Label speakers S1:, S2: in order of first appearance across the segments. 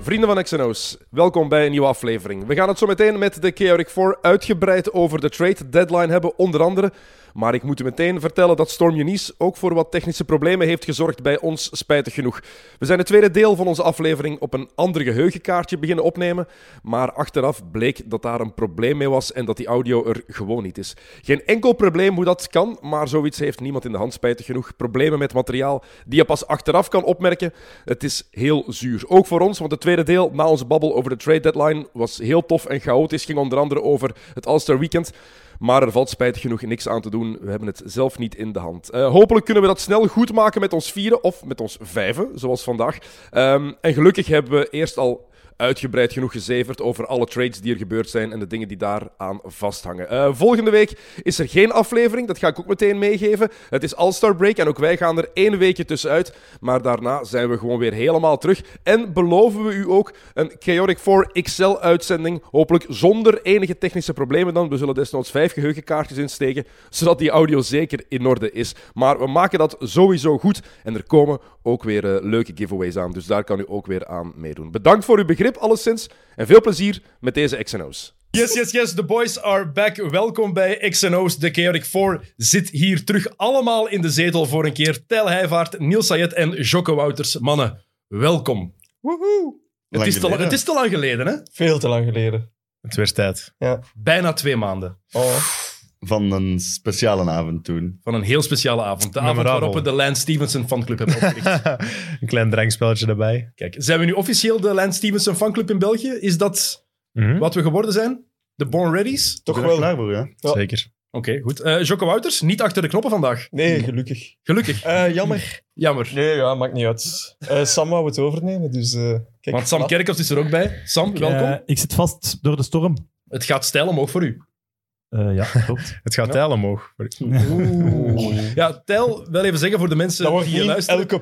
S1: Vrienden van XNO's, welkom bij een nieuwe aflevering. We gaan het zo meteen met de Chaotic 4 uitgebreid over de trade deadline hebben, onder andere. Maar ik moet u meteen vertellen dat Storm Eunice ook voor wat technische problemen heeft gezorgd bij ons, spijtig genoeg. We zijn het tweede deel van onze aflevering op een ander geheugenkaartje beginnen opnemen. Maar achteraf bleek dat daar een probleem mee was en dat die audio er gewoon niet is. Geen enkel probleem hoe dat kan, maar zoiets heeft niemand in de hand, spijtig genoeg. Problemen met materiaal die je pas achteraf kan opmerken. Het is heel zuur. Ook voor ons, want het tweede deel na onze babbel over de trade deadline was heel tof en chaotisch. Ging onder andere over het All-Star Weekend. Maar er valt spijtig genoeg niks aan te doen. We hebben het zelf niet in de hand. Eh, hopelijk kunnen we dat snel goed maken met ons vieren of met ons vijven, zoals vandaag. Ehm, en gelukkig hebben we eerst al uitgebreid genoeg gezeverd over alle trades die er gebeurd zijn en de dingen die daaraan vasthangen. Eh, volgende week is er geen aflevering, dat ga ik ook meteen meegeven. Het is All-Star Break en ook wij gaan er één weekje tussenuit. Maar daarna zijn we gewoon weer helemaal terug. En beloven we u ook een Chaotic 4 XL-uitzending, hopelijk zonder enige technische problemen dan. We zullen desnoods vijf geheugenkaartjes insteken, zodat die audio zeker in orde is. Maar we maken dat sowieso goed en er komen ook weer eh, leuke giveaways aan. Dus daar kan u ook weer aan meedoen. Bedankt voor uw begrip alleszins en veel plezier met deze XNO's. Yes, yes, yes, the boys are back. Welkom bij XNO's. De Chaotic 4 zit hier terug allemaal in de zetel voor een keer. Tel Heijvaart, Niels Sayed en Jocke Wouters. Mannen, welkom. Het is, te, het is te lang geleden, hè?
S2: Veel te lang geleden.
S3: Het werd tijd.
S2: Ja.
S1: Bijna twee maanden.
S2: Oh.
S4: van een speciale avond toen.
S1: Van een heel speciale avond. De avond
S3: Memorabel.
S1: waarop we de Lance Stevenson fanclub hebben opgericht.
S3: Een klein drankspelletje erbij.
S1: Kijk, zijn we nu officieel de Lance Stevenson fanclub in België? Is dat
S3: Mhm.
S1: wat we geworden zijn? De Born Readies?
S2: Toch
S4: Ik ben er
S2: wel.
S4: klaar voor, ja.
S2: Ja.
S3: Zeker.
S1: Oké, goed. Eh Jocke Wouters, niet achter de knoppen vandaag.
S2: Nee, gelukkig.
S1: Gelukkig.
S2: Eh, jammer.
S1: Jammer.
S2: Nee, ja, maakt niet uit. Eh, Sam wou het overnemen, dus... eh, kijk,
S1: Want Sam
S2: voilà.
S1: Kerkhoff is er ook bij. Sam, welkom.
S5: Eh, ik zit vast door de storm.
S1: Het gaat stijl omhoog voor u.
S5: Eh, ja, klopt.
S3: Het gaat
S1: Ja.
S3: tijl omhoog.
S1: Ja, tel wel even zeggen voor de mensen
S2: Dat wordt
S1: die hier
S2: niet
S1: luisteren.
S2: elke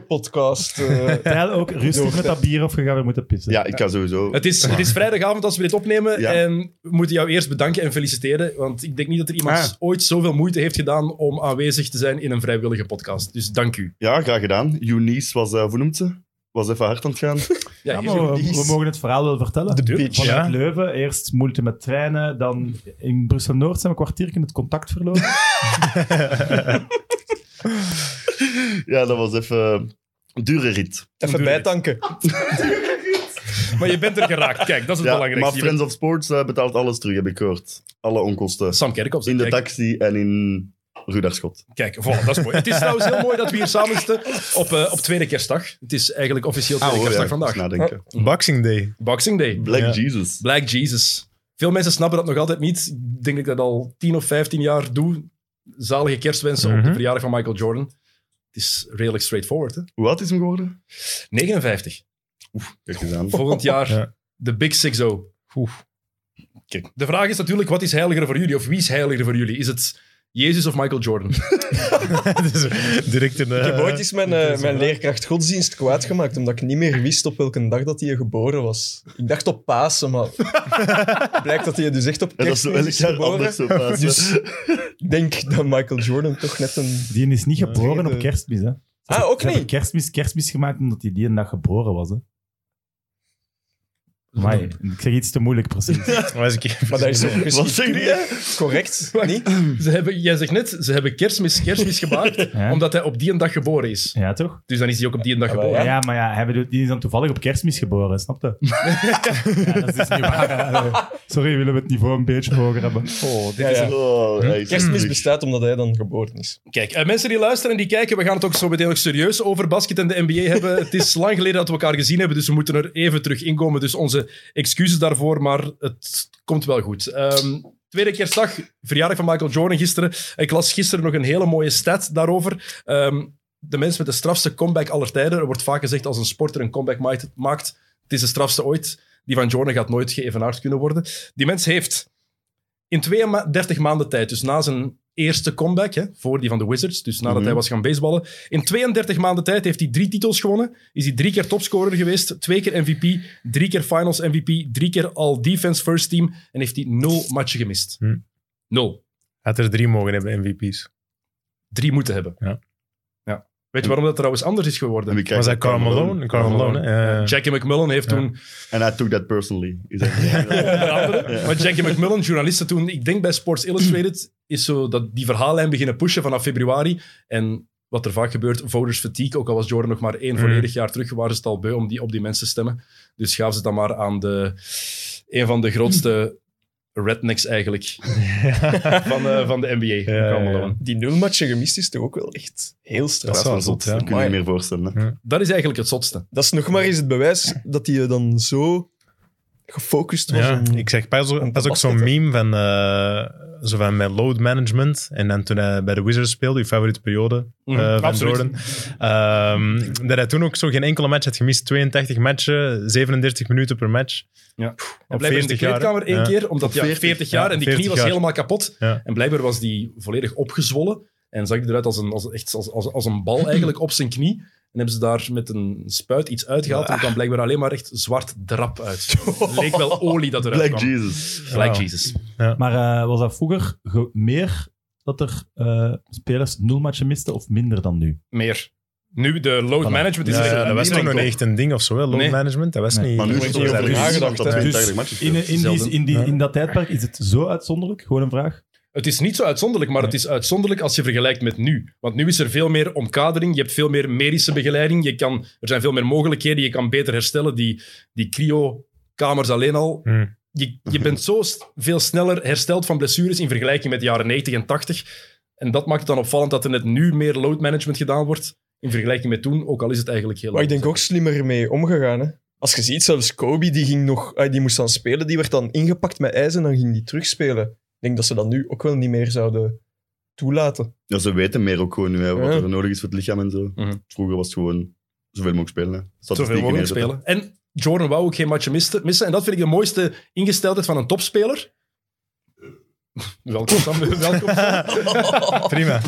S2: podcast. eh,
S5: Tijl ook rustig met dat bier of je gaat weer moeten pissen.
S4: Ja, ik ga sowieso.
S1: Het is, het is vrijdagavond als we dit opnemen.
S4: Ja.
S1: En we moeten jou eerst bedanken en feliciteren. Want ik denk niet dat er iemand
S4: Ah.
S1: ooit zoveel moeite heeft gedaan om aanwezig te zijn in een vrijwillige podcast. Dus dank u.
S4: Ja, graag gedaan. Eunice was, eh hoe noemt ze? Was even hard aan het gaan.
S1: Ja,
S5: Ja,
S1: hier-
S5: maar we, we mogen het verhaal wel vertellen.
S2: de
S1: tuurlijk.
S2: bitch.
S5: Vanuit
S3: Ja.
S5: Leuven, eerst moeite met treinen, dan in Brussel-Noord zijn we een kwartier in het contact verloren.
S4: ja, dat was even een dure rit.
S2: Even bijtanken.
S1: maar je bent er geraakt. Kijk, dat is het
S4: Ja, maar
S1: belangrijkste. Je
S4: Friends of Sports eh, betaalt alles terug, heb ik gehoord. Alle onkosten.
S1: bent- Sam Kerkhoff.
S4: In de
S1: kijk,
S4: taxi en in Ruderschot.
S6: Ah,
S1: Kijk, voilà, dat is mooi. Het is trouwens heel mooi dat we hier samen zitten op, eh, op tweede kerstdag. Het is eigenlijk officieel tweede
S4: Ah, hoor,
S1: kerstdag
S4: ja,
S1: vandaag.
S4: eens nadenken.
S3: Boxing Day.
S1: Boxing Day.
S4: Black
S3: Ah. Ja.
S4: Jesus.
S1: Black Jesus. Veel mensen snappen dat nog altijd niet. Ik denk dat ik dat al 10 of 15 jaar doe. Zalige kerstwensen op
S3: Mhm.
S1: de verjaardag van Michael Jordan. Het is redelijk straightforward, hè?
S4: Hoe oud is hem geworden?
S1: 59.
S4: Kijk eens aan.
S1: Volgend jaar
S3: Ja.
S1: de Big Six O. Kijk, de vraag is natuurlijk, wat is heiliger voor jullie? Of wie is heiliger voor jullie? Is het Jezus of Michael Jordan?
S3: dus direct een...
S2: Ik heb
S3: eh,
S2: ooit eens mijn, eh,
S3: interessant.
S2: mijn leerkracht godsdienst kwaadgemaakt, omdat ik niet meer wist op welke dag dat hij geboren was. Ik dacht op Pasen, maar blijkt dat hij dus echt op
S4: Ja, dat is
S2: kerst
S4: wel elk
S2: is
S4: jaar
S2: geboren.
S4: anders. Zo pas.
S2: Dus ik denk dat Michael Jordan toch net een...
S5: Die is niet geboren
S2: Eh,
S5: op kerstmis. Hè. Ze
S2: Ah, ook
S5: hebben
S2: niet?
S5: kerstmis, kerstmis gemaakt omdat hij die een dag geboren was. Hè. Amai, ik zeg iets te moeilijk precies.
S3: Was ik even-
S2: Maar dat is ook
S4: Wat zeg je?
S2: correct, niet?
S1: Ze hebben, jij zegt net, ze hebben kerstmis kerstmis gemaakt,
S5: Ja.
S1: omdat hij op die een dag geboren is.
S5: Ja, toch?
S1: Dus dan is hij ook op die een dag
S2: Ah, wel,
S1: geboren.
S5: Ja,
S2: Ja.
S5: maar ja, hij bedoelt- die is dan toevallig op kerstmis geboren, snap je? ja, dat is dus niet waar. Allee. Sorry, willen we het niveau een beetje hoger hebben?
S1: Oh, dit
S2: Ja,
S1: is
S2: ja.
S4: Oh, hij is
S2: Kerstmis
S4: terug.
S2: bestaat omdat hij dan geboren is.
S1: Kijk, eh, mensen die luisteren en die kijken, we gaan het ook zo meteen ook serieus over basket en de NBA hebben. het is lang geleden dat we elkaar gezien hebben, dus we moeten er even terug inkomen. Dus onze excuses daarvoor, maar het komt wel goed. Ehm, tweede kerstdag, verjaardag van Michael Jordan gisteren. Ik las gisteren nog een hele mooie stat daarover. Ehm, de mens met de strafste comeback aller tijden. Er wordt vaak gezegd als een sporter een comeback maakt, maakt, het is de strafste ooit. Die van Jordan gaat nooit geëvenaard kunnen worden. Die mens heeft in 32 maanden tijd, dus na zijn eerste comeback, hè, voor die van de Wizards, dus nadat
S4: Mhm.
S1: hij was gaan baseballen, in 32 maanden tijd heeft hij drie titels gewonnen. Is hij drie keer topscorer geweest, twee keer MVP, drie keer Finals MVP, drie keer All Defense First Team en heeft hij nul matchen gemist.
S3: Hm.
S1: Nul.
S3: Had er drie mogen hebben, MVP's.
S6: Drie moeten hebben.
S3: Ja.
S6: Ja. Weet je waarom dat trouwens anders is geworden?
S4: En wie krijgt
S3: Was dat Karl Malone? Karl Malone, hè? Eh,
S6: Jackie McMullen heeft
S3: Ja.
S6: toen...
S4: En I took that personally. Is dat-
S6: Onder andere.
S4: Ja.
S6: Maar Jackie McMullen, journalisten toen, ik denk bij Sports Illustrated, is zo dat die verhaallijn beginnen pushen vanaf februari. En wat er vaak gebeurt, voters fatigue. Ook al was Jordan nog maar één
S3: Mm.
S6: volledig jaar terug, waren ze het al beu om die, op die mensen te stemmen. Dus gaven ze dat maar aan de, een van de grootste rednecks eigenlijk van, eh, van de NBA.
S3: ja,
S6: Karl Malone.
S3: ja.
S2: Die nulmatchen gemist is toch ook wel echt heel
S4: Dat is
S2: straf.
S3: wel
S4: wel
S3: zot,
S4: zot.
S3: ja.
S4: Dat kun je je niet meer voorstellen. hè.
S6: Dat is eigenlijk het zotste.
S2: Dat is nog maar eens het bewijs dat hij dan zo gefocust was.
S3: Ja,
S2: om-
S3: ik zeg, pas,
S2: om te
S3: pas ook zo'n
S2: basketten.
S3: meme van, eh, zo van met load management. En dan toen hij bij de Wizards speelde, je favoriete periode eh, van
S6: absoluut.
S3: Jordan. Ehm, dat hij toen ook zo geen enkele match had gemist. 82 matchen, 37 minuten per match.
S6: Ja. En
S3: Op
S6: blijft in de
S3: 40 jaar,
S6: kleedkamer één
S3: ja.
S6: keer, omdat hij 40,
S3: 40,
S6: jaar
S3: ja,
S6: en die
S3: 40
S6: knie was
S3: jaar.
S6: helemaal kapot.
S3: Ja.
S6: En blijkbaar was die volledig opgezwollen en zag die eruit als een, als, echt, als, als, als een bal eigenlijk op zijn knie. En hebben ze daar met een spuit iets uitgehaald en er kwam blijkbaar alleen maar echt zwart drap uit. Het leek wel olie dat eruit
S4: Black
S6: kwam.
S4: Jesus.
S6: Black
S3: Wow.
S6: Jesus.
S5: Maar eh, was dat vroeger ge- meer dat er eh, spelers nul matchen misten of minder dan nu?
S6: Meer. Nu, de load
S5: Voilà.
S6: management Dus is
S3: Ja,
S6: echt
S3: dat was toen nog
S6: niemand
S3: niet echt een ding of zo, hè, load
S6: Nee.
S3: management. Dat was
S5: Nee.
S3: niet...
S4: Maar nu
S2: Daar
S4: is
S2: moet
S4: het
S2: je niet over
S4: over
S2: nagedacht,
S4: nagedacht dat
S2: hè.
S4: 82 matches
S5: In, in, die,
S6: zelden.
S5: in, die,
S3: Ja.
S5: in dat tijdperk is het zo uitzonderlijk? Gewoon een vraag.
S6: Het is niet zo uitzonderlijk, maar het is uitzonderlijk als je vergelijkt met nu. Want nu is er veel meer omkadering, je hebt veel meer medische begeleiding, je kan, er zijn veel meer mogelijkheden, je kan beter herstellen. Die, die cryo-kamers alleen al.
S3: Hmm.
S6: Je, je bent zo st- veel sneller hersteld van blessures in vergelijking met de jaren 90 en 80. En dat maakt het dan opvallend dat er net nu meer load management gedaan wordt in vergelijking met toen, ook al is het eigenlijk heel
S2: Maar ik denk ook slimmer mee omgegaan. Hè. Als je ziet, zelfs Kobe, die, ging nog, ah, die moest dan spelen, die werd dan ingepakt met ijs en dan ging die terugspelen. Ik denk dat ze dat nu ook wel niet meer zouden toelaten.
S4: Ja, ze weten meer ook gewoon nu, hè, wat
S2: Ja.
S4: er nodig is voor het lichaam en zo.
S6: Mhm.
S4: Vroeger was het gewoon zoveel mogelijk spelen. hè.
S6: Zoveel
S4: Statistieken
S6: mogelijk
S4: neerzetten.
S6: spelen. En Jordan wou ook geen matje misten. missen. En dat vind ik de mooiste ingesteldheid van een topspeler. Welkom, Sam. Welkom. Sam.
S3: Prima.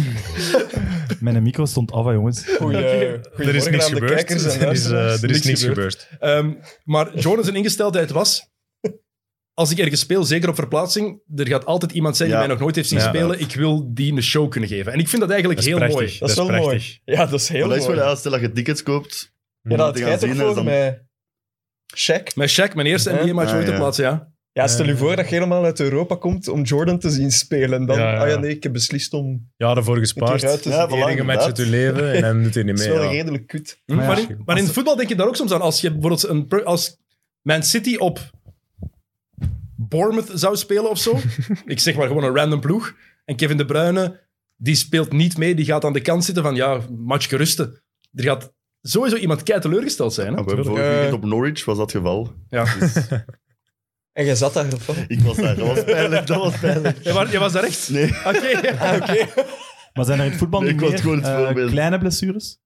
S5: Mijn micro stond af, hè, jongens.
S2: Goeie,
S3: Er is niks gebeurd.
S2: kijkers en
S3: Er is, eh,
S2: luisteraars.
S3: er is niks gebeurd.
S6: Ehm, maar Jordan zijn ingesteldheid was... Als ik ergens speel, zeker op verplaatsing, er gaat altijd iemand zijn die
S4: Ja.
S6: mij nog nooit heeft zien
S3: Ja.
S6: spelen. Ik wil die een show kunnen geven. En ik vind dat eigenlijk
S3: Dat is
S6: heel
S3: prachtig.
S6: mooi.
S2: Dat is wel
S3: prachtig.
S2: mooi. Ja, dat is heel
S4: Maar dat
S2: mooi.
S4: is wel, ja, stel dat je tickets koopt.
S2: ja, dat
S4: te
S2: had
S4: gaan
S2: jij toch
S4: zien is
S2: voor
S4: dan-
S2: met Shaq?
S6: Met Shaq, mijn eerste
S2: Ja.
S6: NBA-match
S4: Ah,
S6: ooit te
S4: ja.
S6: plaatsen, ja.
S2: Ja, stel
S3: Eh,
S2: je voor dat je helemaal uit Europa komt om Jordan te zien spelen. En dan,
S3: Ja, ja.
S2: ah ja, nee, ik heb beslist om...
S3: Ja, daarvoor
S2: Met
S3: gespaard.
S2: die ruiten-
S4: Ja,
S3: De enige match uit je leven en dan doet hij niet
S2: Dat is
S3: mee.
S2: wel
S3: ja.
S2: redelijk kut.
S6: Hm, Maar,
S5: ja,
S6: in, maar in het voetbal denk je daar ook soms aan. Als je bijvoorbeeld een, pro- als Man City op Bournemouth zou spelen of zo. ik zeg maar gewoon een random ploeg. En Kevin De Bruyne, die speelt niet mee. Die gaat aan de kant zitten van, ja, match gerusten. Er gaat sowieso iemand kei teleurgesteld zijn. Hè?
S4: Ja, we hebben vorig
S2: Eh.
S4: weekend op Norwich was dat het geval.
S6: Ja.
S2: En jij zat daar van.
S4: Ik was daar, dat was pijnlijk, dat was pijnlijk.
S6: Je, was, je was daar echt?
S4: Nee,
S6: Oké.
S5: Maar zijn er in het voetbal
S4: Nee,
S5: niet
S4: ik was
S5: meer
S4: gewoon het
S5: eh,
S4: voorbeeld.
S5: kleine blessures?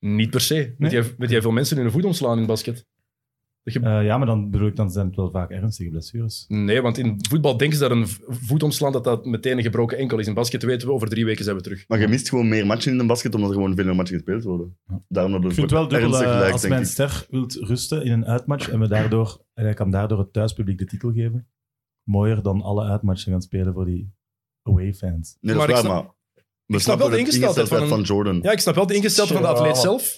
S6: Niet per se. Weet,
S5: Nee?
S6: jij, weet jij veel mensen in hun voet omslaan in het basket?
S5: Eh, ja, maar dan bedoel ik, dan zijn het wel vaak ernstige blessures.
S6: Nee, want in voetbal denken ze dat een v- voet omslaan dat dat meteen een gebroken enkel is. In basket weten we, over drie weken zijn we terug.
S4: maar je mist gewoon meer matchen in de basket, omdat er gewoon veel meer matchen gespeeld worden. Daarom dat
S5: Ik vind het wel dubbel
S4: ernstig
S5: eh,
S4: lijkt,
S5: als
S4: denk
S5: mijn
S4: ik.
S5: ster wilt rusten in een uitmatch en, we daardoor, en hij kan daardoor het thuispubliek de titel geven. Mooier dan alle uitmatchen gaan spelen voor die away-fans.
S4: Nee,
S6: Maar
S4: dat
S6: ik
S4: is waar,
S6: snap-
S4: maar... We
S6: ik snap wel
S4: snappen
S6: de
S4: het
S6: ingesteldheid van
S4: van Jordan.
S6: Ja, ik snap wel de ingesteldheid van de atleet
S2: Ja.
S6: zelf.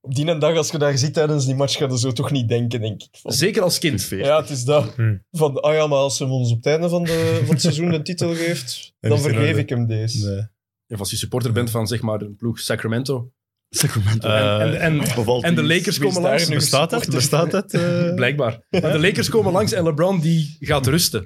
S2: Op die en dag, als je daar zit tijdens die match, ga je zo toch niet denken, denk ik. Van,
S6: Zeker als kind.
S4: Veer.
S2: Ja, het is dat.
S3: Hmm.
S2: Van, ah ja, maar als hem ons op het einde van, de, van het seizoen de titel geeft, dan
S3: is het in
S2: vergeef
S3: orde.
S2: ik hem deze.
S3: Nee.
S6: Of als je supporter bent van zeg maar de ploeg Sacramento.
S4: Sacramento.
S3: Eh,
S6: en, en, en
S4: Bevalt
S6: en de
S4: niet.
S6: Lakers
S4: Wie is
S6: komen
S4: daar
S6: langs.
S4: nu?
S3: Bestaat dat? Bestaat dat? eh?
S6: blijkbaar. Maar de Lakers komen langs en LeBron die gaat rusten.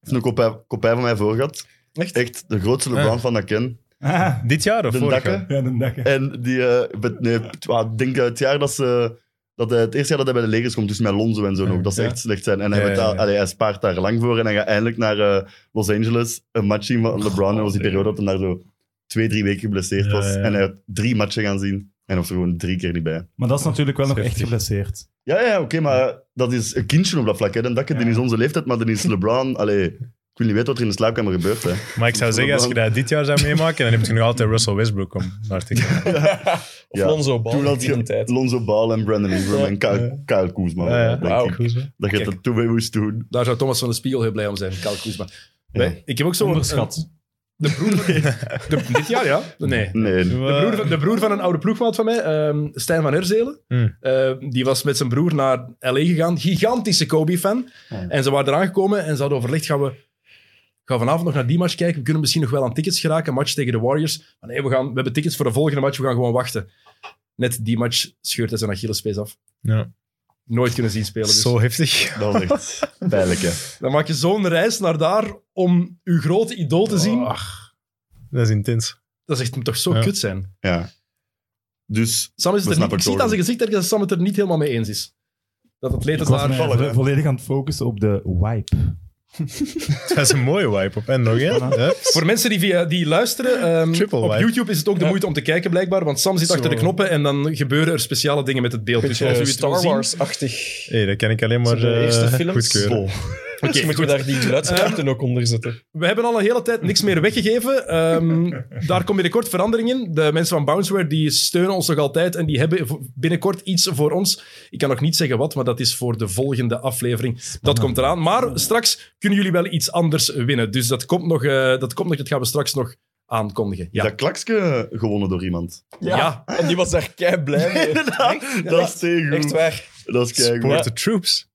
S4: Heeft een kopij, kopij van mij voor gehad. Echt? de grootste LeBron van dat ik ken.
S5: Ah,
S3: Dit jaar of
S4: De
S3: vorig
S4: dakken.
S3: jaar?
S5: ja, dan denk ik.
S4: En die, eh, bet- nee,
S3: Ah.
S4: het wa- ik denk het jaar dat ze. Dat hij, het eerste jaar dat hij bij de Lakers komt, dus met Lonzo en zo nog, dat ze
S6: Ja.
S4: echt slecht zijn. En hij,
S3: Ja,
S4: wordt
S3: ja,
S4: daar-
S3: ja.
S4: allee, hij spaart daar lang voor en hij gaat eindelijk naar eh, Los Angeles een match zien van LeBron. en dat was die
S3: nee.
S4: periode dat hij daar zo twee, drie weken geblesseerd
S3: Oh, Ja,
S4: was.
S3: ja.
S4: En hij had drie matchen gaan zien en was er gewoon drie keer niet bij.
S5: Maar dat is natuurlijk wel nog echt
S3: Schriftelijk.
S5: geblesseerd.
S4: Ja, ja oké, maar dat is een kindje op dat vlak. Hè. Dan dakken, die is onze leeftijd, maar dan is LeBron. Allee, ik wil niet weten wat er in de slaapkamer gebeurt. Hè.
S3: Maar ik zou zeggen, als je dat dit jaar zou meemaken, dan heb je nog altijd Russell Westbrook om naar te kijken.
S2: Of
S4: Ja.
S2: Lonzo Ball
S4: Toen
S2: in
S4: had
S2: die
S4: je
S2: tijd.
S4: Lonzo Ball en Brandon Ingram en Kyle, Kyle Kuzma.
S3: Ja, ja.
S4: denk ik.
S2: Wauw.
S4: Dat je dat toen mee moest doen.
S6: Daar zou Thomas van de Spiegel heel blij om zijn. Kyle Kuzma.
S4: Ja.
S6: Wij- Ik heb ook zo'n
S4: eh,
S5: Onderschat.
S6: De broer van... de- dit jaar, ja. Nee.
S4: Nee.
S3: Doen we-
S6: De broer, van, de broer van een oude ploegmaat van mij, ehm, Stijn van Erzelen,
S3: Hmm.
S6: eh, die was met zijn broer naar L.A. gegaan. Gigantische Kobe-fan.
S4: Ja.
S6: En ze waren eraan gekomen en ze hadden overlegd, gaan we, gaan we vanavond nog naar die match kijken? We kunnen misschien nog wel aan tickets geraken, match tegen de Warriors. Maar nee, we, gaan, we hebben tickets voor de volgende match, we gaan gewoon wachten. Net die match scheurt hij zijn Achillespees af.
S3: Ja.
S6: Nooit kunnen zien spelen. Dus.
S3: Zo heftig.
S4: Dat was echt pijnlijk, hè.
S6: Dan maak je zo'n reis naar daar om uw grote idool te zien.
S3: Dat is intens.
S6: Dat is echt toch zo
S3: Ja.
S6: kut zijn.
S4: Ja. Dus,
S6: Sam is
S4: We
S6: het er niet,
S4: snappen
S6: ik zie het aan
S4: Jordan.
S6: zijn gezicht ergens dat Sam het er niet helemaal mee eens is. Dat
S5: Ik
S6: atleten
S5: was
S6: daar...
S5: mij
S4: vallen,
S5: vo-
S4: hè?
S5: volledig aan het focussen op de wipe.
S3: Dat is een mooie wipe op. En nog één. Hups.
S6: Voor mensen die, via, die luisteren, ehm,
S3: Triple
S6: op
S3: wipe.
S6: YouTube is het ook de
S3: Ja.
S6: moeite om te kijken blijkbaar, want Sam zit achter de
S3: Zo.
S6: knoppen en dan gebeuren er speciale dingen met het beeld. Dus als u
S2: Beetje
S6: het wil
S2: Star
S6: zien-
S2: Wars-achtig.
S3: Hey, dat kan ik alleen maar
S2: Zo de
S3: eh,
S2: eerste films.
S3: goedkeuren.
S4: Bol.
S6: Oké,
S2: dus moeten
S6: goed.
S2: we daar die geluidskaarten ook onder zetten.
S6: We hebben al een hele tijd niks meer weggegeven. Ehm, daar komt binnenkort verandering in. De mensen van Bounceware die steunen ons nog altijd en die hebben v- binnenkort iets voor ons. Ik kan nog niet zeggen wat, maar dat is voor de volgende aflevering. Dat komt eraan. Maar straks kunnen jullie wel iets anders winnen. Dus dat komt nog. eh, dat, komt nog dat gaan we straks nog aankondigen.
S4: Is
S6: Ja.
S4: dat klaksje gewonnen door iemand?
S6: Ja.
S2: En die was daar kei blij mee.
S4: dat is tegen.
S2: Echt waar.
S4: Dat is keigoed.
S3: Support the troops.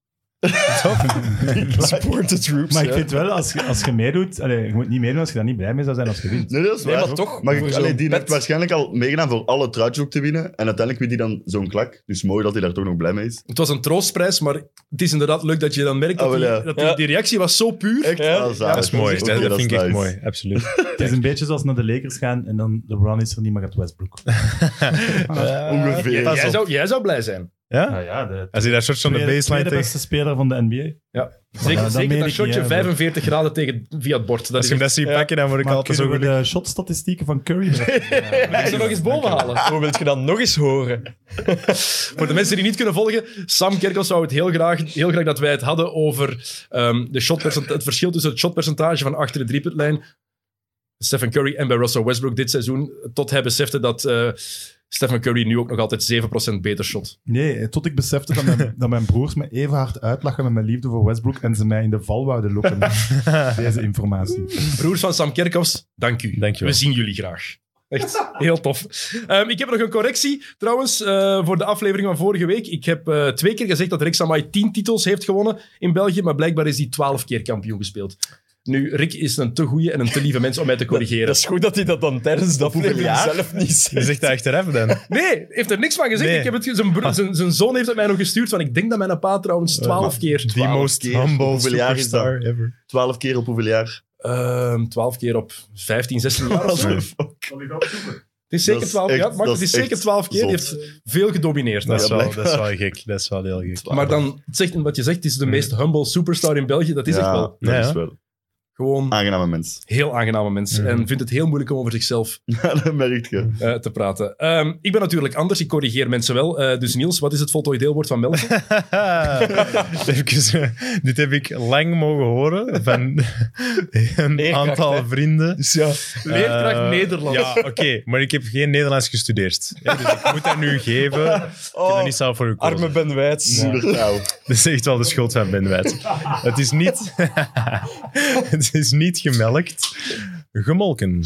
S2: Support the troops.
S5: Maar ik
S2: ja.
S5: vind wel, als je, als je meedoet... Allee, je moet niet meedoen als je daar niet blij mee zou zijn als je wint.
S4: Nee, dat is
S2: Nee,
S4: waar.
S2: maar toch,
S4: Maar ik-
S2: voor zo'n
S4: allee, die
S2: pet.
S4: heeft waarschijnlijk al meegedaan voor alle truitjes ook te winnen. En uiteindelijk wint hij dan zo'n klak. Dus mooi dat hij daar toch nog blij mee is.
S6: Het was een troostprijs, maar het is inderdaad leuk dat je dan merkt dat,
S4: Ah, wel,
S6: die-
S4: ja.
S6: dat die,
S2: Ja.
S6: die reactie was zo puur.
S4: Echt?
S2: Ja.
S4: ah, zalig.
S3: Dat is mooi.
S4: Ook
S3: Dat,
S4: weer,
S3: dat vind ik
S4: is
S3: echt
S4: nice.
S3: mooi. Absoluut.
S5: Het is een beetje zoals naar de Lakers gaan en dan LeBron is er niet, maar gaat Westbrook.
S4: Ongeveer.
S3: Pas
S6: Jij
S3: op.
S6: zou, jij zou blij zijn.
S3: Ja?
S5: Nou ja, de
S3: Als je daar soort van de
S5: tweede-
S3: baseline
S5: tweede
S3: tegen...
S5: beste speler van de NBA.
S6: Zeker,
S5: dat
S6: zeker
S5: meen
S6: dat
S5: ik
S6: shotje
S5: niet, hè,
S6: 45 graden tegen, via het bord. Dat
S3: Als
S6: is
S3: je hem
S6: echt-
S3: dat ziet pakken, dan word ik
S5: Maar
S3: altijd zo
S5: kunnen we
S3: gelukkig.
S5: de shotstatistieken van Curry ja.
S6: Ik zou nog eens boven halen.
S2: Hoe wil je dan nog eens horen?
S6: Voor de mensen die niet kunnen volgen, Sam Kerkels zou het heel graag, heel graag dat wij het hadden over ehm, de shotpercent- het verschil tussen het shotpercentage van achter de driepuntlijn. Stephen Curry en bij Russell Westbrook dit seizoen. Tot hij besefte dat eh, Stephen Curry nu ook nog altijd 7% beter shot.
S5: Nee, tot ik besefte dat mijn, dat mijn broers me even hard uitlachen met mijn liefde voor Westbrook en ze mij in de val wouden lokken met deze informatie.
S6: Broers van Sam Kerkhoffs, dank u.
S3: Dank je wel.
S6: We zien jullie graag. Echt heel tof. Ehm, ik heb nog een correctie trouwens eh, voor de aflevering van vorige week. Ik heb eh, twee keer gezegd dat Rick Samai 10 titels heeft gewonnen in België, maar blijkbaar is hij 12 keer kampioen gespeeld. Nu, Rick is een te goede en een te lieve mens om mij te corrigeren.
S2: Dat is goed dat hij dat dan tijdens dat aflevering
S3: jaar?
S2: zelf niet
S3: Je
S2: zegt.
S3: zegt dat achteraf dan.
S6: Nee, heeft er niks van gezegd.
S3: Nee. Ah.
S6: Ik heb het, ge- zijn, broer- zijn, zijn zoon heeft het mij nog gestuurd, van ik denk dat mijn pa trouwens
S3: Eh,
S6: 12 keer...
S3: The most
S4: keer.
S3: humble
S4: Hoeveel jaar is dat?
S3: superstar ever.
S4: Twaalf keer op hoeveel jaar?
S6: Ehm 12 keer op 15, 16 jaar of zo. Het is
S4: Dat
S6: zeker
S4: is
S6: 12 keer,
S4: echt-
S6: maar het
S4: dat
S6: is
S4: is
S6: zeker
S4: echt
S6: 12 keer. Hij
S4: zot.
S6: heeft veel gedomineerd.
S3: Dat is,
S4: Ja,
S3: wel, dat
S4: blijkbaar.
S3: is wel gek. Dat is wel heel gek.
S6: Maar dan, het zegt, wat je zegt, het is de meest humble superstar in België. Dat is echt wel
S4: Dat
S3: Ja,
S4: is
S3: ja.
S4: wel.
S6: gewoon
S4: Aangename mens.
S6: heel aangename mens.
S3: Mhm.
S4: Mm.
S6: En vindt het heel moeilijk om over zichzelf
S4: Ja, dat merk je.
S6: eh, te praten. Ehm, ik ben natuurlijk anders, ik corrigeer mensen wel. Eh, dus Niels, wat is het voltooid deelwoord van Melk?
S3: Ah. Even, eh, dit heb ik lang mogen horen van een
S2: Leerkracht,
S3: aantal
S2: hè?
S3: vrienden.
S2: Dus ja,
S6: Leerkracht
S3: Eh,
S6: Nederlands.
S3: Ja, oké, maar ik heb geen Nederlands gestudeerd. Ja, dus ik moet dat nu geven. Ik heb
S2: Oh,
S3: dat niet zelf voor gekozen.
S2: arme Ben Wijts.
S4: Moedertaal.
S3: Dat is echt wel de schuld van Ben Wijts. Het is niet... het is niet gemelkt. Gemolken.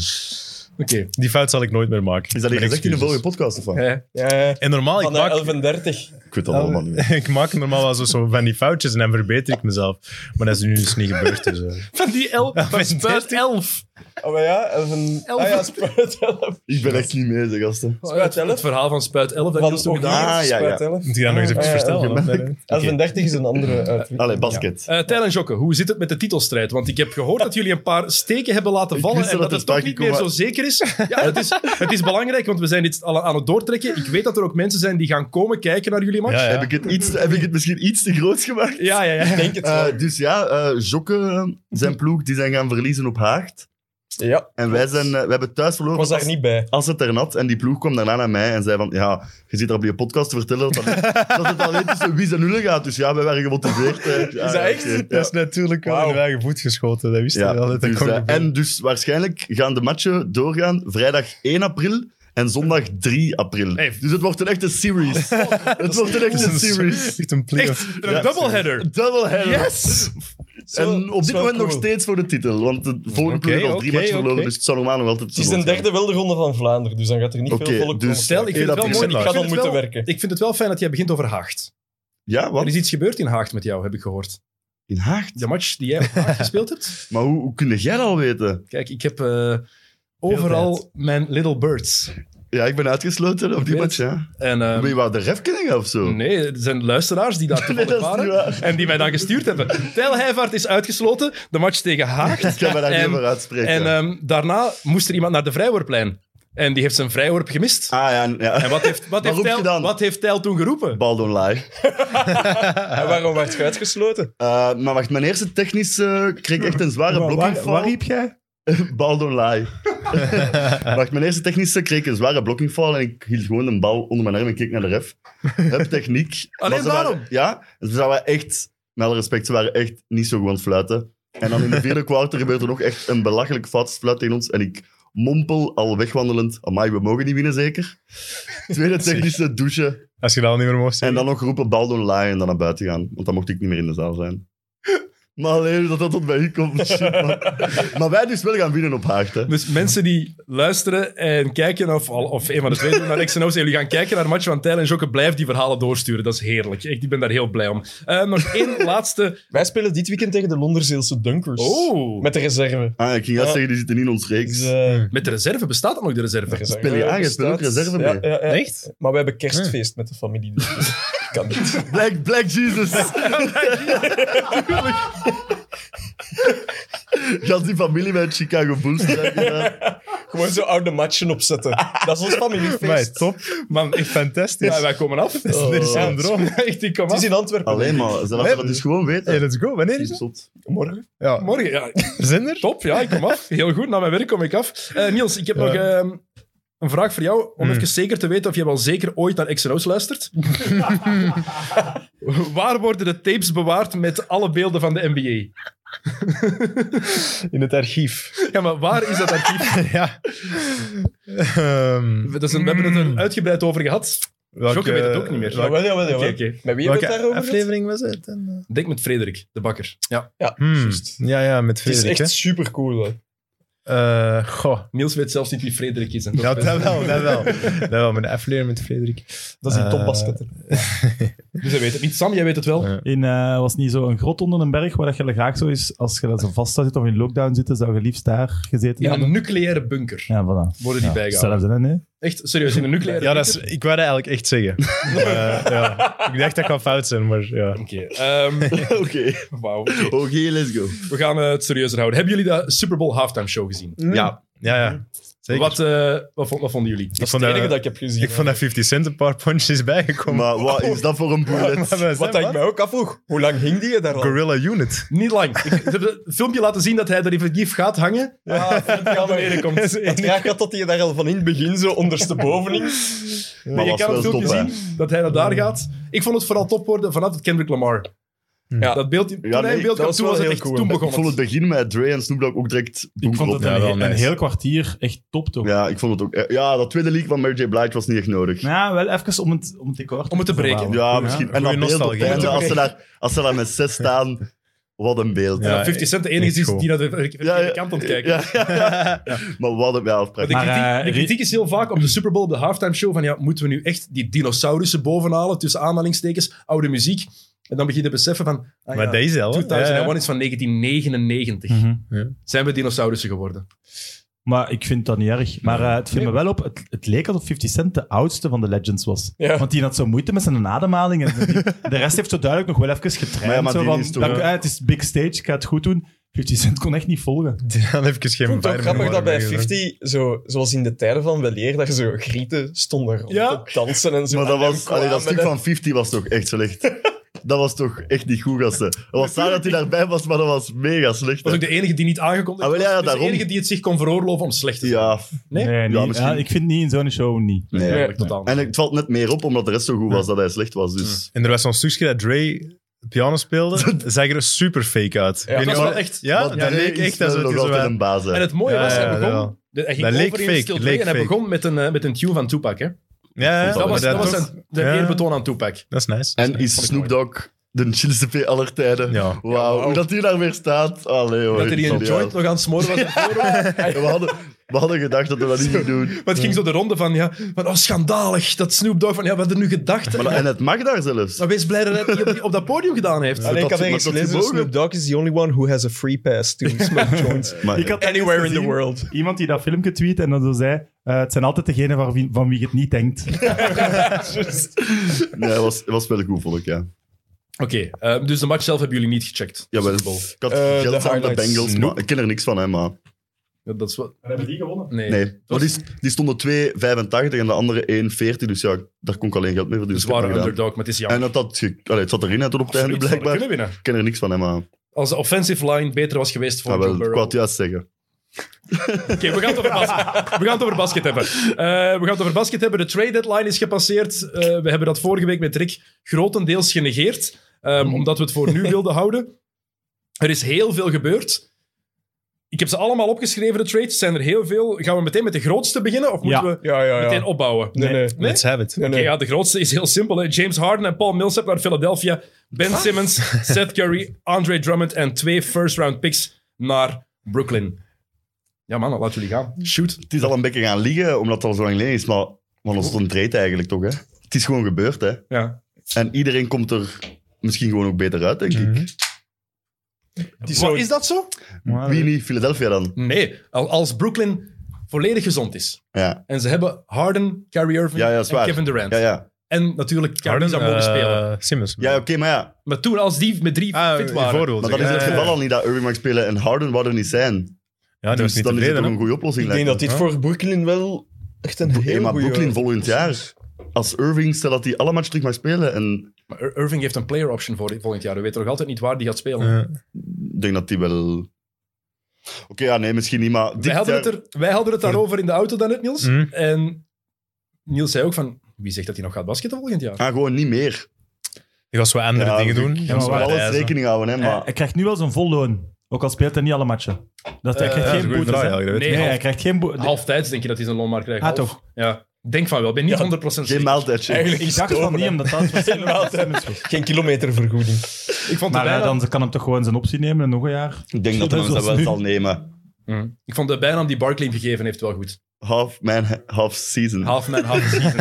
S6: Oké.
S3: Die fout zal ik nooit meer maken.
S4: Is dat hier
S3: Mijn
S4: gezegd in de
S3: excuses.
S4: vorige podcast of wat?
S6: Eh,
S2: Ja, ja.
S3: En normaal, ik
S2: Van eh, de
S3: maak,
S2: 1130.
S4: Ik weet dat allemaal niet meer.
S3: ik maak normaal wel zo- zo van die foutjes en dan verbeter ik mezelf. Maar dat is nu dus niet gebeurd. Dus, eh.
S6: Van die elf, van
S3: met
S6: spuit
S3: 13.
S6: elf.
S2: Oh maar ja, 11... Ah ja, Spuit 11.
S4: Ik ben echt niet mee, zeg gasten.
S6: Het, het verhaal van spuit elf, dat
S2: Van
S6: Niels toen gedaan.
S4: Ah, ja,
S2: Oranje,
S4: ja.
S2: Spuit 11.
S3: Moet je dat nog eens even
S2: Ah, ja,
S3: vertellen? eh,
S4: gemerkt.
S3: hoor. Nee,
S2: 1130 is een andere uitweg.
S4: Allee, basket.
S6: Eh Tijl en Jokke, hoe zit het met de titelstrijd? Want ik heb gehoord dat jullie een paar steken hebben laten
S4: Ik
S6: vallen
S4: wist
S6: en
S4: dat
S6: dat
S4: het
S6: het
S4: ter
S6: toch
S4: sprake
S6: niet meer zo
S4: kwam,
S6: zeker is. Ja, het is. Het is belangrijk, want we zijn dit al aan het doortrekken. Ik weet dat er ook mensen zijn die gaan komen kijken naar jullie match.
S3: Ja, ja.
S4: Heb, ik het iets, heb ik het misschien iets te groot gemaakt?
S6: Ja, ja, ja.
S2: Ik denk het wel.
S4: Eh, dus ja, eh Jokke, eh, zijn ploeg, die zijn gaan verliezen op Haagd.
S2: ja,
S4: En wij zijn, eh, we hebben thuis
S2: ik
S4: verloren.
S2: was daar
S4: Als-
S2: niet bij.
S4: Als het er nat en die ploeg kwam daarna naar mij en zei van ja, je zit er op je podcast te vertellen dat, dat, dat het alleen tussen wie's en nullen gaat. Dus ja, wij waren gemotiveerd. eh. Ja,
S2: Is dat
S4: ja,
S2: echt?
S4: oké.
S3: Dat is natuurlijk wel
S2: Wauw.
S3: in je eigen voet geschoten. Dat wist je
S4: Ja,
S3: wel. Dat
S4: dus,
S3: kon
S4: eh,
S3: gebeuren.
S4: en dus waarschijnlijk gaan de matchen doorgaan vrijdag 1 april en zondag 3 april.
S6: Hey.
S4: Dus het wordt een echte series. het wordt een
S3: Dat
S4: echte
S3: is een-
S4: series.
S3: Echt een play
S6: Echt, een doubleheader.
S4: Double header.
S6: Yes!
S2: Zo,
S4: en op
S2: is
S4: dit
S2: wel
S4: moment nog
S2: cool.
S4: steeds voor de titel, want de volgende
S3: Oké,
S4: ploeg heeft al drie
S3: oké,
S4: matchen verloren,
S3: oké.
S4: dus het zou normaal nog altijd
S2: Het is de
S4: titel zijn.
S2: derde wilderonde van Vlaanderen, dus dan gaat er niet
S4: Oké,
S2: veel volk
S4: dus-
S2: komen.
S6: Stel, ik vind
S4: dat
S6: het wel
S4: is
S6: mooi.
S3: waar.
S6: Ik vind
S2: Ik ga dan
S6: het
S2: moeten
S6: wel-
S2: werken.
S6: Ik vind het wel fijn dat jij begint over Haagd.
S4: Ja,
S6: Er
S4: wat?
S6: is iets gebeurd in Haagd met jou, heb ik gehoord.
S4: In Haag?
S6: De match die jij op Haagd gespeeld hebt.
S4: Maar hoe, hoe kun jij dat al weten?
S6: Kijk, ik heb eh, overal mijn Little Birds.
S4: Ja, ik ben uitgesloten op die
S6: Ik weet
S4: match, ja.
S6: En, eh,
S4: Ben je wou de ref kennen of zo?
S6: nee, er zijn luisteraars die daar toevallig
S4: Nee, dat is niet
S6: waren.
S4: waar.
S6: En die mij dan gestuurd hebben. Tel Heijvaart is uitgesloten. De match tegen Haagd.
S4: Ik kan me daar niet
S6: En-
S4: over uitspreken.
S6: En ehm, daarna moest er iemand naar de vrijworplijn. En die heeft zijn vrijworp gemist.
S4: ah ja, n- ja.
S6: En wat heeft, wat,
S4: Wat
S6: heeft
S4: roep je
S6: Tijl,
S4: dan?
S6: wat heeft Tijl toen geroepen?
S4: Bal don't lie.
S2: En waarom werd je uitgesloten?
S4: Eh, maar wacht, mijn eerste technische kreeg ik echt een zware
S3: Waar, waar,
S4: blokking.
S3: waar riep jij?
S4: Bal don't lie. Wacht, mijn eerste technische kreeg ik een zware blokkingfoul en ik hield gewoon een bal onder mijn arm en keek naar de ref. Heb techniek.
S6: Alleen
S4: Maar ze waren-
S6: daarom?
S4: ja, ze waren echt, met alle respect, ze waren echt niet zo goed aan het fluiten. En dan in de vierde kwartier gebeurde er nog echt een belachelijk fluit tegen ons en ik mompel al wegwandelend, amai, we mogen niet winnen zeker. Tweede technische douche
S3: Als je dat al niet meer mocht
S4: en
S3: zeggen.
S4: dan nog roepen bal don't lie en dan naar buiten gaan, want dan mocht ik niet meer in de zaal zijn. Maar alleen dat dat tot bij u komt. shit, man. Maar wij dus wel gaan winnen op Haag, hè.
S6: Dus mensen die luisteren en kijken, of, al- of een van de twee doen naar XNO's, en jullie gaan kijken naar de match van Tijl en Jokke, blijf die verhalen doorsturen. Dat is heerlijk. Ik ben daar heel blij om. Eh, nog één laatste.
S2: Wij spelen dit weekend tegen de Londerzeelse Dunkers.
S6: Oh, met,
S2: Met de reserve.
S4: Ah, ik ging juist
S2: Ja.
S4: zeggen, die zitten niet in ons reeks.
S2: Dus, eh,
S6: de reserve. Bestaat dat nog, de
S2: de
S6: reserve?
S2: reserve
S4: speel je aan, je
S2: bestaat.
S4: speelt ook reserve
S2: Ja,
S4: mee.
S2: ja, ja.
S3: Echt?
S2: Maar we hebben kerstfeest met de familie. Dus dat kan niet.
S4: Black, Black Jesus. Gaat die familie met Chicago Bulls zijn, ja.
S2: Gewoon zo oude matchen opzetten. Dat is ons
S3: Amai,
S2: familiefeest.
S3: top. Man, echt fantastisch.
S6: Ja, wij komen af. Oh.
S3: Dat is- dit is een droom.
S6: Echt, ik kom
S2: Het is
S6: af.
S2: in Antwerpen.
S4: Alleen maar, ze laten dat dus gewoon weten.
S3: Hey, let's go. Wanneer is het?
S4: Zot.
S2: Morgen.
S3: Ja.
S6: Morgen, ja.
S3: Zijn er?
S6: Top, ja, ik kom af. Heel goed, na mijn werk kom ik af. Eh, Niels, ik heb nog ehm, een vraag voor jou, om
S3: Hmm.
S6: even zeker te weten of je wel zeker ooit naar XNO's luistert. Waar worden de tapes bewaard met alle beelden van de NBA?
S3: In het archief.
S6: Ja, maar waar is dat archief?
S3: ja. Ehm,
S6: We- dat is een- we hebben
S3: Hmm.
S6: het er uitgebreid over gehad.
S3: welke-
S6: Jokke weet het ook niet meer.
S3: welke-
S2: Jawel, jawel, jawel.
S6: Oké, oké.
S2: Met wie hebben we
S3: welke
S2: het daarover? gehad?
S3: aflevering was het? En, eh,
S6: Denk met Frederik, de bakker. Ja.
S2: Ja,
S3: hmm.
S2: juist.
S3: Ja, ja, met
S2: Het is
S3: Frederik.
S2: echt
S3: Echt...
S2: super cool.
S3: goh.
S6: Niels weet zelfs niet wie Frederik is. En
S3: Ja,
S6: best-
S3: dat wel, dat wel. dat wel, mijn aflevering met Frederik.
S2: Dat is die
S3: Eh,
S2: topbasketter.
S6: Dus hij weet het niet. Sam, jij weet het wel.
S3: Ja.
S5: In, eh, was het niet zo een grot onder een berg waar dat je graag zo is, als je daar zo vast zit of in lockdown zit, zou je liefst daar gezeten
S6: In
S5: hebben?
S6: een nucleaire bunker
S5: Ja, voilà.
S6: worden die
S5: Ja,
S6: bijgehouden.
S5: Hetzelfde, hè, nee?
S6: Echt, serieus, in een nucleaire
S3: Ja, dat is, ik wou dat eigenlijk echt zeggen. Eh, ja. Ik dacht dat ik wel fout zijn, maar ja.
S6: bunker. Oké. ehm,
S4: Oké,
S6: Wauw.
S4: oké, let's go.
S6: We gaan eh, het serieuzer houden. Hebben jullie de Super Bowl halftime show gezien?
S3: Ja, ja. ja. Zeker.
S6: Wat, eh, wat, vond- wat vonden jullie?
S3: ik,
S2: Het
S3: vond
S2: enige
S4: Eh,
S3: dat,
S2: dat ik heb gezien.
S3: ik vond dat 50 Cent een paar punches bijgekomen.
S4: Maar wat is dat voor een bullet?
S3: Maar we zijn
S2: Wat dat ik mij ook afvroeg. Hoe lang hing die je daar al?
S3: Gorilla Unit.
S6: Niet lang. Ik ze hebben het filmpje laten zien dat hij er effectief gaat hangen.
S2: Ah, vind ik jammer.
S6: Beneden komt.
S3: Dat is
S2: Het graag had dat hij daar al van in het begin zo ondersteboven hing.
S4: Maar
S6: Nee, je
S4: was
S6: kan het
S4: wel
S6: filmpje
S4: top, hè.
S6: zien dat hij naar daar gaat. Ik vond het vooral top worden vanaf het Kendrick Lamar. Ja. Dat beeld, toen hij
S4: nee,
S6: in beeld
S2: dat
S6: kwam,
S2: was
S6: toen
S2: wel
S6: was het
S2: heel
S6: echt,
S2: cool.
S6: toen begon
S4: Ik vond het
S6: het.
S4: begin met Dre en Snoop Dogg ook direct
S5: Ik vond
S4: donker
S5: het
S4: op.
S5: een,
S3: wel
S5: he- een
S3: nice.
S5: heel kwartier echt top, toch?
S4: Ja, ik vond het ook. eh, Ja, dat tweede leak van Mary J. Blige was niet echt nodig.
S5: Nou, ja, wel even om het, om het decor
S6: Om het te breken.
S5: verwarmen.
S4: Ja, misschien. En dat
S3: goeie
S4: beeld op het einde,
S3: nostalgie.
S4: als ze daar, als ze daar met zes staan, wat een beeld.
S3: Ja,
S6: Ja, 50 Cent de enige
S3: echt
S6: is die naar de verkeerde
S4: Ja, ja.
S6: kant aan het kijken.
S4: Ja, ja, ja. Maar wat een... Ja,
S6: Maar de,
S4: prachtig.
S5: Maar,
S6: kritiek,
S5: eh,
S6: de
S5: Rie-
S6: kritiek is heel vaak op de Super Bowl, op de halftime show, van ja, moeten we nu echt die dinosaurussen bovenhalen, tussen aanhalingstekens, oude muziek. En dan begin je te beseffen van, ah
S3: Maar
S6: ja,
S3: deze al. hè?
S6: 2001
S3: Ja,
S6: is van 1999.
S5: Mhm.
S6: Zijn we dinosaurussen geworden?
S5: Maar ik vind dat niet erg. Maar eh, het viel me wel op, het, het leek alsof 50 Cent de oudste van de Legends was.
S2: Ja.
S5: Want die had zo moeite met zijn ademhaling. En die- de rest heeft zo duidelijk nog wel even getraind.
S4: Maar ja, maar
S5: zo
S4: die
S5: van,
S4: is toch-
S5: dank- eh, het is big stage, ik ga het goed doen. 50 Cent kon echt niet volgen.
S3: ja. Dan heb ik eens geen
S2: Ik vond het ook
S3: Bayern
S2: grappig dat bij
S3: memoire meer
S2: 50, zo, zoals in de tijden van Weleer, daar zo grieten stonden rond
S6: Ja.
S2: te dansen en zo. Ah,
S4: Maar dat,
S2: En
S4: was,
S2: kwamen
S4: allee, dat stuk
S2: en-
S4: van 50 was toch echt slecht. Dat was toch echt niet goed, gasten. Het was saai dat hij daarbij was, maar dat was mega slecht.
S6: Was
S4: hè.
S6: ook de enige die niet aangekondigd
S4: Ah, wel, ja,
S6: was. Dus
S4: daarom.
S6: de enige die het zich kon veroorloven om slecht te zijn.
S4: Ja,
S6: Nee?
S5: niet-
S4: Ja, misschien-
S5: ja, ik vind niet in zo'n show niet.
S4: nee.
S6: Eigenlijk totaal.
S4: En het valt net meer op, omdat de rest zo goed was dat hij slecht was. Dus.
S3: En er was zo'n stukje dat Dre piano speelde. zag er super fake uit. Ik weet
S6: dat
S3: niet
S6: was wel
S3: waar-
S6: echt.
S3: Ja, dat
S4: Dre
S3: leek
S4: is
S3: echt alsof
S4: wel
S3: het
S4: nog
S3: zo
S4: altijd
S3: wat-
S4: een baas. hè.
S6: En het mooie
S3: Ja,
S6: was, hij
S3: ja,
S6: begon...
S3: dat wel.
S6: de- hij ging
S3: Dat leek
S6: over in
S3: fake,
S6: Still
S3: leek
S6: Playing en hij
S3: fake.
S6: begon met een, eh, met een tune van Tupac. Hè?
S3: Ja,
S4: Dat
S6: Dat was,
S3: maar
S6: dat was
S3: toch-
S6: zijn, de
S3: Ja.
S6: eerbetoon aan Tupac.
S3: Dat is nice.
S4: En is
S6: vond ik
S4: Snoop Dogg de chillste P aller tijden.
S3: Ja.
S4: Wauw, hoe dat die daar weer staat. Allee, hoor,
S6: Dat er die een
S4: geniaal.
S6: joint nog aan het smoren was.
S4: Ja, we, hadden, we hadden gedacht dat we dat niet doen.
S6: Maar het ging zo de ronde van, ja, van, oh, schandalig. Dat Snoop Dogg van, ja, wat er nu gedacht.
S4: Maar, dat- en het mag daar zelfs.
S6: Maar wees blij dat hij het niet op, op dat podium gedaan heeft.
S2: Alleen, ik
S4: dat-
S2: had ergens
S4: dat die
S2: gelezen,
S4: mogen.
S2: Snoop Dogg is the only one who has a free pass to smoke joints.
S4: Maar,
S5: Ik had
S2: Anywhere in the
S5: gezien.
S2: world.
S5: Iemand die dat filmpje tweet en dan zo zei, eh, het zijn altijd degenen van wie, van wie je het niet denkt.
S4: nee, het was, het was wel goed, vond ik, ja.
S6: Oké, eh, dus de match zelf hebben jullie niet gecheckt.
S4: ja wel. Ik had
S2: Eh, de
S4: geld aan de
S2: highlights.
S4: Bengals, maar ik ken er niks van, hè, maar...
S6: Ja, dat is wat...
S5: Hebben die gewonnen?
S6: Nee.
S4: Nee. Maar die, die stonden 2,85 en de andere 1,40, dus ja, daar kon ik alleen geld mee verdienen. dus ik heb
S6: Zware
S4: dat gedaan.
S6: underdog, maar het is jammer.
S4: En dat had ge... Allee, het zat erin hè, tot op het einde,
S6: Absoluut,
S4: blijkbaar.
S6: zouden kunnen winnen.
S4: Ik ken er niks van, hè, maar...
S6: Als de offensive line beter was geweest voor
S4: Ja,
S6: Joe
S4: wel, ik
S6: Burrow.
S4: wou het juist zeggen.
S6: Oké, we, gaan het over basket- we gaan het over basket hebben. Eh, we gaan het over basket hebben. De trade deadline is gepasseerd. Eh, we hebben dat vorige week met Rick grotendeels genegeerd, ehm, omdat we het voor nu wilden houden. Er is heel veel gebeurd. Ik heb ze allemaal opgeschreven, de trades. zijn er heel veel. Gaan we meteen met de grootste beginnen of moeten
S5: Ja.
S6: we
S2: Ja, ja, ja.
S6: meteen opbouwen?
S2: Nee, nee.
S6: Nee?
S3: Let's have it.
S2: nee,
S6: Oké,
S2: nee.
S6: ja, de grootste is heel simpel. Hè. James Harden en Paul Millsap naar Philadelphia. Ben Simmons, Seth Curry, Andre Drummond en twee first-round picks naar Brooklyn. Ja man, dan laat jullie gaan. Shoot.
S4: Het is al een beetje gaan liggen, omdat het al zo lang geleden is, maar... Maar ons ontreedt eigenlijk toch, hè? Het is gewoon gebeurd, hè?
S6: Ja.
S4: En iedereen komt er misschien gewoon ook beter uit, denk ik.
S2: Die
S6: Maar
S2: zo-
S6: is dat zo?
S4: Wie niet? Philadelphia dan?
S6: Nee, al- als Brooklyn volledig gezond is.
S4: Ja,
S6: En ze hebben Harden, Kyrie Irving
S4: ja, ja dat is
S6: en
S4: waar.
S6: Kevin Durant.
S4: Ja, ja.
S6: En natuurlijk Kyrie zou
S5: eh,
S6: mogen spelen.
S3: eh, Simmons.
S4: ja oké, maar ja.
S6: Maar toen, als die met drie
S3: Ah,
S6: fit waren...
S3: voorbeeld.
S4: Maar dat is
S3: ja,
S4: het
S3: ja, ja.
S4: geval al niet, dat Irving mag spelen en Harden wou er niet zijn.
S3: Ja, dat
S4: Dus
S3: is niet
S4: dan is het
S3: tevreden.
S4: toch
S3: hè?
S4: een goede oplossing,
S2: Ik denk dat
S4: lijkt me.
S2: dit voor Brooklyn wel echt een
S4: Hey,
S2: heel
S4: maar
S2: goede...
S4: Brooklyn volgend jaar, als Irving, stel dat hij alle matchen terug mag spelen, en
S6: Maar Ir- Irving heeft een player option voor dit volgend jaar. We weten nog altijd niet waar die gaat
S4: Eh,
S6: spelen.
S3: Ja.
S4: ik denk dat hij wel... Oké, ja, nee, misschien niet, maar... dit
S6: Wij hadden,
S4: jaar-
S6: het er, wij hadden het daarover in de auto dan net, Niels.
S5: Mm.
S3: Mhm.
S6: En Niels zei ook van, wie zegt dat hij nog gaat basketten volgend jaar?
S4: Ah, gewoon niet meer.
S3: Die gaan ze wat andere
S4: Ja,
S3: dingen
S4: ik-
S3: doen.
S4: ik
S3: Gaan ze
S4: moet
S3: wat
S4: alles
S3: reizen.
S4: rekening houden, hè, maar...
S5: eh, Hij, hij krijgt nu wel zijn vol loon. Ook al speelt hij niet alle matchen. Dat, hij
S6: Eh,
S5: krijgt
S3: Ja, dat is
S5: geen
S3: een goede
S5: boetes.
S3: vraag.
S5: hè?
S3: eigenlijk, dat weet
S5: Nee,
S3: ik
S6: Nee,
S5: hij krijgt geen
S4: Ah,
S5: boetes.
S6: Halftijds denk je dat hij zijn loonmarkt krijgt.
S5: Ah,
S6: Half.
S5: toch?
S6: Ja, denk van wel. Ik ben niet
S2: Ja.
S6: 100%
S4: Geen
S6: zeker.
S4: maaltijdje.
S2: Eigenlijk
S5: Ik dacht van niet, omdat dat waarschijnlijk wel Simmons was.
S2: Geen kilometervergoeding.
S6: Ik vond, de
S5: Maar
S6: bijnaam,
S5: hij dan kan hem toch gewoon zijn optie nemen en nog een jaar.
S4: Ik denk dat hij
S5: Zoals
S4: dat wel
S5: nu.
S4: zal nemen.
S6: Mm. ik vond de bijnaam die Barkley hem gegeven heeft wel goed.
S4: Half man, half season.
S6: Half man, half season.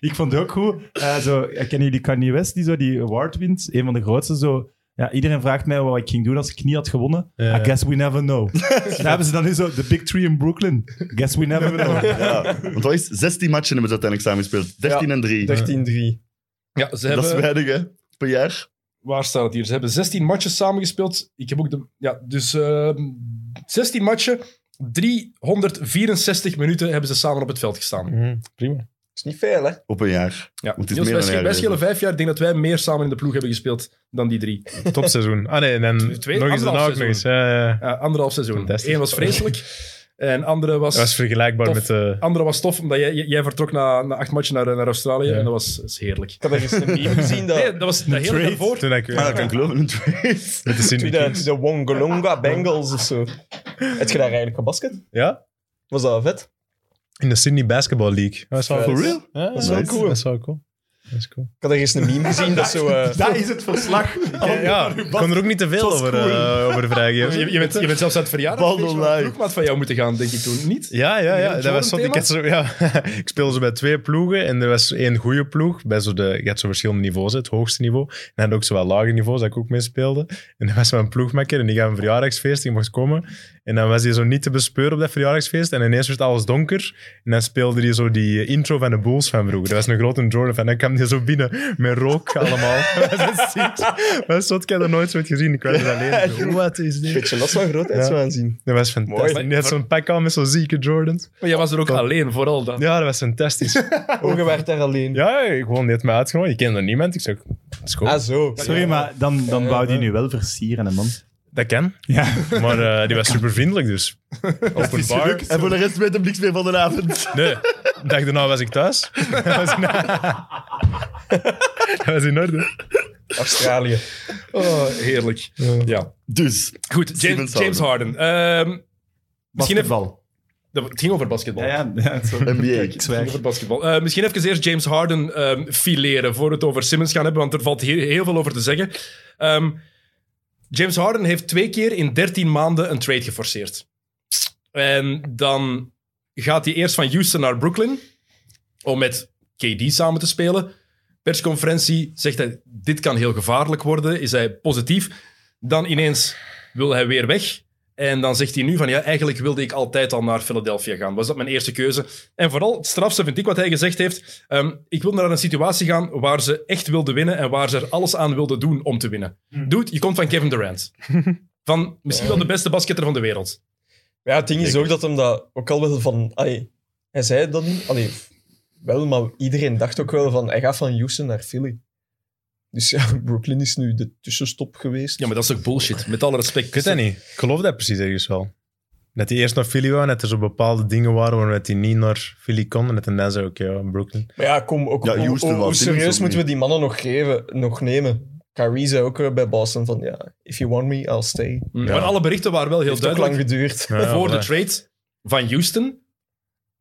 S5: Ik vond het ook goed. eh, zo, eh, kennen jullie Kanye West die zo die award wint? Een van de grootste. Zo, ja, iedereen vraagt mij wat ik ging doen als ik niet had gewonnen.
S3: Ja.
S5: I guess we never know. Daar hebben ze dan nu zo de Big Three in Brooklyn. Guess we never know.
S4: Ja, want wat is 16 matchen hebben ze uiteindelijk samen gespeeld. 13 en 3.
S2: 13-3.
S6: ja, ze
S4: Dat
S6: hebben...
S4: is weinig, hè? Per jaar.
S6: Waar staat het hier? Ze hebben 16 matches samengespeeld. Ik heb ook de... Ja, dus ehm 16 matchen, 364 minuten hebben ze samen op het veld gestaan.
S2: Prima. Is niet veel, hè?
S4: Op een jaar.
S6: Ja.
S4: Want het
S6: Niels,
S4: is meer
S6: wij schelen-
S4: dan een
S6: wij
S4: jaar
S6: schelen vijf jaar. Ik denk dat wij meer samen in de ploeg hebben gespeeld dan die drie.
S3: Topseizoen. Ah nee, en dan
S6: Twee-
S3: nog eens daarna
S6: anderhalf
S3: ook nog eens. Ja, ja, ja.
S6: Ja, anderhalf seizoen.
S3: Fantastisch.
S6: Eén was vreselijk. En andere was,
S3: Dat was vergelijkbaar
S6: Tof.
S3: met eh, de...
S6: andere was tof, omdat jij, jij vertrok na, na acht matchen naar, naar Australië.
S3: Ja.
S6: En dat was, dat is heerlijk.
S2: Ik had ergens een meme gezien dat...
S6: Nee, dat was de hele daarvoor.
S3: Toen ik...
S4: Ah, dat kan ik geloven. Een trace.
S3: Met de
S2: Toen
S3: Sydney
S2: de,
S3: Kings.
S2: de Wongolonga Bengals of zo. Heb je daar eigenlijk gebasket?
S3: Ja?
S2: Was dat vet?
S3: In de Sydney Basketball League. Dat is wel
S2: For
S4: real?
S3: Ja, dat
S2: is wel cool.
S3: Dat is wel cool. Dat is cool.
S2: Ik had ergens een meme gezien dat zo... eh,
S5: Dat is het verslag.
S3: Ja, ik kon er ook niet te veel over, eh, over vrijgeven.
S6: Je, je, bent, je bent zelfs aan het verjaardagsfeest
S4: Bundle
S6: van een
S4: live.
S6: ploegmaat van jou moeten gaan, denk ik toen. Niet?
S3: Ja, ja,
S6: Hele
S3: ja. Dat was zo, ik,
S6: Jordan-thema?
S3: had zo, ja. ik speelde zo bij twee ploegen en er was één goede ploeg. Bij zo de, je had zo verschillende niveaus, hè, het hoogste niveau. En had ook zo wat lage niveaus dat ik ook mee speelde. En dan was mijn ploegmaker en die gaf een verjaardagsfeest, die mocht komen. En dan was hij zo niet te bespeuren op dat verjaardagsfeest. En ineens werd alles donker. En dan speelde hij zo die eh, intro van de Bulls van vroeger. Dat was een grote Jordan fan. En dan kwam hij zo binnen met rook allemaal. dat was ziek. Maar zo had ik dat nooit zo had gezien. Ik was alleen. zo, Wat is dit?
S2: Beetje last van grootheidswaanzien.
S3: Dat was fantastisch.
S6: Mooi.
S3: Die had zo'n pak aan met zo'n zieke Jordans.
S6: Maar jij was er ook alleen, vooral dat.
S3: Ja, dat was fantastisch.
S2: Ogen werd daar alleen.
S3: ja, ik gewoon net me uitgenodigd. Ik kende niemand. Ik zei, dat is goed.
S2: Ah, zo.
S5: Sorry, maar dan, dan wou die nu wel versieren, hè, man.
S3: dat kan.
S5: Ja.
S3: Maar eh, die was super vriendelijk, dus. Open bar.
S4: En voor de rest weet hem niks meer van de avond.
S3: Nee, de dag daarna was ik thuis. dat was in, dat was in orde.
S2: Australië.
S6: Oh, heerlijk. Ja.
S4: Dus,
S6: Goed, James,
S4: Steven
S6: James Harden. Ehm, misschien even,
S5: Basketbal.
S6: Dat- Het ging over basketbal.
S5: Ja, ja, ja, sorry.
S4: NBA.
S5: Ik
S6: Het
S5: zwijg.
S6: ging over basketbal. Eh, misschien even eerst James Harden ehm, fileren voor we het over Simmons gaan hebben, want er valt hier heel veel over te zeggen. Ehm, James Harden heeft twee keer in 13 maanden een trade geforceerd. En dan gaat hij eerst van Houston naar Brooklyn om met KD samen te spelen. Persconferentie zegt hij: Dit kan heel gevaarlijk worden. Is hij positief? Dan ineens wil hij weer weg. En dan zegt hij nu van ja, eigenlijk wilde ik altijd al naar Philadelphia gaan. Was dat mijn eerste keuze? En vooral het strafste vind ik wat hij gezegd heeft. ehm, ik wil naar een situatie gaan waar ze echt wilden winnen en waar ze er alles aan wilden doen om te winnen.
S3: Hmm.
S6: Dude, je komt van Kevin Durant. Van misschien wel de beste basketter van de wereld.
S2: Maar ja, het ding is ook dat hem dat ook al wel van... Allee, hij zei dat niet. Allee, wel, maar iedereen dacht ook wel van... Hij gaat van Houston naar Philly. Dus ja, Brooklyn is nu de tussenstop geweest.
S6: Ja, maar dat is ook bullshit. Met alle respect.
S3: Ik weet dat niet. Ik geloof dat precies ergens wel. Dat hij eerst naar Philly wou en dat er zo bepaalde dingen waren waarom hij niet naar Philly kon. En dat hij dan zei, oké, ja, Brooklyn.
S2: Maar ja, kom, ook,
S4: Ja,
S2: hoe-
S4: Houston
S2: hoe, hoe
S4: wou Simmons
S2: serieus
S4: ook
S2: moeten we
S4: niet.
S2: die mannen nog, geven, nog nemen? Kyrie zei ook eh, bij Boston van, ja, if you want me, I'll stay. Het
S6: Mm, Maar alle berichten waren wel heel
S2: heeft ook
S6: duidelijk.
S2: lang geduurd.
S3: Ja, ja,
S6: voor de
S3: voilà.
S6: trade van Houston,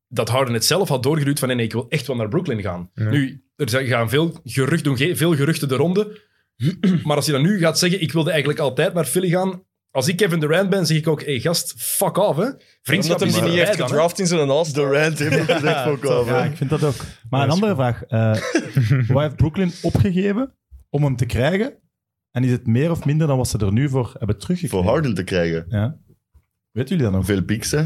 S6: dat Harden het zelf had doorgeduwd van nee, nee, ik wil echt wel naar Brooklyn gaan.
S3: Ja.
S6: Nu, er zijn- gaan veel, gerucht, doen ge- veel geruchten de ronde, maar als je dan nu gaat zeggen, ik wilde eigenlijk altijd naar Philly gaan, als ik Kevin Durant ben, zeg ik ook, hey gast, fuck off, hè. Vriendschap is
S2: Omdat hem die niet
S6: voorbij
S2: heeft
S6: dan, hè.
S2: gedraft in zijn als
S4: Durant heeft ook gezegd van
S5: Ja,
S4: komen.
S5: ik vind dat ook. Maar een andere vraag. eh wat heeft Brooklyn opgegeven om hem te krijgen? En is het meer of minder dan wat ze er nu voor hebben teruggekregen?
S4: Voor Harden te krijgen.
S5: Ja. Weet jullie dat nog?
S4: Veel pieks, hè?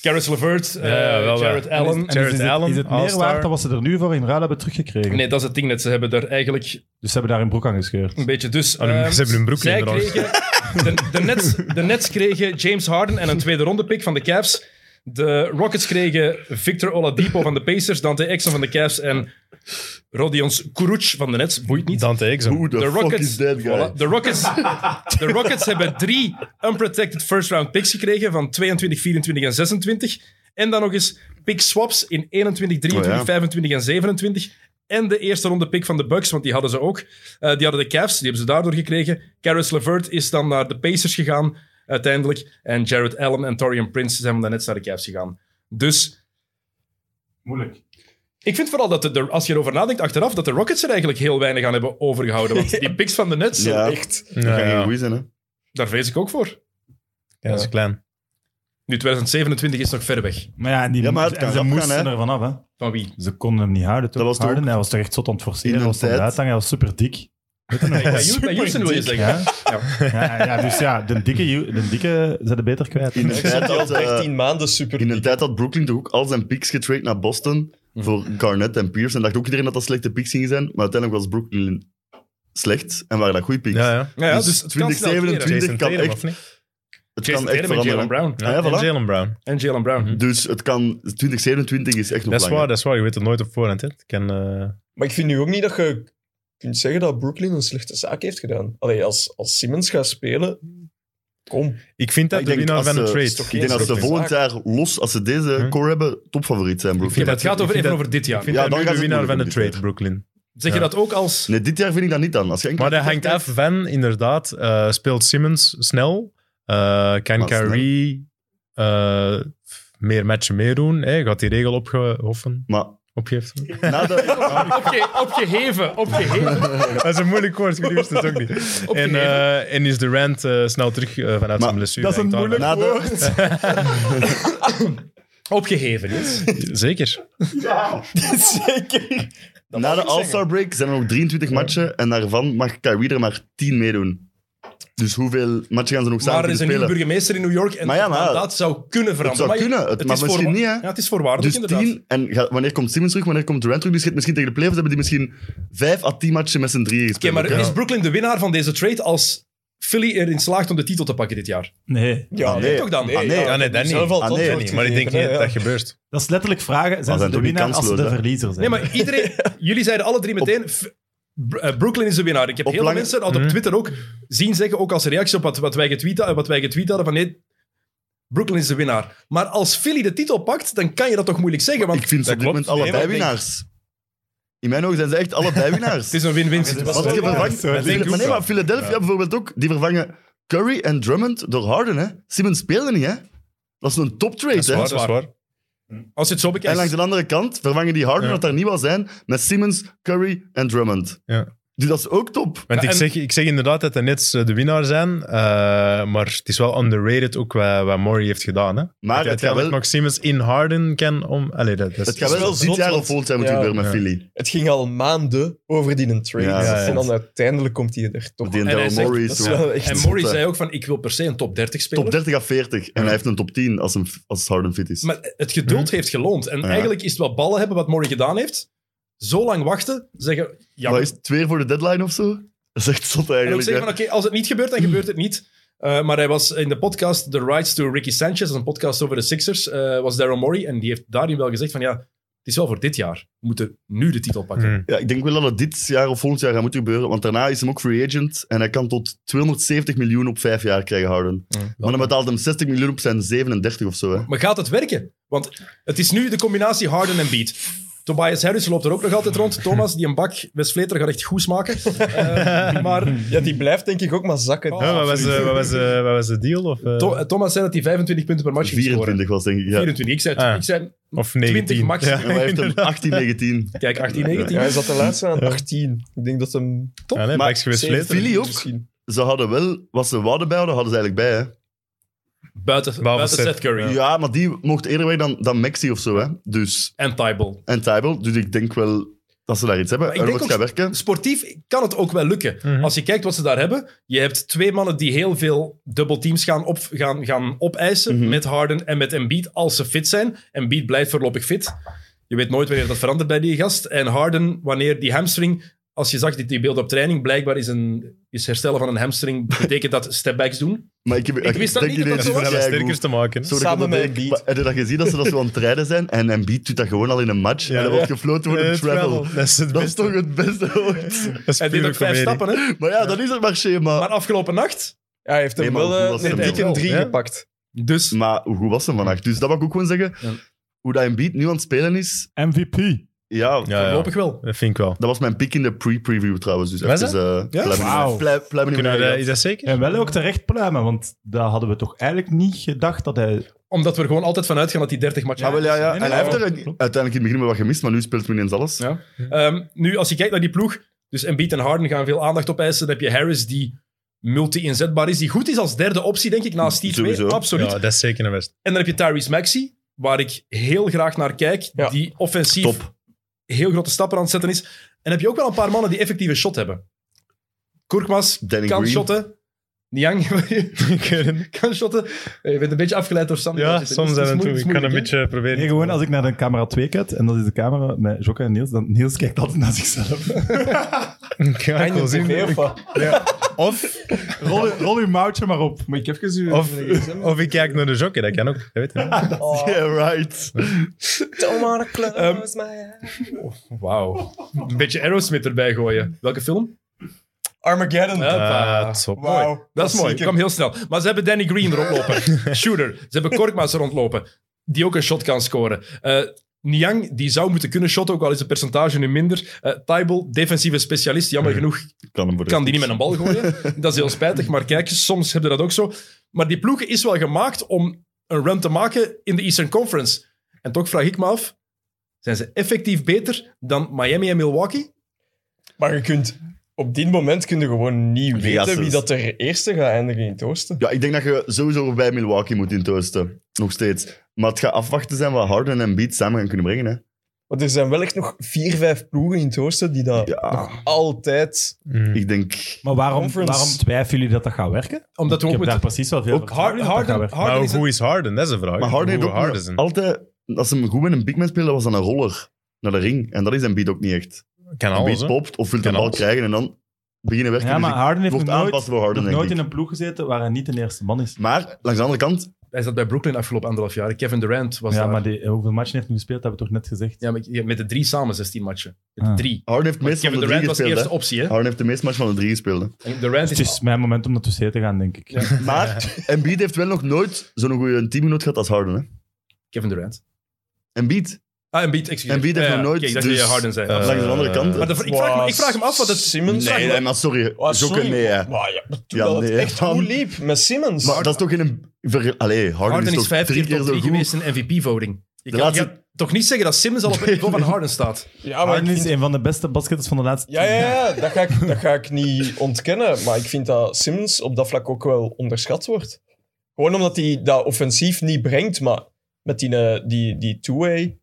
S6: Karis LeVert, eh,
S3: Ja, wel, wel.
S6: Jared
S5: En is-
S6: Allen.
S5: en dus is,
S3: Jared
S5: is het,
S3: Allen,
S5: is het meer
S3: All-Star.
S5: waard dan wat ze er nu voor in ruil hebben teruggekregen?
S6: Nee, dat is het ding net. Ze hebben er eigenlijk
S5: Dus ze hebben daar een broek aan gescheurd.
S6: een beetje dus.
S3: Oh, nee,
S6: ehm,
S3: ze hebben hun broek
S6: zij
S3: niet gedragen.
S6: kregen, de, de, Nets, de Nets kregen James Harden en een tweede ronde pick van de Cavs. De Rockets kregen Victor Oladipo van de Pacers, Dante Exum van de Cavs en Rodions Kuruc van de Nets. Boeit niet.
S3: Dante
S4: Who
S3: Exum.
S4: the,
S6: De
S4: fuck
S6: Rockets,
S4: is that guy?
S6: voilà, de, Rockets, de Rockets hebben drie unprotected first-round picks gekregen van 22, 24 en 26. En dan nog eens pick swaps in 21, 23,
S4: Oh ja.
S6: 25 en 27. En de eerste ronde pick van de Bucks, want die hadden ze ook. Eh, die hadden de Cavs, die hebben ze daardoor gekregen. Caris LeVert is dan naar de Pacers gegaan uiteindelijk. En Jared Allen en Torian Prince zijn dan net naar de Cavs gegaan. Dus
S5: Moeilijk.
S6: ik vind vooral dat, de, de- als je erover nadenkt achteraf, dat de Rockets er eigenlijk heel weinig aan hebben overgehouden. Want die picks van de Nets,
S4: Ja,
S2: Echt.
S3: Ja,
S4: dat kan geen
S3: ja.
S4: goeie zijn, hè?
S6: daar vrees ik ook voor.
S3: Ja, dat is klein.
S6: Nu, 2027 is nog ver weg.
S5: Maar ja, en die
S4: Ja, maar het
S5: en
S4: kan
S5: ze
S4: rap gaan,
S5: moesten
S4: hè.
S5: er vanaf, hè.
S6: Van wie?
S5: Ze konden hem niet houden, toch?
S4: Dat was toch
S5: Harden,
S4: ook-
S5: hij was toch echt zot aan het
S4: In
S5: forceren,
S4: een
S5: hij was aan het
S4: tijd.
S5: uithangen, hij was super dik.
S6: Bij Houston- bij Houston wil je zeggen.
S5: Ja?
S6: Ja.
S5: Ja, ja, dus ja, de dikke, Ju- de dikke zijn de beter kwijt.
S4: In de
S2: Hij
S4: tijd
S2: zat al
S4: dat, eh,
S2: 13 maanden super
S4: in een tijd had Brooklyn toch ook al zijn picks getraind naar Boston voor Garnett en Pierce. En dacht ook iedereen dat dat slechte picks gingen zijn. Maar uiteindelijk was Brooklyn slecht en waren dat goede picks.
S3: Ja, ja.
S6: Ja, ja,
S4: Dus
S6: dus, het kan snel keren.
S4: 2027
S3: Jason
S4: kan
S3: Tatum,
S4: echt-
S3: of niet?
S4: Het
S6: Jason
S4: kan echt
S6: Tatum en Jalen
S4: veranderen.
S6: Brown.
S4: Ja,
S3: en
S4: voilà.
S3: Jalen Brown.
S6: En Jalen Brown.
S4: Dus het kan... 2027 is echt nog
S3: Dat is
S4: lang.
S3: waar,
S4: hè.
S3: dat is waar. Je weet het nooit op voorhand, hè. Ik ken... eh,
S2: Maar ik vind nu ook niet dat je kunt zeggen dat Brooklyn een slechte zaak heeft gedaan. Allee, als, als Simmons gaat spelen, kom.
S3: Ik vind dat
S4: Ik
S3: de
S4: denk
S3: winnaar
S4: als
S3: van de
S4: ze-
S3: trade.
S2: is toch
S4: Ik denk dat ze
S2: Brooklyn.
S4: volgend jaar los, als ze deze
S3: Hm.
S4: core hebben, topfavoriet zijn,
S3: Ik vind
S4: Brooklyn.
S6: Maar het
S3: dat-
S6: gaat over,
S3: ik vind
S6: even
S3: dat-
S6: over dit jaar.
S3: Ik vind
S4: Ja,
S3: dat
S4: dan
S3: nu
S4: gaat
S3: de
S4: het
S3: winnaar van de
S4: moeilijk om
S3: trade,
S4: dit
S3: Brooklyn.
S6: Zeg je
S3: Ja.
S6: dat ook als...
S4: Nee, dit jaar vind ik dat niet dan. Als je enkel-
S3: Maar dat hangt af van, inderdaad, eh, speelt Simmons snel? Eh, kan
S4: Maar snel.
S3: Kyrie eh, meer matchen meedoen? Hè? Gaat die regel opgehoffen?
S4: Maar
S3: Opgeeft.
S4: na de...
S6: Opge- opgeheven, opgeheven.
S3: dat is een moeilijk woord, ik wist het ook niet. En, eh, en is de rand snel terug eh, vanuit zijn blessure?
S5: dat is een
S3: Hangt daar-
S4: Na de,
S6: opgeheven, yes.
S3: Zeker.
S2: Zeker.
S4: Na de All-Star break zijn er nog 23 matchen en daarvan mag Kyrie er maar 10 meedoen. Dus hoeveel matchen gaan ze nog samen
S6: Maar er is een
S4: kunnen
S6: nieuwe
S4: spelen?
S6: burgemeester in New York en
S4: Maar ja, maar-
S6: dat zou kunnen veranderen.
S4: Het zou
S6: Maar je-
S4: kunnen, het, maar
S6: is
S4: misschien
S6: voorwa-
S4: niet. Hè?
S6: Ja, het is voorwaardig,
S4: dus
S6: inderdaad.
S4: 10 en ga- wanneer komt Simmons terug, wanneer komt Durant terug? Dus je hebt misschien tegen de playoffs hebben die misschien 5 à 10 matchen met z'n drieën
S6: Oké,
S4: gespeeld.
S6: maar
S4: Ja.
S6: is Brooklyn de winnaar van deze trade als Philly erin slaagt om de titel te pakken dit jaar?
S5: Nee,
S2: Ja,
S4: nee.
S6: Toch dan?
S4: Ah, nee.
S3: Ja,
S6: Eh,
S3: nee, dat niet.
S2: Zelf al
S4: Ah,
S2: het
S4: nee,
S2: antwoord
S3: Nee, maar ik denk
S2: gegeven,
S3: niet
S2: hè,
S3: dat dat
S2: ja.
S3: gebeurt.
S5: dat is letterlijk vragen. Zijn
S4: zijn
S5: ze de
S4: toch niet
S5: winnaar als ze de
S4: kansloos, hè?
S5: verliezer zijn?
S6: Nee, maar iedereen... jullie zeiden alle drie meteen... F- Br- eh, Brooklyn is de winnaar. Ik heb
S4: Op
S6: heel
S4: lange-
S6: veel mensen dat op
S3: Mhm.
S6: Twitter ook zien zeggen, ook als reactie op wat, wat, wij getweet, eh, wat wij getweet hadden, van nee, Brooklyn is de winnaar. Maar als Philly de titel pakt, dan kan je dat toch moeilijk zeggen, want
S4: Ik vind ze op dit
S3: klopt.
S4: moment
S3: Nee,
S4: allebei
S3: maar ik denk-
S4: winnaars. In mijn ogen zijn ze echt allebei winnaars.
S6: het is een win-win
S4: Want
S6: situatie.
S4: die vervangt-
S5: zo, dat denk ik
S4: maar nee,
S5: ook.
S4: maar Philadelphia bijvoorbeeld ook, die vervangen Curry en Drummond door Harden. Hè? Simmons speelde niet, hè? Dat is een top trade,
S6: Dat is
S4: hè?
S6: waar.
S3: Dat is waar.
S6: Als je het zo
S4: En
S6: bekijkt.
S4: langs de andere kant vervangen die Harden,
S3: Ja.
S4: dat daar niet wil zijn, met Simmons, Curry en Drummond.
S3: Ja.
S4: Dus dat is ook top.
S3: Want
S6: Ja,
S3: ik,
S6: en-
S3: zeg, ik zeg inderdaad dat de Nets eh, de winnaar zijn, eh, maar het is wel underrated ook wat, wat Murray heeft gedaan. Hè?
S4: Maar
S3: dat
S4: Ah, het gaat
S3: uiteindelijk
S4: wel-
S3: nog Simmons in Harden kan om... Allee, dat, dat
S4: Het gaat
S2: is
S4: wel
S2: wel
S4: dit
S2: zot,
S4: jaar of
S2: want-
S4: volgend jaar moeten we
S2: Ja.
S4: weer met
S3: Ja.
S4: Philly.
S2: Het ging al maanden over die een trade.
S4: Ja,
S3: ja, ja.
S2: En dan uiteindelijk komt hij er toch.
S4: Die en
S6: En hij
S4: Daryl
S6: zegt-
S4: Morey
S2: dat
S4: is
S2: is
S4: wel
S2: wel echt
S6: en
S4: zot,
S6: Murray
S4: hè.
S6: zei ook van, ik wil per se een top 30 spelen.
S4: Top 30 à 40. En hij heeft een top 10 als, een, als Harden fit is.
S6: Maar het geduld heeft geloond. En
S4: Mhm. Ja.
S6: eigenlijk is het wat ballen hebben wat Murray gedaan heeft. Zo lang wachten, zeggen... Ja,
S4: maar is het twee voor de deadline of zo? Dat is echt zot
S6: En ook
S4: eigenlijk.
S6: zeggen
S4: hè.
S6: van, oké, als het niet gebeurt, dan gebeurt het niet. Uh, maar hij was in de podcast The Rights to Ricky Sanchez, dat is een podcast over de Sixers, eh, was Daryl Morey. En die heeft daarin wel gezegd van, ja, het is wel voor dit jaar. We moeten nu de titel pakken.
S3: Mm.
S4: Ja, ik denk wel dat het dit jaar of volgend jaar gaat moeten gebeuren. Want daarna is hem ook free agent. En hij kan tot 270 miljoen op vijf jaar krijgen Harden. maar dan betaalt hem 60 miljoen op zijn 37 of zo. Hè.
S6: Maar gaat het werken? Want het is nu de combinatie Harden en Beat. Tobias Harris loopt er ook nog altijd rond. Thomas, die een bak Wes Vleter gaat echt goed smaken. Eh, maar
S2: Ja, die blijft denk ik ook maar
S6: Oh,
S2: zakken.
S3: Huh, wat, was,
S6: absoluut.
S3: eh, wat, was, eh, wat was de deal? Of, eh,
S6: Tho- Thomas zei dat hij 25 punten per match ging scoren.
S4: 24 was denk ik. Ja.
S6: 24. Ik zei,
S3: Ah.
S6: ik zei
S3: of
S6: 20
S3: 19?
S6: max.
S3: Ja.
S4: Ja, maar hij heeft hem 18, 19.
S6: kijk, 18, 19.
S2: Ja, hij zat de laatste aan 18. Ik denk dat hem.
S3: Ja, nee,
S4: Maar
S3: Max geweest
S2: zeven
S3: later.
S4: Philly ook?
S2: misschien.
S4: Ze hadden wel, wat ze wouden bij hadden, hadden ze eigenlijk bij. Hè.
S6: Buiten,
S3: Behalve
S6: buiten
S3: Seth.
S6: Seth Curry
S4: Ja. maar die mocht eerder weg dan, dan Maxi of zo. Hè. Dus,
S6: en Tybal.
S4: en Tybal. Dus ik denk wel dat ze daar iets hebben.
S6: Maar
S4: En
S6: ik
S4: hoe
S6: denk
S4: het gaat
S6: ook-
S4: werken.
S6: sportief kan het ook wel lukken.
S3: Mhm.
S6: Als je kijkt wat ze daar hebben, je hebt twee mannen die heel veel dubbelteams gaan, op, gaan, gaan opeisen
S4: Mhm.
S6: met Harden en met Embiid als ze fit zijn. Embiid blijft voorlopig fit. Je weet nooit wanneer dat verandert bij die gast. En Harden, wanneer die hamstring... Als je zag die, die beelden op training, blijkbaar is, een, is herstellen van een hamstring betekent dat stepbacks doen.
S4: Maar ik, heb,
S6: Ik wist dat
S4: denk
S6: niet dat
S4: ineens
S3: Dat is
S6: zo
S3: voor
S6: was.
S3: hem
S4: keigoed.
S3: sterker te maken.
S4: Sorry,
S2: Samen
S4: ik
S2: met
S4: onderbreek,
S2: Embiid.
S4: maar Heb je dat gezien dat ze dat zo aan het rijden zijn? En Embiid doet dat gewoon al in een match.
S3: Ja.
S4: en dan wordt gefloten voor
S3: Eh,
S4: een travel.
S3: travel. Dat is het
S4: Dat is
S3: beste.
S4: toch het beste ooit?
S3: Dat is
S6: Hij deed
S3: pure
S6: ook vijf
S3: comedie.
S6: stappen, hè?
S4: Maar ja, dat is het maar schema.
S6: Maar
S4: Maar,
S6: afgelopen nacht...
S2: Ja, hij heeft hem
S4: Nee, maar
S2: wel
S4: hoe
S2: eh,
S4: was
S2: net
S4: hem
S2: dik
S4: wel?
S2: in drie
S3: Ja?
S2: gepakt.
S6: Dus...
S4: hoe goed was hem vannacht? Dus dat wil ik ook gewoon zeggen.
S6: Ja.
S4: Hoe dat Embiid nu aan het spelen is,
S5: MVP.
S4: ja,
S3: Ja, ja.
S6: Voorlopig wel.
S3: Dat vind ik wel.
S4: dat was mijn pick in de pre-preview trouwens. Dus
S3: Was
S4: even, eh,
S6: Ja?
S4: pluim in de-
S5: Wauw.
S4: pluim- pluim in de
S3: Kunnen we dat-
S4: middag.
S3: is dat zeker?
S5: En wel ook terecht pluimen, want daar hadden we toch eigenlijk niet gedacht dat hij...
S6: Omdat we er gewoon altijd van uitgaan dat die 30 matchen...
S4: Ja, wel, ja, ja.
S5: Nee,
S4: En
S5: nee,
S4: hij heeft
S5: nee.
S4: er een- uiteindelijk in het begin wel wat gemist, maar nu speelt hij ineens alles.
S6: Ja. Ehm, nu, als je kijkt naar die ploeg, dus Embiid en Harden gaan veel aandacht opeisen. Dan heb je Harris die multi-inzetbaar is, die goed is als derde optie, denk ik, naast die twee.
S4: Sowieso.
S6: Absoluut.
S3: Ja, dat is zeker een best.
S6: En dan heb je Tyrese Maxey, waar ik heel graag naar kijk,
S2: Ja.
S6: die offensief
S4: Top.
S6: heel grote stappen aan het zetten is. En heb je ook wel een paar mannen die effectieve shot hebben. Kurkmas
S4: Danny
S6: kan
S4: Green.
S6: shotten. Niang
S3: Ik weet het niet.
S6: kan shotten. Eh, Je bent een beetje afgeleid door Sam.
S3: ja,
S6: Het is- het
S3: soms
S6: is
S3: zijn we
S6: moeilijk,
S3: toe.
S6: het is
S3: Ik kan een
S6: moeilijk, hè?
S3: beetje proberen.
S5: Nee, gewoon als ik naar de camera 2 kijk, en dat is de camera met Jokka en Niels, dan Niels kijkt altijd naar zichzelf.
S3: Ja, ik wil zien.
S2: Of wat?
S3: Of,
S5: Rol, rol uw mouwtje maar op. Maar ik heb gezien...
S3: of, of ik kijk naar de jockey, dat kan ook. Dat weet je niet.
S4: Yeah, right.
S2: Don't wanna close
S6: Ehm,
S2: my eyes.
S6: Wauw. Een beetje Aerosmith erbij gooien. Welke film?
S2: Armageddon.
S6: Hoppa.
S3: Ah, top.
S2: Wauw.
S6: Mooi. Dat is mooi. Ik kwam heel snel. Maar ze hebben Danny Green rondlopen. Shooter. Ze hebben Korkmaas rondlopen. Die ook een shot kan scoren. Eh, Niang, die zou moeten kunnen shotten, ook al is het percentage nu minder. Eh Tybal, defensieve specialist. Jammer genoeg
S4: Kan, hem voor de
S6: kan die
S4: rest
S6: niet met een bal gooien. Dat is heel spijtig. Maar kijk, soms heb je dat ook zo. Maar die ploeg is wel gemaakt om een run te maken in de Eastern Conference. En toch vraag ik me af, zijn ze effectief beter dan Miami en Milwaukee?
S2: Maar je kunt op dit moment kun je gewoon niet weten
S4: Gassers.
S2: wie dat er eerste gaat eindigen in het oosten.
S4: Ja, ik denk dat je sowieso bij Milwaukee moet intoosten. Nog steeds. Maar het gaat afwachten zijn wat Harden en Beat samen gaan kunnen brengen. Hè.
S2: Want er zijn wel echt nog vier, vijf ploegen in het oosten die dat
S4: Ja,
S2: altijd...
S3: Mm.
S4: ik denk...
S5: Maar waarom,
S2: Conference.
S5: waarom twijfelen jullie dat dat gaat werken?
S6: Omdat we
S5: ik
S6: ook
S5: heb daar
S6: moeten...
S5: precies wel veel
S6: Ook Har-
S5: vertrouwen in dat dat
S6: Harden,
S5: gaat werken.
S3: Maar
S6: Harden
S3: hoe
S6: is een-
S3: goed is Harden? Dat is de vraag.
S4: Maar Harden heeft
S3: Hoe
S4: ook
S3: goed Harden is een-
S4: altijd... Als ze hem goed met een big man spelen, was dat een roller naar de ring. En dat is Embiid ook niet echt.
S3: Kan
S4: Embiid
S3: alles, hè.
S4: popt of wil de
S3: Kan
S4: bal
S3: alles.
S4: krijgen en dan beginnen werken.
S5: Ja,
S4: Dus
S5: maar
S4: ik
S5: Harden heeft
S4: wordt
S5: nog nooit,
S4: aanpassen voor Harden,
S5: nog
S4: denk
S5: nooit
S4: ik.
S5: in een ploeg gezeten waar hij niet de eerste man is.
S4: Maar langs de andere kant,
S6: Hij zat bij Brooklyn afgelopen anderhalf jaar. Kevin Durant was
S5: ja,
S6: daar.
S5: maar die, hoeveel matchen heeft hij gespeeld, hebben we toch net gezegd.
S6: Ja, met, met de drie samen 16 matchen. Met de
S5: Ah.
S6: drie.
S4: Harden heeft de meeste van
S6: Kevin
S4: de drie
S6: Durant was de eerste
S4: gespeeld. hè. Ah.
S6: optie, hè?
S4: Harden heeft de meeste match van de drie gespeeld. hè.
S6: En Durant
S5: Het
S6: is...
S5: is mijn moment om naar Toussaint te gaan, denk ik.
S6: Ja.
S4: Maar Embiid heeft wel nog nooit zo'n goede teamgenoot gehad als Harden. Hè.
S6: Kevin Durant.
S4: Embiid.
S6: Ah, Embiid, excuseer.
S4: Embiid heeft
S6: Ja,
S4: nog
S6: ja.
S4: nooit,
S6: Kijk, dat
S4: dus-
S6: je Harden zijn.
S3: Eh,
S4: Langs de andere kant.
S6: maar de- ik, vraag me, ik vraag me af wat het...
S2: Simmons...
S4: nee, nee, maar sorry.
S2: Ah,
S4: Jokken,
S2: sorry.
S4: nee. hè.
S2: Maar ja, maar toen
S4: Ja,
S2: dat het
S4: nee,
S2: echt
S4: man.
S2: goed liep met Simmons.
S4: Maar dat is toch in een... ver- Allee, Harden,
S6: Harden
S4: is
S6: is
S4: toch
S6: vijf
S4: drie
S6: keer
S4: keer
S6: top
S4: zo
S6: drie
S4: goed.
S6: geweest in MVP-voting. Je
S4: De
S6: kan,
S4: laatste-
S6: je kan toch niet zeggen dat Simmons al op het niveau van Harden staat.
S2: Ja, maar
S5: Harden
S2: ik
S5: is een van de beste basketters van de laatste
S2: Ja,
S5: tien
S2: ja,
S5: jaar.
S2: ja dat, ga ik, dat ga ik niet ontkennen. Maar ik vind dat Simmons op dat vlak ook wel onderschat wordt. Gewoon omdat hij dat offensief niet brengt, maar met die, eh, die, die two-way.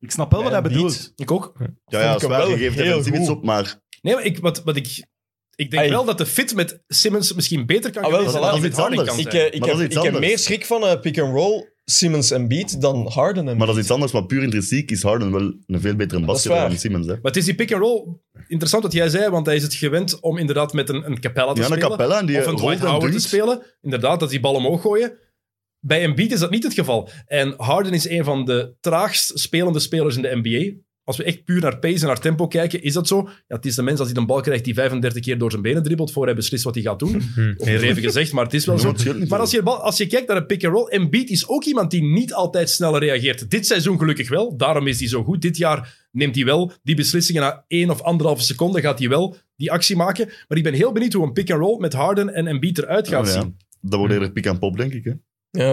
S5: Ik snap wel wat
S2: Ja,
S5: hij
S2: Embiid.
S5: bedoelt.
S6: Ik ook.
S4: Ja, ja,
S2: Vond ik hem
S4: zwaar, je
S2: wel
S4: geeft
S2: heel
S4: defensief iets
S2: goed.
S4: op, maar
S6: Nee, maar ik, wat, wat ik, ik denk
S2: Ai.
S6: wel dat de fit met Simmons misschien beter kan
S2: Ah, wel,
S6: geweest zijn
S4: voilà,
S6: dan die
S4: dat is
S6: met Harden
S4: iets
S6: kan
S4: anders.
S2: Ik,
S6: zijn.
S2: eh, ik,
S4: Maar dat
S2: heb,
S4: is
S2: ik
S4: iets
S2: heb
S4: anders.
S2: meer schrik van eh, pick-and-roll Simmons en Beat dan Harden en
S4: maar dat is iets anders. Maar puur intrinsiek is Harden wel een veel betere
S2: Dat is
S4: basketter
S2: waar.
S4: dan Simmons. Hè.
S6: Maar het is die pick-and-roll, interessant wat jij zei, want hij is het gewend om inderdaad met een, een Capella te
S4: Ja, een
S6: spelen.
S4: Capella en die
S6: of een
S4: rolt
S6: Dwight
S4: en
S6: Howard te
S4: dunkt.
S6: spelen. Inderdaad, dat die bal omhoog gooien. Bij Embiid is dat niet het geval. En Harden is een van de traagst spelende spelers in de NBA. Als we echt puur naar pace en naar tempo kijken, is dat zo. Ja, het is de mens als hij een bal krijgt die 35 keer door zijn benen dribbelt voor hij beslist wat hij gaat doen. Overdreven gezegd, maar het is wel
S4: Ja,
S6: zo.
S4: maar het scheelt niet
S6: Maar
S4: veel.
S6: als je, bal- als je kijkt naar een pick-and-roll, Embiid is ook iemand die niet altijd sneller reageert. Dit seizoen gelukkig wel, daarom is hij zo goed. Dit jaar neemt hij wel die beslissingen na één of anderhalve seconde, gaat hij wel die actie maken. Maar ik ben heel benieuwd hoe een pick-and-roll met Harden en Embiid eruit gaat
S4: Oh, ja.
S6: zien.
S4: Dat wordt eerder pick en pop, denk ik. Hè.
S2: Ja.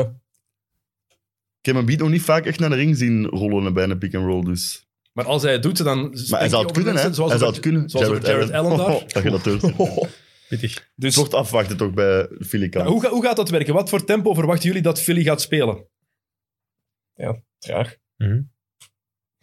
S4: Ik heb hem beat nog niet vaak echt naar de ring zien rollen bij een pick and roll. Dus.
S6: Maar als hij het doet, dan...
S4: Maar hij zou het kunnen, hè? Hij
S6: Zoals
S4: zou
S6: over-
S4: het kunnen.
S6: Zoals over Jared Allen daar.
S4: dat je dat durft.
S3: Pittig.
S4: Dus wordt afwachten toch bij Philly
S6: Ja, hoe, ga- hoe gaat dat werken? Wat voor tempo verwachten jullie dat Philly gaat spelen?
S2: Traag.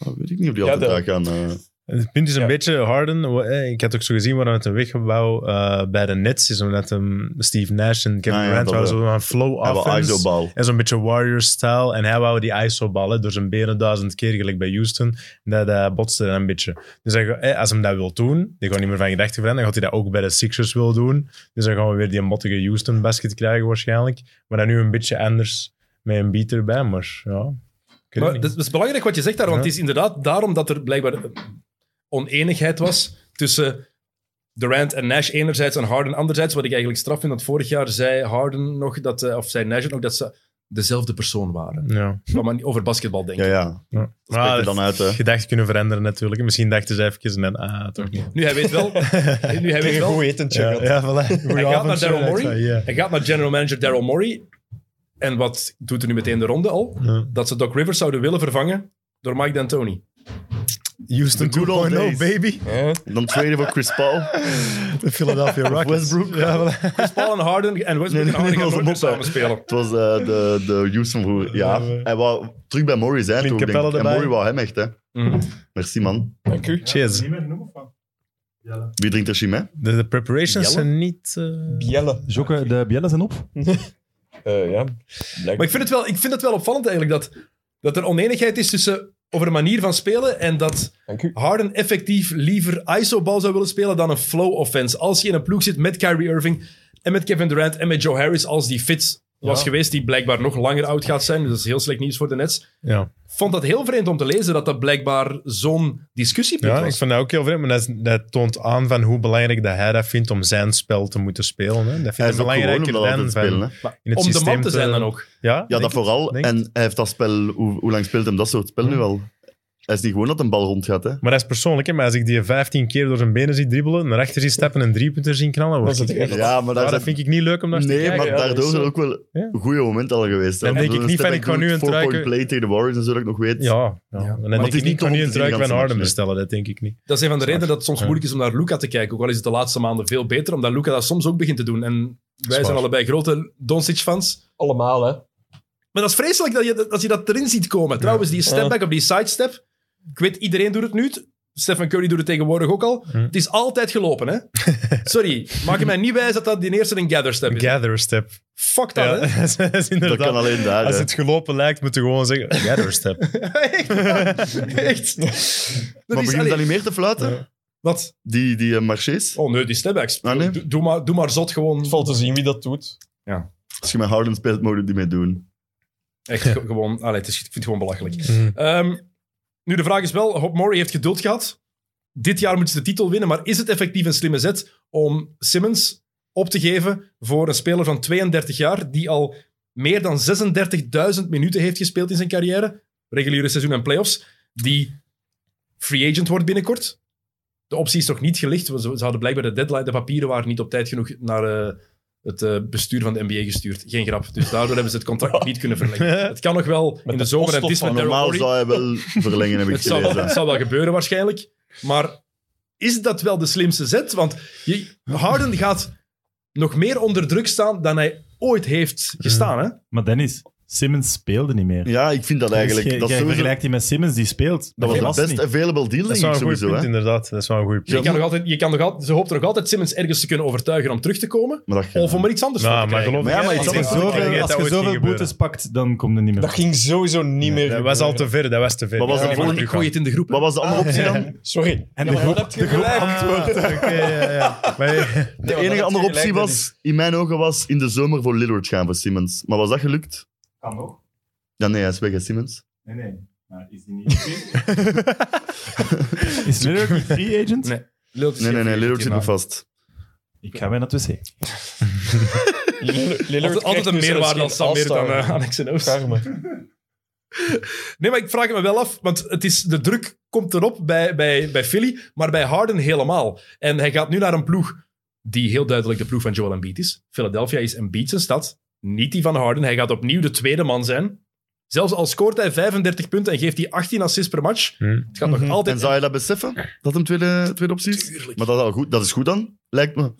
S4: Oh, weet ik niet of die
S2: Ja,
S4: altijd
S2: de-
S4: daar gaan. eh,
S3: Het punt is een
S2: Ja.
S3: beetje Harden. wa- eh, Ik had ook zo gezien waarom het een weggebouw eh, bij de Nets is. Omdat hem Steve Nash en Kevin
S4: Ah, ja,
S3: Durant
S4: dat
S3: waren
S4: wel.
S3: zo aan flow
S4: Hij wil
S3: offense.
S4: ISO-bal.
S3: En zo'n beetje Warriors-style. En hij wou die ISO-bal hè, door zijn benen duizend keer, gelijk bij Houston. Dat eh, botste dan een beetje. Dus hij, ga- eh, als hij dat wil doen, die gaat niet meer van gedachten veranderen. Dan gaat hij dat ook bij de Sixers wil doen. Dus dan gaan we weer die mottige Houston-basket krijgen waarschijnlijk. Maar dan nu een beetje anders met een beat erbij. Maar ja, ik weet het
S6: Maar
S3: niet.
S6: dat is belangrijk wat je zegt daar, want
S3: Ja.
S6: het is inderdaad daarom dat er blijkbaar eh, oneenigheid was tussen Durant en Nash enerzijds en Harden anderzijds. Wat ik eigenlijk straf vind, want vorig jaar zei Harden nog dat, eh, of zei Nash ook nog dat ze dezelfde persoon waren.
S3: Ja.
S6: Maar maar niet over basketbal denken.
S4: Ja, ja. spreekt er dan uit, hè.
S3: Gedachten kunnen veranderen natuurlijk. Misschien dachten ze even en ah, toch niet.
S6: Nu hij weet wel, nu hij weet
S2: Tegen
S6: wel,
S2: goed etentje.
S3: Ja,
S2: gehad.
S3: ja, voilà.
S6: Hij gaat naar
S3: avond,
S6: Daryl
S3: Charlotte.
S6: Morey.
S3: Ja.
S6: Hij gaat naar general manager Daryl Morey. En wat doet er nu meteen de ronde al?
S3: Ja.
S6: Dat ze Doc Rivers zouden willen vervangen door Mike D'Antoni.
S3: Houston
S4: The good old
S3: 2.0,
S4: days.
S3: baby.
S2: Ja.
S4: Dan traden voor Chris Paul.
S3: De Philadelphia Rockets.
S4: Westbrook.
S3: Ja, voilà.
S6: Paul en Harden en Westbrook
S4: Nee, nee,
S6: en Harden gaan
S4: nee, dat was
S6: nooit meer
S4: een mop, hè.
S6: samen spelen.
S4: Het was eh, de, de Houston voor. Ja,
S3: Eh,
S4: hij wou terug bij Morris zijn.
S3: Clint
S4: Toen, denk
S3: Capella
S4: ik. En
S3: erbij.
S4: Morris wou hem echt, hè.
S6: Mhm.
S4: Merci, man.
S2: Dank u.
S3: Cheers.
S5: Niet meer genoeg van. Jelle.
S4: Wie drinkt er chimé?
S3: De, de preparations
S6: Jelle?
S3: zijn niet... eh,
S2: Bielle.
S5: Jokke, de Biellen zijn op.
S2: Eh, ja. Blijkbaar.
S6: Maar ik vind, het wel, ik vind het wel opvallend eigenlijk dat, dat er oneenigheid is tussen over een manier van spelen en dat
S2: Dank u.
S6: Harden effectief liever ISO-bal zou willen spelen dan een flow-offense. Als je in een ploeg zit met Kyrie Irving en met Kevin Durant en met Joe Harris als die fit was
S2: Ja.
S6: geweest, die blijkbaar nog langer oud gaat zijn. Dus dat is heel slecht nieuws voor de Nets.
S3: ja.
S6: Vond dat heel vreemd om te lezen dat dat blijkbaar zo'n discussiepunt
S3: ja, ik
S6: was.
S3: vond dat ook heel vreemd. Maar dat, is- dat toont aan van hoe belangrijk dat hij dat vindt om zijn spel te moeten spelen. Hè. Dat
S4: Hij
S3: vind ik
S4: is ook gewoon om
S3: belangrijker
S4: dat altijd
S3: dan
S4: te spelen, hè.
S3: van in het
S6: om de
S3: systeem
S6: man te zijn dan ook.
S3: Ja,
S4: Ja,
S3: denk
S4: dat
S3: ik. Hm.
S4: vooral.
S3: denk
S4: En hij heeft dat spel... Hoe, hoe lang speelt hem dat soort spel nu al? Hij is niet gewoon dat een bal rondgaat, hè.
S3: Maar dat is persoonlijk. Hè. Maar als ik die 15 keer door zijn benen zie dribbelen, naar achter zie stappen en drie punten zien knallen, word
S2: Dat is het
S3: ik
S2: echt.
S4: Ja, maar
S3: Ja,
S4: daar
S3: dat
S4: zijn-
S3: vind ik niet leuk om naar te
S4: Nee,
S3: kijken.
S4: maar
S2: ja, dat
S4: daardoor
S2: is
S4: zijn
S2: zo.
S4: ook wel
S3: Ja.
S4: goede momenten al geweest. hè.
S3: Dan denk
S4: Dat
S3: ik
S4: is
S3: niet
S4: een
S3: van, ik
S4: step
S3: ga nu
S4: back
S3: een
S4: doet,
S3: truiken-
S4: four-point play tegen de Warriors en zo, dat ik nog weet.
S3: Ja, ja. En dan
S4: het
S3: denk
S4: is niet
S3: ik niet, kan
S4: tof
S3: niet
S4: om
S3: een
S4: te zien,
S3: truik van
S4: ganse
S3: Harden
S4: match,
S3: bestellen, dat denk ik niet.
S6: Dat is een van de redenen dat het soms
S3: Ja.
S6: moeilijk is om naar Luca te kijken. Ook al is het de laatste maanden veel beter, omdat Luca dat soms ook begint te doen. En wij
S3: waar.
S6: zijn allebei grote Doncic-fans.
S2: Allemaal, hè.
S6: Maar dat is vreselijk dat je dat, dat je dat erin ziet komen. Trouwens, die stepback op die sidestep. Ik weet, iedereen doet het nu. Stephen Curry doet het tegenwoordig ook al. Het is altijd gelopen, hè? Sorry, maak je mij niet wijs dat dat die eerste een gather step is.
S3: Gather step.
S6: Fuck dat,
S3: Ja,
S6: hè?
S3: dat is
S4: Dat
S3: inderdaad-
S4: kan alleen daar,
S3: Als
S4: hè.
S3: het gelopen lijkt, moet je gewoon zeggen, gather step.
S6: Echt? Echt? Dat
S4: Maar
S6: is,
S4: begint
S6: allee,
S4: dat niet meer te fluiten?
S6: Wat?
S4: Die, die eh, marchés?
S6: Oh nee, die stepbacks.
S4: Ah, nee.
S6: Doe- doe, maar, doe maar zot gewoon.
S2: Het valt te zien wie dat doet.
S4: Als je met Harden speelt, moet je die mee doen.
S6: Echt ge- gewoon, allee, het is, ik vind het gewoon belachelijk. Ehm, nu, de vraag is wel, Hop Murray heeft geduld gehad. Dit jaar moeten ze de titel winnen, maar is het effectief een slimme zet om Simmons op te geven voor een speler van 32 jaar die al meer dan 36.000 minuten heeft gespeeld in zijn carrière, reguliere seizoen en playoffs, die free agent wordt binnenkort? De optie is toch niet gelicht? want Ze ze hadden blijkbaar de deadline, de papieren waren niet op tijd genoeg naar eh, het eh, bestuur van de NBA gestuurd. Geen grap. Dus daardoor hebben ze het contract niet kunnen verlengen. Het kan nog wel in de
S2: de
S6: zomer. En het
S2: poststop
S6: is met
S2: van
S6: Daryl
S4: Normaal
S6: Morey.
S4: zou hij wel verlengen, heb ik
S6: Het zal, wel, het
S4: gelezen.
S6: zal wel gebeuren waarschijnlijk. Maar is dat wel de slimste zet? Want je, Harden gaat nog meer onder druk staan dan hij ooit heeft gestaan. Hè?
S5: Maar Dennis, Simmons speelde niet meer.
S4: Ja, ik vind dat eigenlijk.
S5: Dus je-
S4: dat
S5: je
S4: is sowieso-
S5: vergelijkt hij met Simmons, die speelt.
S4: dat was
S5: was
S4: de best
S5: niet.
S4: available deal,
S3: Dat
S4: denk
S3: is wel
S4: ik
S3: een goed
S4: sowieso.
S3: punt,
S4: hè.
S3: inderdaad. Dat is wel een goed
S6: Je
S3: punt.
S6: kan nog altijd, je kan nog altijd, ze hoopt er nog altijd Simmons ergens te kunnen overtuigen om terug te komen.
S4: Maar dat,
S6: Of om er iets anders van
S3: Nou,
S6: te
S3: maar
S6: krijgen.
S3: geloof
S4: Maar ja,
S3: me,
S4: maar iets
S3: hè,
S5: Als je
S4: anders
S3: ik denk dat
S5: zoveel, als
S3: dat
S5: je
S3: ooit ging
S5: zoveel
S3: gebeuren.
S5: boetes pakt, dan komt er niet meer.
S2: Dat ging sowieso niet meer
S3: Dat was al
S2: gebeuren.
S3: te ver, dat was te ver.
S4: Wat was
S3: Ja,
S4: de
S3: maar
S4: volgende-
S3: terug
S6: Ik gooi
S3: gaan.
S6: het in de groep. hè.
S4: wat was de andere optie dan?
S2: Sorry.
S5: En de groep,
S2: heb je gelijk.
S3: Ah, Oké, ja, ja. Maar-
S4: De enige andere optie was, in mijn ogen, was in de zomer voor Lillard gaan voor Simmons. Maar was dat gelukt?
S5: kan nog.
S4: Ja, nee, hij is weg, hè, Simmons.
S5: Nee, nee. Maar is die niet Is Lillard een free agent?
S6: Nee. Lillard is
S4: Nee,
S6: geen free
S4: nee, nee,
S6: agent,
S4: Lillard zit nog
S6: maar-
S4: vast.
S5: Ik ga weer naar het wc.
S2: Lillard
S6: Altijd,
S2: krijgt
S6: altijd een
S2: nu zelfs
S6: meerwaarde
S2: geen
S6: dus als Sam meer dan
S2: All-Star.
S6: eh, Alex en Oost.
S2: Arme.
S6: Nee, maar ik vraag het me wel af, want het is, de druk komt erop bij, bij, bij Philly, maar bij Harden helemaal. En hij gaat nu naar een ploeg die heel duidelijk de ploeg van Joel Embiid is. Philadelphia is Embiid zijn stad, niet die van Harden. Hij gaat opnieuw de tweede man zijn. Zelfs al scoort hij 35 punten en geeft hij 18 assists per match,
S3: Hmm.
S6: het gaat nog altijd...
S4: En zou je dat beseffen, dat hem tweede, tweede optie is?
S6: Tuurlijk.
S4: Maar dat is, al goed, dat is goed dan, lijkt me.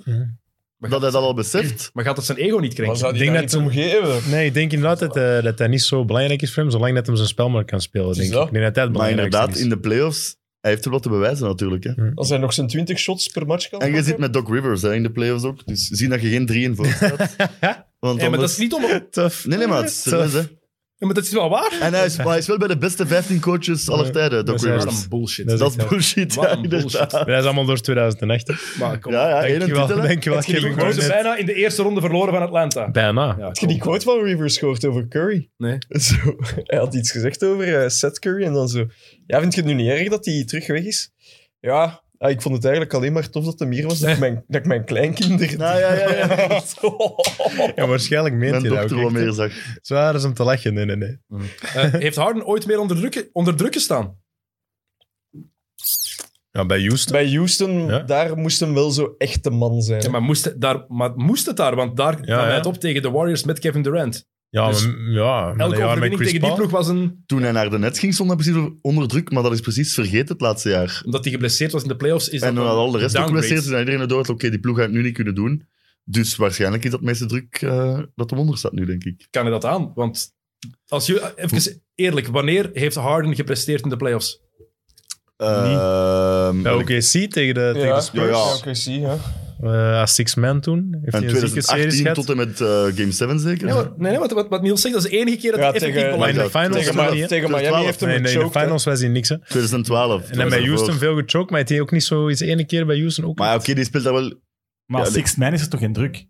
S6: Maar
S4: Dat
S6: gaat,
S4: hij dat al beseft.
S6: maar gaat het zijn ego niet
S2: Maar
S6: krenken?
S2: zou die
S3: denk
S2: daar
S3: dat
S2: iets om geven?
S3: Nee, ik denk inderdaad dat, eh, dat dat niet zo belangrijk is voor hem, zolang dat hem zijn spel maar kan spelen.
S2: Is
S3: Denk ik.
S2: dat?
S3: ik denk dat dat het
S4: Maar
S3: belangrijkste
S4: inderdaad,
S3: is.
S4: in de playoffs, hij heeft er wat te bewijzen natuurlijk. Hè.
S2: Als hij nog zijn 20 shots per match kan
S4: En je
S2: pakken?
S4: zit met Doc Rivers hè, in de playoffs ook, dus zien dat je geen drie in voor staat. Want
S6: Ja, maar dat
S4: anders-
S6: is niet om... Ja,
S3: Tof.
S4: Nee, nee, maar het is serieus, hè.
S6: maar dat is wel waar.
S4: En hij is, maar hij is wel bij de beste 15 coaches aller tijden, Doc
S3: Dat is echt
S6: Wat
S4: Rivers.
S6: een bullshit.
S3: Dat
S4: Dat
S3: is
S4: is
S3: echt-
S4: bullshit,
S6: Wat
S4: ja,
S6: een bullshit.
S4: inderdaad.
S3: Maar Dat is allemaal door 2008. hè.
S6: Maar kom.
S4: Ja, ja, één
S3: Dankjewel,
S4: titel. hè.
S3: dankjewel.
S6: Heb je die
S3: Kevin
S6: quote
S3: Garnett.
S6: bijna in de eerste ronde verloren van Atlanta.
S3: Bijna.
S6: Ja,
S2: Heb je die quote van Reavers gehoord over Curry?
S6: Nee.
S2: Zo, hij had iets gezegd over eh, Seth Curry en dan zo... Ja, vind je het nu niet erg dat hij terug weg is? Ja, ah, ik vond het eigenlijk alleen maar tof dat hij hier was, dat ik mijn, dat ik mijn kleinkinderen...
S4: Nou, ja, ja, ja.
S2: Zo.
S3: Ja, waarschijnlijk meent
S4: Mijn
S3: hij dat
S4: dochter
S3: ook
S4: wat
S3: echt, hè.
S4: meer zag.
S3: Zwaar is om te lachen, nee, nee, nee.
S6: Eh, heeft Harden ooit meer onder druk, onder druk gestaan?
S3: Ja, bij Houston.
S2: Bij Houston,
S3: Ja.
S2: daar moest hem wel zo echt de man zijn.
S6: Ja, maar, moest het daar, maar moest het daar? Want daar kwam hij
S3: ja.
S6: het op tegen de Warriors met Kevin Durant.
S3: Ja,
S6: Dus
S3: maar- ja,
S6: Elke
S3: maar een jaar met
S6: overwinning
S3: Chris
S6: tegen die
S3: Paul.
S6: ploeg was een...
S4: Toen hij naar de net ging, stond hij precies onder druk, maar dat is precies vergeten het laatste jaar.
S6: Omdat hij geblesseerd was in de playoffs. Is
S4: En
S6: dat
S4: dan
S6: dan
S4: had al de rest ook
S6: downgrade.
S4: geblesseerd, dus iedereen door had, oké, die ploeg gaat het nu niet kunnen doen. Dus waarschijnlijk is dat meeste druk eh, dat hem onder staat nu, denk ik.
S6: Kan hij dat aan? Want als je... Even eerlijk, wanneer heeft Harden gepresteerd in de playoffs?
S4: Ehm,
S3: Ja, OKC tegen de, tegen de Spurs.
S4: Ja, ja.
S2: oké, zie, ja.
S3: Eh, als six-man toen. Heeft
S4: En
S3: hij een zieke series
S4: 2018
S3: gehad.
S4: tot en met eh, Game 7 zeker?
S6: Nee, maar, nee, nee, wat, wat, wat Niels zegt, dat is de enige keer dat
S2: Ja,
S6: hij effectief
S2: tegen-
S6: belangrijk
S3: Maar in de
S4: Ja,
S3: finals
S2: Tegen,
S4: tegen
S3: was hij
S2: Ma-
S3: niet, hè?
S2: tegen Miami
S4: 12.
S2: heeft hem
S3: Nee, nee, in de
S2: gechoked, hè.
S3: finals was hij niks. Hè.
S4: 2012.
S3: En dan bij Houston veel gechoked, maar hij heeft ook niet zoiets ene keer bij Houston ook.
S4: Maar ja, oké, die speelt daar wel...
S5: Maar
S4: Ja,
S5: als
S4: die-
S5: Six Man is er toch geen druk?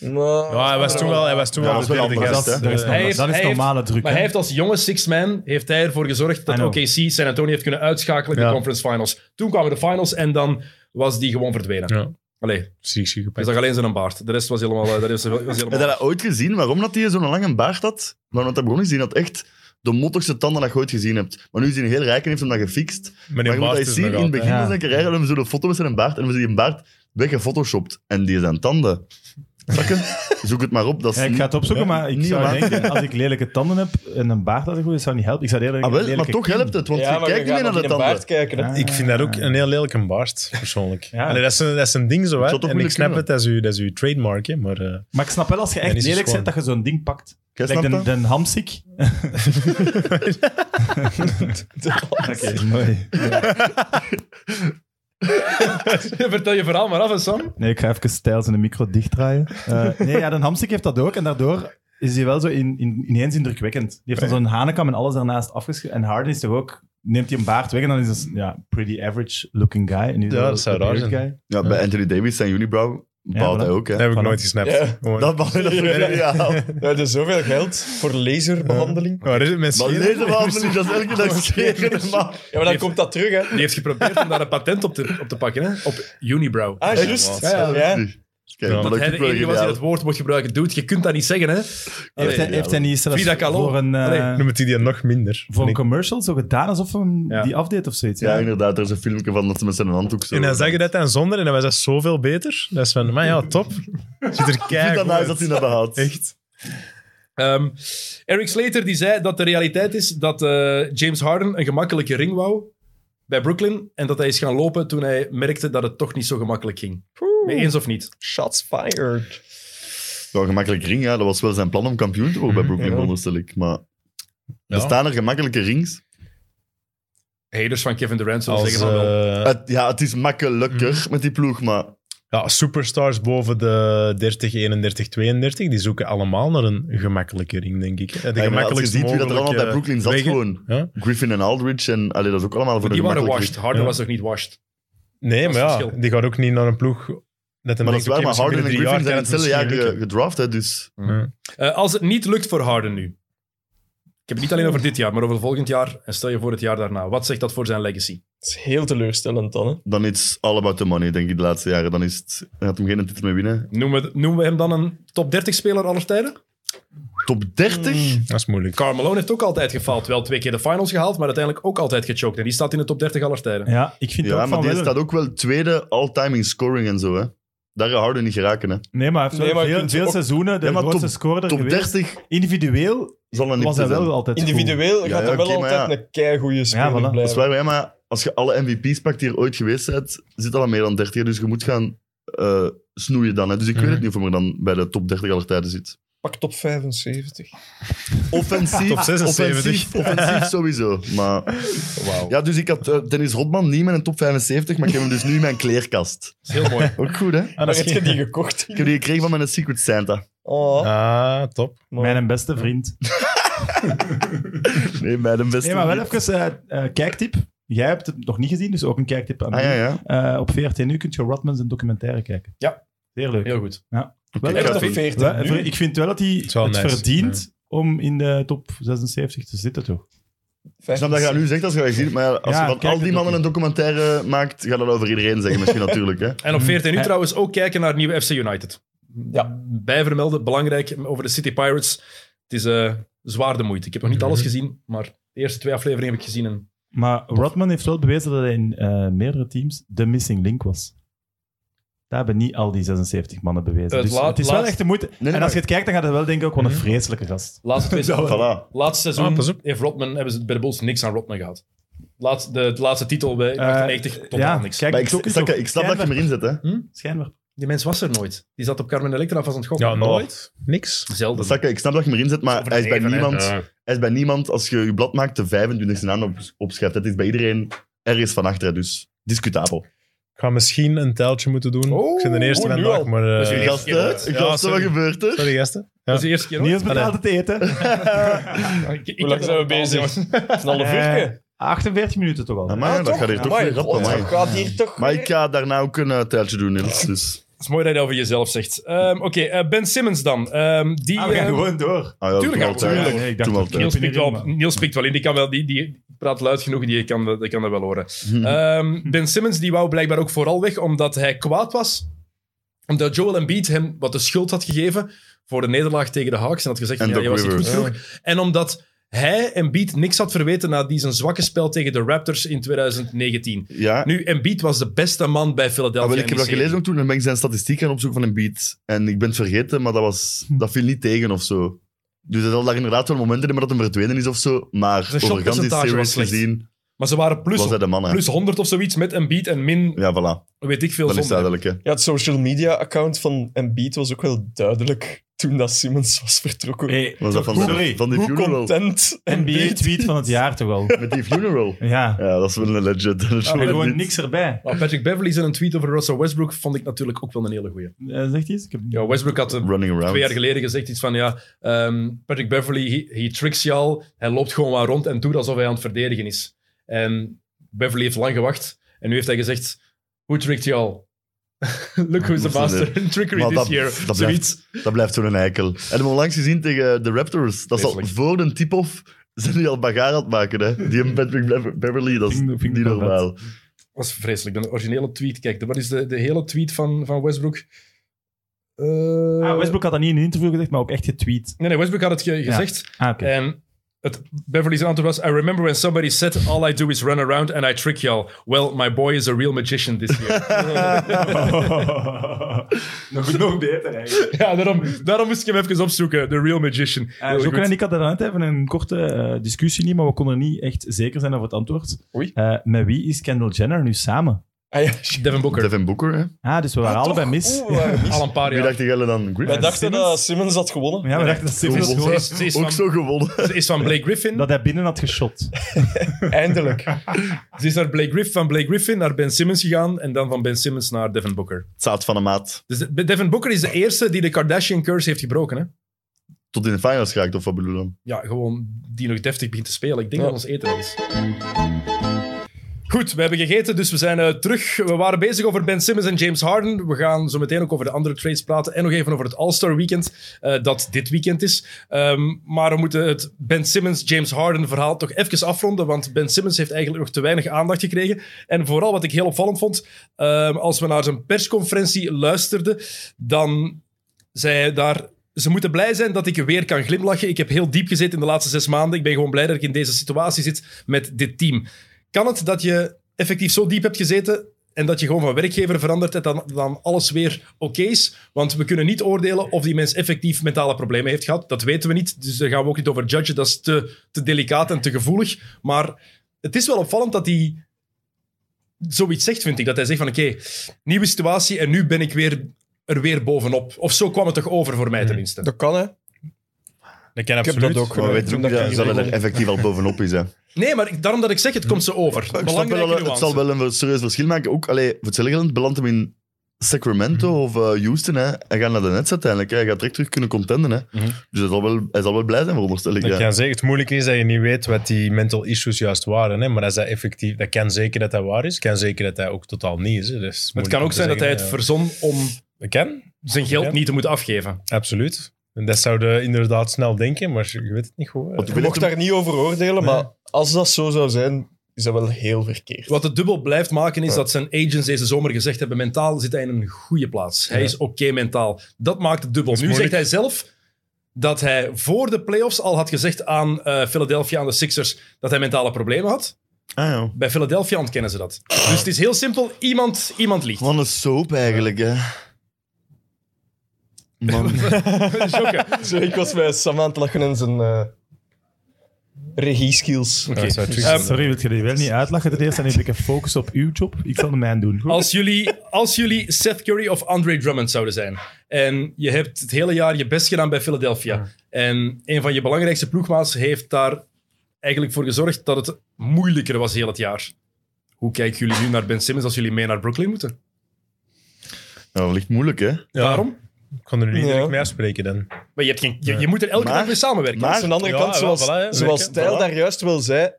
S2: Maar-
S3: Ja, hij was toen wel, hij was toen
S4: Ja,
S3: wel
S4: dat
S3: de
S4: is wel
S3: derde
S4: anders,
S3: gast.
S4: hè.
S3: eh,
S5: Dat is, norma-
S6: heeft-
S5: dat is
S6: hij heeft-
S5: normale druk.
S6: Maar
S5: hè?
S6: hij heeft als jonge six-man heeft hij ervoor gezorgd
S5: I
S6: dat
S5: know.
S6: OKC San Antonio heeft kunnen uitschakelen in
S3: Ja.
S6: de conference finals. Toen kwamen de finals en dan was die gewoon verdwenen.
S3: Ja.
S6: Allee,
S3: Ziek, ziek
S6: hij
S3: gepakt.
S6: zag alleen zijn baard. De rest was helemaal... eh, Dat is, was helemaal...
S4: Heb je dat ooit gezien, waarom dat hij zo'n lange baard had? Waarom dat hij begon is, die had echt de mottigste tanden dat je ooit gezien hebt. Maar nu is hij heel rijk en heeft hem dat gefixt.
S3: Maar
S4: Maar
S3: die
S4: je moet
S3: baard
S4: dat
S3: is
S4: zien,
S3: nog
S4: in het
S3: altijd-
S4: begin
S5: ja.
S4: van zijn carrière hadden we zo'n foto met zijn baard en we zien die baard weggefotoshopt. En die zijn tanden. Snap je? Zoek het maar op. Dat is
S5: Ja, ik
S4: niet-
S5: ga het opzoeken, maar ik
S4: niet
S5: zou
S4: normaal.
S5: denken, als ik lelijke tanden heb en een baard dat ik goed is, zou niet helpen. Ik zou eerder
S4: Ah,
S5: een
S4: wel, maar
S5: lelijke
S4: toch
S5: kin.
S4: helpt het, want
S2: Ja,
S4: je
S2: maar
S4: kijkt niet
S2: gaat
S4: meer naar
S2: nog
S4: de
S2: in een
S4: tanden.
S2: baard kijken, hè.
S5: Ah.
S3: Ik vind dat ook een heel lelijke baard, persoonlijk.
S5: Ja.
S3: Allee, dat, is een, dat is een ding zo, hè.
S4: zou toch
S3: En ik
S4: moeilijk
S3: snap
S4: kunnen.
S3: het, dat is uw, dat is uw trademark, hè. Maar eh,
S5: Maar ik snap wel als je
S3: Dan
S5: echt
S3: is het
S5: lelijk
S3: schoon.
S5: bent, dat je zo'n ding pakt.
S4: Jij
S5: Like
S4: snapt
S5: den,
S4: dat?
S5: den hamsik. Oké, mooi.
S6: Vertel je verhaal maar af, hè, Sam.
S5: Nee, ik ga even stijl zijn micro dichtdraaien. Eh, nee, ja, den hamsik heeft dat ook. En daardoor is hij wel zo in, in, ineens indrukwekkend. Die heeft dan zo'n hanenkam en alles daarnaast afgeschreven. En Harden is toch ook... Neemt hij een baard weg en dan is het ja, pretty average looking guy. En nu
S3: Ja,
S5: zo
S3: dat zou
S5: de
S3: raar
S5: beard
S3: zijn.
S5: guy.
S4: Ja, bij Anthony Davis zijn unibrow
S5: Ja,
S4: bouwt hij
S5: voilà.
S4: ook. Hè.
S3: dat heb ik
S5: Voilà.
S3: nooit gesnapt.
S2: Ja.
S3: Gewoon.
S4: Dat bouwt hij dat
S2: Ja.
S4: is ideaal.
S2: Ja, er is zoveel geld voor laserbehandeling.
S3: Maar er Oh, is- met
S4: Maar
S3: scheren-
S4: deze behandeling, dat is elke dag scheren. maar-
S2: Ja, maar dan komt dat terug, hè.
S6: Die heeft geprobeerd om daar een patent op te, op te pakken, hè? Op Unibrow.
S2: Ah, juist.
S6: Ja, ja.
S2: Ja.
S4: Kijk,
S3: Ja.
S4: maar
S6: Want
S4: dat
S6: hij de
S4: vind ik wel
S6: enige was die dat
S4: geniaal.
S6: woord mocht gebruiken. Dude, je kunt dat niet zeggen, hè?
S5: Heeft hij,
S4: ja,
S5: heeft hij niet zelfs
S6: Frida Kahlo.
S5: voor een, eh,
S6: Allee.
S3: Noem het die dan nog minder.
S5: voor een
S3: En ik-
S5: commercial zo gedaan alsof hij hem
S1: Ja.
S5: die afdeed of zoiets?
S4: Ja, inderdaad. Er is een filmpje van dat ze met zijn handdoek zo...
S3: en dan zag je dat dan zonder en dan was dat zoveel beter. Dat is van, maar ja, top. Zit er
S4: Ik vind dat nice dat
S3: keihard
S4: hij dat behaalt.
S3: Echt.
S6: Ehm, Eric Slater die zei dat de realiteit is dat eh, James Harden een gemakkelijke ring wou bij Brooklyn en dat hij is gaan lopen toen hij merkte dat het toch niet zo gemakkelijk ging. Mee eens of niet?
S2: Shots fired.
S4: Ja, gemakkelijk ring, ja. Dat was wel zijn plan om kampioen te worden bij Brooklyn,
S2: Ja.
S4: onderstel ik. Maar
S3: Ja.
S4: bestaan er gemakkelijke rings?
S6: Haters van Kevin Durant zullen
S3: Als,
S6: zeggen van wel.
S3: eh,
S4: Het, ja, het is makkelijker met die ploeg, maar...
S3: ja, superstars boven de 30, 31, 32, die zoeken allemaal naar een gemakkelijke ring, denk ik. De
S4: Ja, maar als je
S3: gemakkelijkste
S4: ziet wie dat er allemaal bij
S3: mogelijke
S4: Brooklyn zat,
S3: wegen.
S4: gewoon.
S3: Ja?
S4: Griffin en Aldridge en... Allee, dat is ook allemaal voor de
S6: Die waren
S4: gemakkelijke
S6: washed. Harden
S3: Ja.
S6: was nog niet washed.
S3: Nee,
S6: Dat is
S3: maar ja,
S6: het verschil.
S3: die gaat ook niet naar een ploeg... Dat hem
S4: Maar dat
S3: denkt,
S4: is waar,
S3: oké,
S4: maar
S3: misschien
S4: Harden en
S3: binnen drie
S4: Griffin zijn
S3: jaar
S4: hetzelfde jaar
S3: kan het
S4: ge-
S3: misschien
S4: gedraft, hè, dus...
S3: lukken.
S6: Eh, als het niet lukt voor Harden nu. Ik heb het niet alleen over dit jaar, maar over volgend jaar en stel je voor het jaar daarna. Wat zegt dat voor zijn legacy?
S2: Dat is heel teleurstellend dan, hè.
S4: Dan is all about the money, denk ik, de laatste jaren. Dan is het... Hij had hem geen titel meer winnen.
S6: Noemen we, noemen we hem dan een top 30 speler aller tijden?
S4: Top 30?
S3: Ja, Dat is moeilijk.
S6: Karl Malone heeft ook altijd gefaald. Wel twee keer de finals gehaald, maar uiteindelijk ook altijd gechoked. En die staat in de top 30 aller tijden.
S5: Ja, ik vind
S4: Ja,
S5: ook
S4: maar
S5: van
S4: die
S5: wel.
S4: staat ook wel tweede all-time in scoring en zo, hè. Daar gaat Harden niet geraken, hè.
S5: Nee, maar hij heeft
S2: Nee,
S5: wel
S2: maar je
S5: veel,
S2: kunt
S5: veel
S2: ook-
S5: seizoenen de
S4: Ja, maar
S5: grootste
S4: top-
S5: scorer
S4: Top
S5: geweest.
S4: 30
S5: Individueel
S4: zal dan niet
S5: was hij
S4: zijn.
S5: wel altijd goed.
S2: Individueel
S4: Ja,
S2: gaat
S4: ja,
S2: dat wel
S4: oké, maar
S2: altijd
S4: ja.
S2: een keigoeie speler
S5: Ja, voilà.
S2: blijven.
S5: Dat
S4: Dat is waar, ja, maar als je alle MVP's pakt die er ooit geweest bent, zit al aan meer dan 30. Dus je moet gaan eh, snoeien dan. Hè. Dus ik weet het
S3: Mhm.
S4: niet of hij dan bij de top 30 aller tijden zit.
S2: Pak top 75.
S4: Offensief,
S3: Top 76.
S4: offensief, offensief sowieso. Maar, Ja, dus ik had eh, Dennis Rodman niet met een top 75, maar ik heb hem dus nu in mijn kleerkast.
S6: Dat is heel mooi.
S4: Ook goed, hè?
S5: Ah,
S2: Maar
S5: dat is
S2: heb je
S5: geen-
S2: die gekocht?
S4: Ik heb die gekregen van mijn Secret Santa.
S2: Oh,
S3: Ah, top.
S2: maar-
S5: Mijn beste vriend.
S4: Nee, bij de beste.
S5: Nee, maar wel even eh, eh, kijktip. Jij hebt het nog niet gezien, dus ook een kijktip aan
S4: Ah
S5: mij.
S4: ja, ja.
S5: Eh, op VRT nu kun je Rodman zijn documentaire kijken.
S6: Ja.
S5: Zeer leuk.
S6: Heel goed.
S5: Wel
S4: Oké,
S5: echt
S4: ik ga
S5: een
S4: het doen.
S2: 40
S5: Wel,
S2: nu.
S5: ver- ik vind wel dat hij
S3: is
S5: het,
S3: wel nice,
S5: verdient om in de top 76 te zitten, toch?
S4: Ik snap dat je dat nu zegt als je dat ziet, maar ja, als
S5: Ja,
S4: je van
S5: kijk
S4: al die
S5: het
S4: mannen
S5: ook.
S4: een documentaire maakt, ga dat over iedereen zeggen misschien natuurlijk. Hè.
S6: En op 14 uur
S5: Eh.
S6: trouwens ook kijken naar nieuwe FC United.
S2: Ja.
S6: Bijvermelden, belangrijk over de City Pirates. Het is eh, zwaar de moeite. Ik heb nog niet alles gezien, maar de eerste twee afleveringen heb ik gezien. En
S5: Maar Rodman heeft wel bewezen dat hij in eh, meerdere teams de missing link was. Dat hebben niet al die 76 mannen bewezen.
S6: Het
S5: Het, dus
S6: laat-
S5: het is wel
S6: laatst-
S5: echt de moeite. en als je het kijkt, dan gaat het wel denken ook, wat een
S3: Mhm.
S5: vreselijke gast.
S6: laatste, twee
S4: Voilà.
S6: laatste
S3: Ah,
S6: seizoen
S3: pas op.
S6: heeft Rodman, hebben ze bij de Bulls niks aan Rodman gehad. Laat, de, de laatste titel bij
S5: Eh,
S6: 98 tot
S5: ja,
S6: aan niks.
S5: kijk,
S4: Maar ik,
S5: het ook eens
S4: Saka,
S5: op
S4: ik snap dat je hem erin zet, hè.
S5: Schijnbaar.
S6: Die mens was er nooit. Die zat op Carmen Electra vast aan het gokken.
S3: Ja, nooit. Niks.
S6: Zelden.
S4: Saka, ik snap dat je hem erin zet, maar hij is bij
S6: Overdreven, hè.
S4: niemand... Hij is bij niemand, als je je blad maakt, de 25e naam op, opschrijft. Het is bij iedereen ergens van achteren, dus discutabel.
S3: Ik ga misschien een teltje moeten doen.
S6: Oh,
S3: ik ben de eerste
S6: oh, nu al.
S3: vandaag, maar... eh,
S6: Dus jullie gaan-
S4: gasten, gasten, wat
S3: sorry.
S4: gebeurt er?
S3: sorry, gasten. Ja.
S6: Dat is de eerste keer. hoor.
S5: Niels betaalt het eten.
S6: Ik- ik-
S2: Hoe lang
S6: ik-
S2: zijn we bezig? Een half
S5: Eh,
S2: uur.
S5: 48 minuten toch al. hè?
S4: Amai, dat gaat hier toch weer rap, amai.
S2: Ah, Dat gaat hier toch
S4: Maar
S2: weer-
S4: ik ga daarna ook een eh, tijltje doen, Niels. Dus,
S6: Het is mooi dat je dat over jezelf zegt. Ehm, Oké, eh, Ben Simmons dan. Ehm, die,
S5: Ah, we gaan
S6: ehm,
S5: gewoon door.
S4: ah, ja,
S6: Tuurlijk,
S4: doe altijd.
S6: tuurlijk.
S5: Nee, ik dacht
S4: Doe
S5: ook
S4: altijd.
S6: Niels
S5: Ja,
S6: pikt, wel,
S5: maar-
S6: Niels pikt wel in. Die, kan wel, die, die praat luid genoeg, die kan, dat- die kan dat wel horen.
S4: Hm.
S6: Ehm, ben Simmons die wou blijkbaar ook vooral weg omdat hij kwaad was. Omdat Joel Embiid hem wat de schuld had gegeven voor de nederlaag tegen de Hawks. En had gezegd,
S4: En
S6: ja,
S4: Doc
S6: je was niet goed
S4: Rivers.
S6: genoeg. En omdat hij Embiid niks had verweten na die zijn zwakke spel tegen de Raptors in 2019.
S4: Ja,
S6: Nu, Embiid was de beste man bij
S4: ah,
S6: Philadelphia.
S4: wel, ik heb
S6: in
S4: dat
S6: die
S4: gelezen
S6: serie.
S4: ook toen en ben ik zijn statistiek gaan opzoeken van een beat. En ik ben het vergeten, maar dat, was, dat viel niet tegen of zo. Dus er zal daar inderdaad wel momenten in maar dat hem verdwenen is of zo. Maar
S6: Zijn
S4: over gans die
S6: shotpercentage was
S4: series
S6: slecht.
S4: gezien
S6: Maar ze waren plus,
S4: was hij de man, hè.
S6: plus 100 of zoiets met Embiid en min,
S4: Ja, voilà.
S6: weet ik veel,
S4: Dat is
S6: zonder.
S4: duidelijk, hè.
S2: Ja, het social media-account van Embiid was ook wel duidelijk toen dat Simmons was vertrokken.
S5: Hey,
S4: Was dat van de,
S5: sorry.
S4: van die
S2: Hoe
S4: funeral?
S2: content
S5: NBA
S2: Embiid
S5: tweet van het jaar toch wel.
S4: Met die funeral.
S5: Ja.
S4: Ja, dat is wel een legend. Dat is
S5: En
S6: Ah,
S4: wel
S5: gewoon
S4: niet-
S5: niks erbij.
S6: Maar Patrick Beverly zijn een tweet over Russell Westbrook vond ik natuurlijk ook wel een hele goeie.
S5: Eh, Zegt hij eens? Ik heb...
S6: Ja, Westbrook had eh,
S4: Running around.
S6: twee jaar geleden gezegd iets van, ja, ehm, Patrick Beverly, he, he tricks je al, hij loopt gewoon maar rond en doet alsof hij aan het verdedigen is. En Beverly heeft lang gewacht en nu heeft hij gezegd, who tricked you all? Look who's the
S4: Moest
S6: master
S4: dat
S6: in trickery
S4: Maar
S6: this
S4: dat-
S6: year.
S4: dat
S6: Zoiets.
S4: Dat blijft zo'n eikel. En hebben we onlangs gezien tegen de Raptors. Dat is al
S6: Vreselijk.
S4: voor de tip-off. Zijn die al bagaar aan het maken, hè? Die en Patrick Bev- Beverly, dat is
S5: Vind ik- vind ik
S4: niet
S5: wel vet.
S4: normaal.
S6: Dat was vreselijk. De originele tweet, kijk, de- wat is de, de hele tweet van, van Westbrook? eh,
S5: Ah, Westbrook had dat niet in een interview gezegd, maar ook echt getweet.
S6: Nee, nee, Westbrook had het ge- gezegd.
S5: Ah, oké.
S6: En het Beverly's antwoord was: I remember when somebody said, All I do is run around and I trick y'all. Well, my boy is a real magician this year.
S5: nog, nog beter eigenlijk.
S6: ja, daarom, daarom moest ik hem even opzoeken: The real magician.
S5: Uh,
S6: Heel
S5: Jokke
S6: goed.
S5: en ik hadden daarnet even een korte eh, discussie, niet, maar we konden niet echt zeker zijn over het antwoord.
S2: Oei.
S5: Eh, met wie is Kendall Jenner nu samen?
S2: Ah, ja.
S6: Devin Booker.
S4: Devin Booker, hè?
S5: Ah, dus we waren allebei mis.
S2: Oeh, eh, mis.
S6: Al een paar
S4: Wie
S6: jaar.
S4: dacht jij dan?
S2: Wij
S4: Griffin?
S2: dachten
S5: Simmons?
S2: dat Simmons had gewonnen.
S5: Ja, we dachten dat Stevens
S4: Ze is-
S5: gewoon-
S6: Ze is
S4: Ook
S6: van,
S4: zo gewonnen.
S6: ze is van Blake Griffin.
S5: dat hij binnen had geschot.
S2: Eindelijk.
S6: Ze is naar Blake Griff, van Blake Griffin naar Ben Simmons gegaan en dan van Ben Simmons naar Devin Booker.
S4: Het staat van een maat.
S6: Dus de- Devin Booker is de eerste die de Kardashian-curse heeft gebroken. Hè?
S4: Tot in de finals geraakt, of wat bedoel je dan?
S6: Ja, gewoon die nog deftig begint te spelen. Ik denk
S2: Ja.
S6: dat ons eten wel is. Goed, we hebben gegeten, dus we zijn eh, terug. We waren bezig over Ben Simmons en James Harden. We gaan zo meteen ook over de andere trades praten. En nog even over het All-Star Weekend, eh, dat dit weekend is. Ehm, maar we moeten het Ben Simmons-James Harden verhaal toch even afronden. Want Ben Simmons heeft eigenlijk nog te weinig aandacht gekregen. En vooral wat ik heel opvallend vond, ehm, als we naar zijn persconferentie luisterden, dan zei hij daar. Ze moeten blij zijn dat ik weer kan glimlachen. Ik heb heel diep gezeten in de laatste zes maanden. Ik ben gewoon blij dat ik in deze situatie zit met dit team. Kan het dat je effectief zo diep hebt gezeten en dat je gewoon van werkgever verandert en dan, dan alles weer oké is? Want we kunnen niet oordelen of die mens effectief mentale problemen heeft gehad. Dat weten we niet, dus daar gaan we ook niet over judgen. Dat is te, te delicaat en te gevoelig. Maar het is wel opvallend dat hij zoiets zegt, vind ik. Dat hij zegt van oké, nieuwe situatie en nu ben ik weer er weer bovenop. Of zo kwam het toch over voor
S4: Hmm.
S6: mij tenminste.
S2: Dat kan, hè.
S3: Ik ken
S2: Ik heb
S3: absoluut.
S2: dat ook
S4: Maar we
S2: gedaan.
S4: weten
S2: Toen
S4: ook niet
S2: dat
S4: dat
S2: ik
S4: dat
S2: hier
S4: er
S2: begon.
S4: effectief al bovenop is. Hè.
S6: Nee, maar ik- daarom dat ik zeg, het komt ze over.
S4: Ik snap wel,
S6: Belangrijke
S4: dat het zal
S6: nuance.
S4: wel een serieus verschil maken. Ook allee, voor hetzelfde geld belandt hem in Sacramento of eh, Houston. Hè. Hij gaat naar de Nets uiteindelijk. Hè. Hij gaat direct terug kunnen contenden. Hè. Dus hij zal, wel, hij zal wel blij zijn, veronderstel ik.
S3: Dat
S4: ja.
S3: kan zeker. Het moeilijke is dat je niet weet wat die mental issues juist waren. Hè? Maar dat, is dat, effectief, dat kan zeker dat dat waar is. kan zeker dat dat ook totaal niet is. Hè? Dat is
S6: Het
S3: moeilijk
S6: kan
S3: om
S6: ook
S3: te
S6: zijn dat hij
S3: zeggen,
S6: het
S3: ja.
S6: verzon om
S3: Dat kan,
S6: zijn geld
S3: Ja.
S6: niet te moeten afgeven.
S3: absoluut. En dat zou je inderdaad snel denken, maar je weet het niet goed. hè.
S4: Want ik
S2: Je
S4: wil
S2: eh, mocht
S4: echt-
S2: daar niet over oordelen, maar als dat zo zou zijn, is dat wel heel verkeerd.
S6: Wat het dubbel blijft maken is dat zijn agents deze zomer gezegd hebben: mentaal zit hij in een goede plaats. Hij is oké mentaal. Dat maakt het dubbel. Nu zegt hij zelf dat hij voor de playoffs al had gezegd aan eh, Philadelphia, aan de Sixers, dat hij mentale problemen had.
S4: Ah, ja.
S6: Bij Philadelphia ontkennen ze dat. Dus het is heel simpel: iemand, iemand liegt.
S4: Wat een soap eigenlijk. Hè. Man.
S6: Jokke.
S2: Zo, ik was bij Sam aan het lachen en zijn eh regie-skills.
S3: Ja, dat zou terug
S6: Ehm,
S3: zijn.
S5: Sorry, wil je die wel niet uitlachen? Ten eerste, en even focus op uw job. Ik zal de mijn doen. Goed?
S6: Als jullie, als jullie Seth Curry of Andre Drummond zouden zijn. En je hebt het hele jaar je best gedaan bij Philadelphia. En een van je belangrijkste ploegmaats heeft daar eigenlijk voor gezorgd dat het moeilijker was heel het jaar. Hoe kijken jullie nu naar Ben Simmons als jullie mee naar Brooklyn moeten?
S4: Nou, dat ligt moeilijk, hè?
S6: Waarom?
S3: Ik kon er nu niet
S2: Ja.
S3: direct mee afspreken dan.
S6: Maar je, hebt geen, je, je moet er elke
S4: Maar-
S6: dag mee samenwerken.
S2: Maar
S4: Maar-
S2: aan de andere
S3: Ja,
S2: kant,
S3: wel,
S2: zoals,
S3: voilà, hè,
S2: zoals
S3: zeker,
S2: Stijl
S3: voilà.
S2: daar juist wel zei,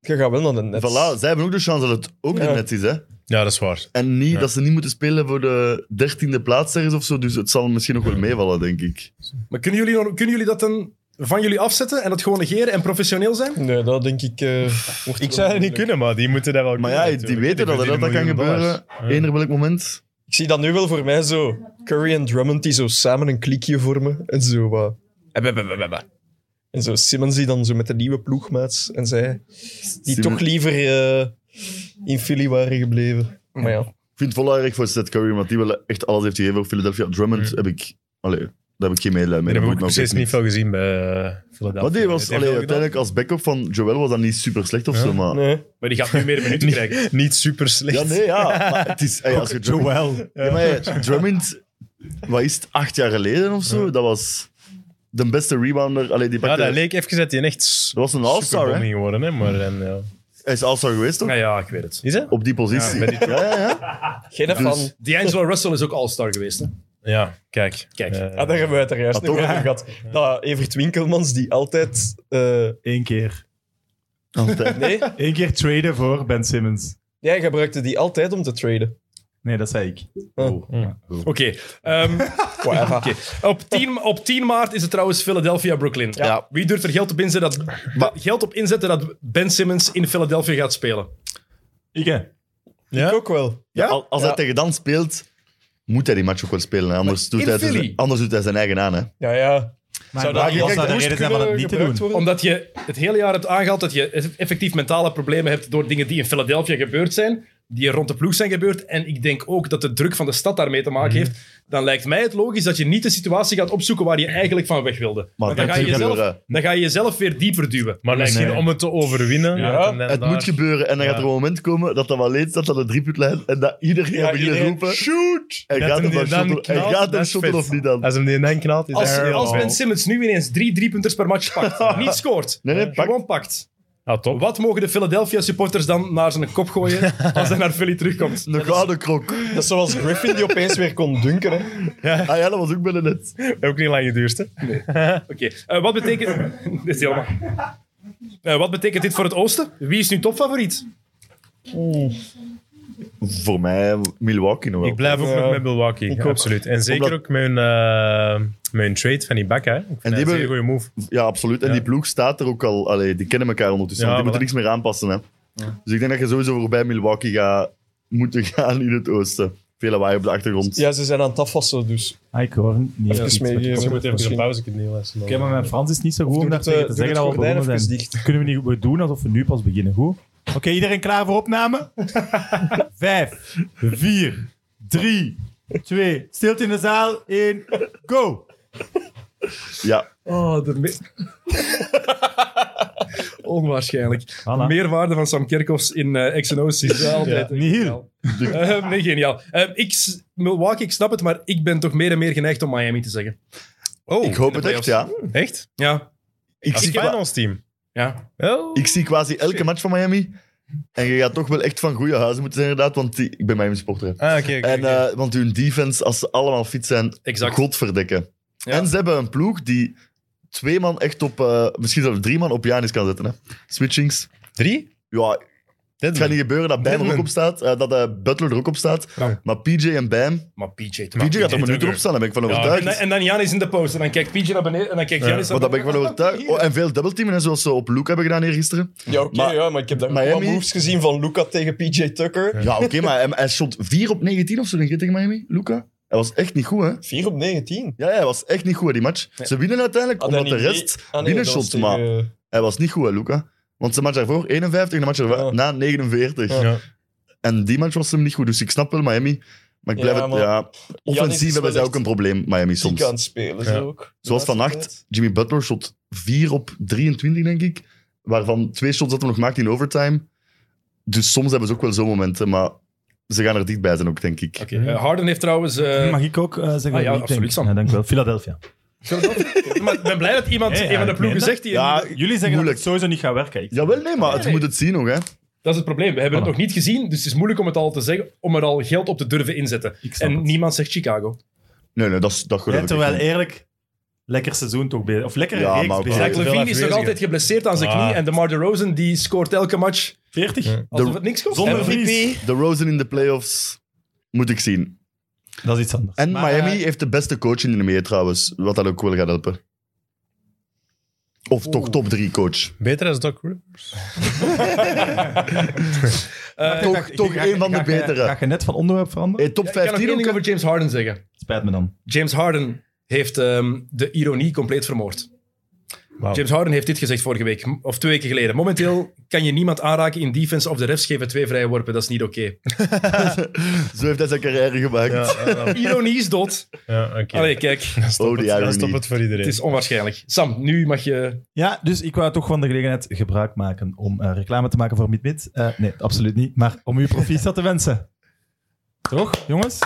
S2: je gaat wel naar de net.
S4: Voilà, zij hebben ook de chance dat het ook
S2: Ja.
S4: net net is. Hè?
S3: Ja, dat is waar.
S4: En niet,
S3: Ja.
S4: dat ze niet moeten spelen voor de dertiende plaats ergens of zo. Dus het zal misschien nog wel meevallen, denk ik.
S6: Maar kunnen jullie, kunnen jullie dat dan van jullie afzetten en dat gewoon negeren en professioneel zijn?
S2: Nee, dat denk ik... eh, wordt
S3: Ik
S2: wel
S3: zou dat niet
S2: moeilijk.
S3: kunnen, maar die moeten dat wel
S4: Maar
S3: kunnen.
S4: ja, die
S3: natuurlijk.
S4: weten dat hè, dat, dat kan
S3: verdienen miljoenen
S4: gebeuren.
S3: dollars. Ja.
S4: Eender welk moment.
S2: Ik zie dat nu wel voor mij zo. Curry en Drummond die zo samen een klikje vormen en zo wat. En zo Simmons die dan zo met de nieuwe ploegmaats en zij, die
S4: Simmons-
S2: toch liever eh, in Philly waren gebleven. Maar ja,
S4: Ik vind het wel erg voor Seth Curry, want die wel echt alles heeft gegeven voor Philadelphia. Drummond heb ik... Allee, daar heb ik geen medelijden
S3: Daar
S4: mee.
S3: hebben we
S4: Dat
S3: ook
S4: moet ik
S3: precies
S4: me
S3: niet veel gezien bij eh, Philadelphia.
S4: Maar die was
S3: Het heeft
S4: allee,
S3: wel
S4: uiteindelijk als backup van Joel was dat niet super slecht of
S3: Ja.
S4: zo, maar...
S2: nee.
S6: Maar die gaat nu meer minuten krijgen.
S3: gedaan. Niet super slecht.
S4: Ja, nee, ja. Maar het is... Hey, als je Drummond,
S5: Joel.
S4: ja, maar hey, Drummond, wat is het, acht jaar geleden of zo? Dat was de beste rebounder. Allee, die
S3: Ja,
S4: pakte,
S3: dat leek even dat hij echt s-
S4: Dat was een all-star,
S3: superbombing
S4: hè?
S3: geworden, hè? Maar dan, ja.
S4: Hij is all-star geweest, toch?
S6: Nou ja, ik weet het.
S3: Is het?
S4: Op die positie. Ja, ja, ja.
S2: Geen ervan.
S6: D'Angelo Russell is ook all-star geweest. Hè?
S3: Ja, kijk.
S6: Kijk.
S3: Eh,
S2: Ah, daar hebben we het er juist nog over gehad. Dat Evert Winkelmans, die altijd... eh,
S5: Eén keer.
S4: Altijd.
S2: nee,
S5: Eén keer traden voor Ben Simmons.
S2: jij gebruikte die altijd om te traden.
S5: Nee, dat zei ik. Oh.
S6: Oké. ehm,
S2: Whatever.
S6: Oké. Op, 10, op 10 maart is het trouwens Philadelphia-Brooklyn.
S4: Ja.
S6: Wie durft er geld op, inzetten dat, geld op inzetten dat Ben Simmons in Philadelphia gaat spelen?
S5: Ik hè?
S3: ja?
S2: Ik ook wel.
S4: Al- Als hij
S2: Ja.
S4: tegen dan speelt, moet hij die match ook wel spelen. hè. Anders, doet
S6: in
S4: hij, zijn-
S6: Philly?
S4: anders doet hij zijn eigen aan. Hè.
S2: Ja, ja.
S5: Maar
S2: Zou
S5: dat
S2: dat-
S5: zou de
S2: Moest
S5: reden zijn van het niet te doen.
S6: Omdat je het hele jaar hebt aangehaald dat je eff- effectief mentale problemen hebt door dingen die in Philadelphia gebeurd zijn, die er rond de ploeg zijn gebeurd. En ik denk ook dat de druk van de stad daarmee te
S4: Mhm.
S6: maken heeft. Dan lijkt mij het logisch dat je niet de situatie gaat opzoeken waar je eigenlijk van weg wilde.
S4: Maar
S6: Want dan,
S4: dat
S6: ga je
S4: moet
S6: jezelf,
S4: gebeuren.
S6: dan ga je jezelf weer dieper duwen.
S3: Maar
S6: Lijkt
S3: misschien
S6: mij.
S3: om het te overwinnen.
S2: Ja.
S3: dat hem dan
S4: Het
S3: daar-
S4: moet gebeuren. En dan gaat er een moment komen dat dat wel leed dat dat een driepuntlijn en dat iedereen
S2: Ja,
S4: gaat beginnen
S2: iedereen-
S4: roepen.
S3: Shoot!
S4: En gaat
S3: Dat hem
S4: hem
S3: die
S4: dan
S3: dan
S4: shotten- en
S3: knalt,
S4: gaat
S3: dat
S4: hem
S3: is
S4: shotten
S3: vet.
S4: of niet dan?
S3: Als hem die in dan knalt, is
S6: Als,
S3: hij
S6: als
S3: wel.
S6: Ben Simmons nu ineens drie driepunters per match pakt, niet scoort,
S4: Nee, nee, pak.
S6: gewoon pakt.
S3: Ja, Ah, top.
S6: Wat mogen de Philadelphia supporters dan naar zijn kop gooien als hij naar Philly terugkomt?
S4: Een gouden krok.
S2: Dat is zoals Griffin die opeens weer kon dunken. Hè.
S4: Ah ja, dat was ook binnen net.
S3: Ook niet lang geduurd, hè?
S6: Oké, eh, wat betekent... dit is helemaal... Eh, wat betekent dit voor het Oosten? Wie is nu topfavoriet?
S4: Voor mij Milwaukee nog wel.
S3: Ik blijf ook
S2: Ja.
S3: nog met Milwaukee.
S2: Ik ook.
S3: absoluut. En zeker
S4: eh, Omdat-
S3: ook met hun, eh, met hun trade van die bak, hè? Ik vind
S4: die
S3: dat een
S4: hebben-
S3: hele goede move.
S4: Ja, absoluut. En die ploeg staat er ook al. Allee, die kennen elkaar ondertussen.
S3: Ja,
S4: want die
S3: voilà.
S4: moeten niks meer aanpassen. Hè. Dus ik denk dat je sowieso voorbij Milwaukee gaat moeten gaan in het oosten. Veel lawaai op de achtergrond.
S2: Ja, ze zijn aan het afwassen, dus.
S5: Ah, ik hoor niet.
S2: Even
S5: iets.
S2: meegeven.
S5: Oké,
S3: Ze
S2: Ze
S3: moeten
S2: moeten
S3: even een
S2: misschien-
S3: pauze kunnen neerlessen. dan.
S5: maar mijn Frans is niet zo goed
S2: Doe
S5: om daar
S2: het, eh,
S5: tegen te
S2: doe
S5: zeggen
S2: het
S5: dat we
S2: gordijn
S5: begonnen
S2: even
S5: zijn.
S2: dicht.
S5: Kunnen we niet we doen alsof we nu pas beginnen, goed? Oké, iedereen klaar voor opname? Vijf, vier, drie, twee, stilte in de zaal, één, go!
S4: Ja.
S6: Oh, de Onwaarschijnlijk.
S5: Voilà.
S6: Meerwaarde van Sam Kerkhoffs in eh X&O's is altijd...
S5: Niet heel.
S6: geniaal. Eh, nee, geniaal. Eh, ik, s- Milwaukee, ik snap het, maar ik ben toch meer en meer geneigd om Miami te zeggen.
S3: Oh,
S4: Ik hoop het echt, ja.
S3: echt?
S6: Ja,
S4: Ik
S3: Als
S4: zie, qua-
S3: finals team.
S6: ja.
S3: Oh.
S4: ik zie quasi elke match van Miami. En je gaat toch wel echt van goede huizen moeten zijn, inderdaad. Want die, ik ben Miami supporter. hè.
S3: Ah, oké. oké,
S4: En,
S3: oké.
S4: eh, want hun defense, als ze allemaal fit zijn,
S6: Exact.
S4: godverdekken.
S6: Ja.
S4: En ze hebben een ploeg die twee man echt op... eh, misschien zelfs drie man op Janis kan zetten. Hè. Switchings.
S3: Drie?
S4: Ja,
S3: Dit
S4: Het gaat niet gebeuren dat Bam er ook
S3: Deadman.
S4: op staat, eh, dat eh, Butler er ook op staat.
S6: Ja.
S4: Maar PJ en Bam,
S6: Maar PJ toch.
S3: Maar
S4: PJ gaat er
S3: PJ
S4: een minuut
S3: Tucker.
S4: op staan, daar ben ik van
S6: En,
S4: overtuigd.
S6: dan- en dan Janis in de post. En dan kijkt PJ naar beneden en dan kijkt Janis
S4: Maar
S6: naar
S4: daar ben ik van overtuigd. Oh, en veel dubbelteamen, hè, zoals ze op Luke hebben gedaan hier gisteren.
S2: Ja, oké,
S4: Maar-
S2: ja, maar ik heb daar ook
S4: Miami-
S2: wel moves gezien van Luca tegen PJ Tucker.
S4: Ja, oké, maar hij, hij stond 4 op 19 of zo, denk ik, tegen Miami, Luca. Hij was echt niet goed, hè?
S2: 4 op 19.
S4: Ja, hij was echt niet goed, hè, die match. Ze winnen uiteindelijk,
S2: Had hij
S4: omdat de
S2: niet
S4: rest...
S2: mee- Ah, nee, dat was
S4: binnenshots
S2: tegen-
S4: Hij was niet goed, hè, Luca. Want de match daarvoor 51, de match
S2: Ja.
S4: daarna 49.
S2: Ja.
S3: Ja.
S4: En die match was hem niet goed, dus ik snap wel Miami. Maar ik blijf
S2: Ja,
S4: het...
S2: maar-
S4: Ja,
S2: Giannis is
S4: offensief hebben
S2: wel
S4: zij
S2: echt
S4: ook een probleem, Miami,
S2: Die
S4: soms.
S2: kan spelen,
S3: Ja.
S2: zo ook. De
S4: Zoals
S2: laatste tijd.
S4: vannacht, Jimmy Butler shot 4 op 23, denk ik. Waarvan twee shots dat hij nog maakt in overtime. Dus soms hebben ze ook wel zo'n momenten, maar ze gaan er dichtbij zijn ook, denk ik.
S6: Oké, eh, Harden heeft trouwens... eh,
S5: Mag ik ook eh, zeggen?
S6: ah ja,
S5: wie ik denk?
S6: absoluut, Sam.
S5: Ja, dank u wel. Philadelphia.
S6: maar ik ben blij dat iemand
S5: Ja, ja,
S6: een van de
S5: ik
S6: ploegen
S5: meen
S6: zegt die...
S4: Ja,
S5: Jullie zeggen dat
S4: moeilijk.
S5: het sowieso niet gaat werken. Ik
S4: Jawel, nee, maar het
S6: Nee.
S4: moet het zien nog, hè.
S6: Dat is het probleem. We hebben het
S5: Voilà.
S6: nog niet gezien, dus het is moeilijk om het al te zeggen, om er al geld op te durven inzetten.
S5: Ik snap
S6: En
S5: het.
S6: niemand zegt Chicago.
S4: Nee, nee, dat, is- dat geloof
S5: Ja,
S4: ik
S5: terwijl
S4: echt
S5: eerlijk, lekker seizoen toch bezig. Of lekker
S4: Ja,
S5: reeks
S4: maar ook
S5: bezig.
S4: wel.
S6: Zach
S3: veel
S6: Levine is nog
S3: afwezigen.
S6: altijd geblesseerd aan zijn
S3: Ah.
S6: knie en DeMar DeRozan die scoort elke match
S5: 40.
S6: alsof
S4: De-
S6: het niks kost.
S5: Zonder
S6: En-
S5: Vries.
S6: eh.
S4: niet. De Rosen in de playoffs moet ik zien.
S5: Dat is iets anders.
S4: En
S5: Maar,
S4: Miami
S6: eh,
S4: heeft de beste coach in de NBA, trouwens. Wat dat ook wel gaat helpen. Of toch top 3 coach.
S3: Beter als Doc Rivers.
S6: Eh,
S4: Toch,
S5: eh,
S4: toch
S5: ga-
S4: een van
S5: ga-
S4: de
S5: ga- Ga,
S4: betere.
S5: je net van onderwerp veranderen?
S4: Hey, top
S6: ik kan nog
S4: 15
S6: één
S4: ook.
S6: ding
S4: hè?
S6: over James Harden zeggen.
S5: Spijt me dan.
S6: James Harden heeft ehm, de ironie compleet vermoord.
S3: Wauw.
S6: James Harden heeft dit gezegd vorige week, m- of twee weken geleden. Momenteel kan je niemand aanraken in defense of de refs geven twee vrije worpen. Dat is niet oké.
S4: Zo heeft hij zijn carrière gemaakt.
S5: Nou.
S6: Ironie is dood.
S3: Ja, oké.
S6: Allee, kijk,
S3: Dan stop
S4: Oh, die
S3: het- dan
S4: irony.
S3: stop het voor iedereen.
S6: het is onwaarschijnlijk. Sam, nu mag je...
S5: Ja, dus ik wou toch van de gelegenheid gebruik maken om eh, reclame te maken voor MidMid. Eh nee, absoluut niet. Maar om u proficiat te wensen. Toch, jongens?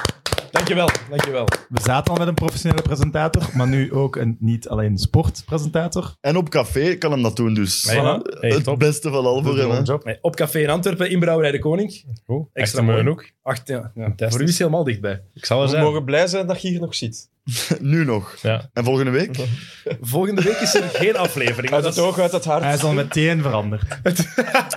S6: Dankjewel, dankjewel.
S5: We zaten al met een professionele presentator, maar nu ook een niet alleen sportpresentator.
S4: En op café kan hem dat doen, dus.
S3: Hey, hey,
S4: het
S3: top.
S4: beste van al voor hem. hè.
S3: job.
S6: Nee, op café in Antwerpen, inbrouwerij De Koning.
S3: Goed.
S6: Extra
S3: Extra mooi
S6: mooi.
S3: ook.
S6: Acht, ja, ja.
S3: Fantastisch.
S6: Voor u is het helemaal dichtbij.
S3: Ik zal er
S2: We
S3: zijn.
S2: mogen blij zijn dat je hier nog zit.
S4: Nu nog.
S3: Ja.
S4: En volgende week?
S6: Volgende week is er geen aflevering.
S2: Uit
S6: Dat
S2: het
S6: is-
S2: oog, uit het hart.
S5: Hij is al meteen veranderd.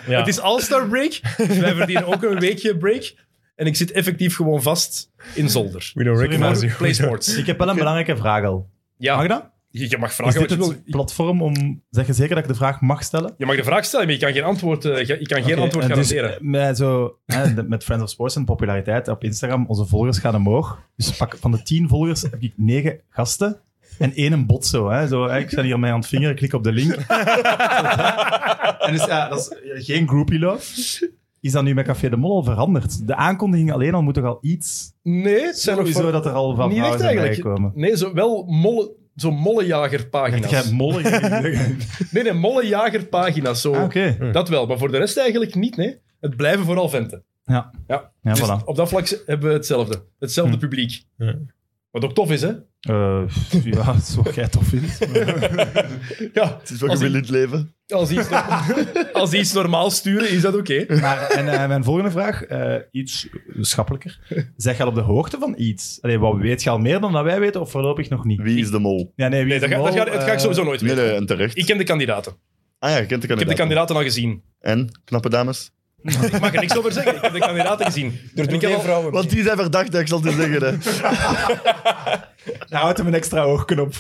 S3: Ja.
S6: Het is All-Star Break. Wij verdienen ook een weekje break. En ik zit effectief gewoon vast in zolder.
S3: We don't
S5: Sorry, maar-
S3: recognize you.
S6: Play sports.
S5: Ik heb wel een belangrijke vraag al.
S6: Ja,
S5: Mag dat?
S6: Je, je mag
S5: Is
S6: vragen
S5: dit
S6: wat je
S5: het
S6: wil.
S5: platform om... Zeg je zeker dat ik de vraag mag stellen?
S6: Je mag de vraag stellen, maar je kan geen antwoord, eh, je je kan geen
S5: Oké,
S6: antwoord
S5: en dus,
S6: garanderen.
S5: eh, met, zo, hè, de- met Friends of Sports en populariteit op Instagram, onze volgers gaan omhoog. Dus pak, van de tien volgers heb ik negen gasten en één een bot zo. Hè. zo hè, ik sta hier mij aan het vingeren, klik op de link. en dus ja, dat is eh, geen groupie love. Is dat nu met Café de Mol al veranderd? De aankondiging alleen al moet toch al iets...
S6: nee, het zijn nog
S5: Sowieso
S6: van-
S5: dat er al van
S6: niet echt
S5: vrouwen zijn
S6: eigenlijk.
S5: bijgekomen.
S6: Nee, zo, wel molle, zo mollenjagerpagina's.
S5: Jij mollig.
S6: Nee, nee, mollenjagerpagina's. Zo.
S5: Ah, Oké.
S6: Dat wel, maar voor de rest eigenlijk niet. Nee. Het blijven vooral venten.
S5: Ja,
S6: Dus
S5: voilà.
S6: op dat vlak hebben we hetzelfde. Hetzelfde
S5: Hm.
S6: publiek.
S3: Ja.
S6: Wat ook tof is, hè?
S5: Eh, ja, dat is wat jij tof vindt.
S6: Ja,
S4: Het is wat je
S6: Als
S4: wil
S6: ik-
S4: in het leven.
S6: als die iets, als die iets normaal sturen, is dat oké.
S5: Maar, en eh, mijn volgende vraag, eh, iets schappelijker. Zeg je al op de hoogte van iets? Allee, wat weet je al meer dan dat wij weten, of voorlopig nog niet?
S4: Wie is de mol?
S5: Ja, nee, wie
S6: Nee,
S5: is
S6: dat
S5: de
S6: ga, dat
S5: mol?
S6: ga, dat ga ik
S5: Eh,
S6: sowieso nooit
S4: Nee,
S6: weten.
S4: nee, en terecht.
S6: Ik ken de kandidaten.
S4: Ah ja, je kent de
S6: Ik heb de
S4: kandidaat.
S6: kandidaten al gezien.
S4: En, knappe dames?
S6: Ik mag er niks over zeggen. Ik heb de kandidaten gezien.
S2: Er
S6: En
S2: doen
S6: ik heb
S2: geen
S6: al-
S2: vrouwen
S4: Want die zijn verdacht, ik zal het je zeggen. Hè.
S5: Daar houdt Eh, nou, hem een extra oogknop.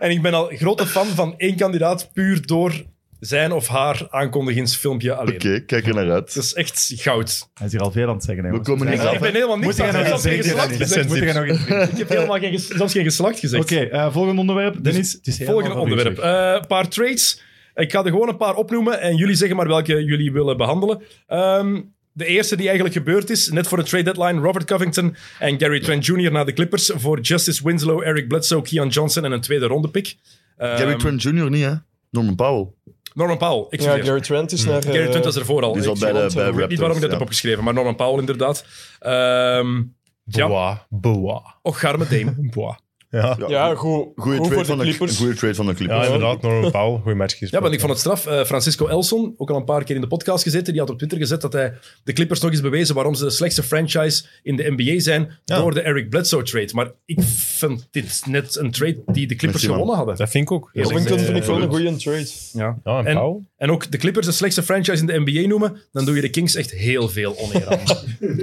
S6: En ik ben al grote fan van één kandidaat puur door zijn of haar aankondigingsfilmpje alleen.
S4: Oké, kijk er naar uit.
S6: Dat is echt goud.
S5: Hij is hier al veel aan het zeggen. hè,
S4: We
S5: jongens.
S4: komen
S5: Dus
S4: niet
S5: hij-
S4: af.
S6: Ik ben helemaal niks
S5: Moet je
S6: aan-
S5: gaan
S6: zelfs geen
S5: zeggen,
S6: geslacht
S5: Dennis.
S6: gezegd.
S5: Moet je nog iets
S6: Ik heb helemaal geen, ges- zelfs geen geslacht gezegd.
S5: Oké, eh, volgende onderwerp. Dennis, het is helemaal
S6: Volgende
S5: van u,
S6: onderwerp.
S5: zeg.
S6: Eh, Een paar traits. Ik ga er gewoon een paar opnoemen en jullie zeggen maar welke jullie willen behandelen. Ehm, de eerste die eigenlijk gebeurd is, net voor de trade deadline, Robert Covington en Gary Trent Jr. naar de Clippers voor Justice Winslow, Eric Bledsoe, Keon Johnson en een tweede ronde pick. Ehm,
S4: Gary Trent Jr. niet, hè? Norman Powell.
S6: Norman Powell. Ik
S2: Ja,
S6: vergeet.
S2: Gary Trent is naar...
S6: Gary
S2: eh,
S6: Trent was ervoor al.
S4: Die is al
S6: Ik-
S4: bij de bij
S2: ik weet niet
S4: Raptors.
S6: niet waarom ik dat
S4: ja.
S6: heb opgeschreven, maar Norman Powell inderdaad. Ehm Ja.
S3: Boa, boa,
S6: och, arme Dame.
S3: boa. Ja,
S2: Ja, goed.
S4: Goeie
S2: goed
S4: trade,
S2: voor
S4: van
S2: de
S4: de,
S2: Clippers.
S4: goeie trade van de
S3: ja
S4: Clippers.
S3: inderdaad, Norman Powell, goeie match gespeeld.
S6: Ja, want ik vond het straf. Eh, Francisco Elson, ook al een paar keer in de podcast gezeten, die had op Twitter gezet dat hij de Clippers nog eens bewezen waarom ze de slechtste franchise in de NBA zijn door de Eric Bledsoe-trade. Maar ik vind dit net een trade die de Clippers
S4: Met die man.
S6: gewonnen hadden.
S3: Dat vind ik ook. Ja,
S2: Covington vind ik wel
S3: eh,
S2: een goede trade.
S6: Ja.
S3: Ja, en
S6: En-
S3: Powell?
S6: En ook de Clippers de slechtste franchise in de NBA noemen, dan doe je de Kings echt heel veel oneer aan.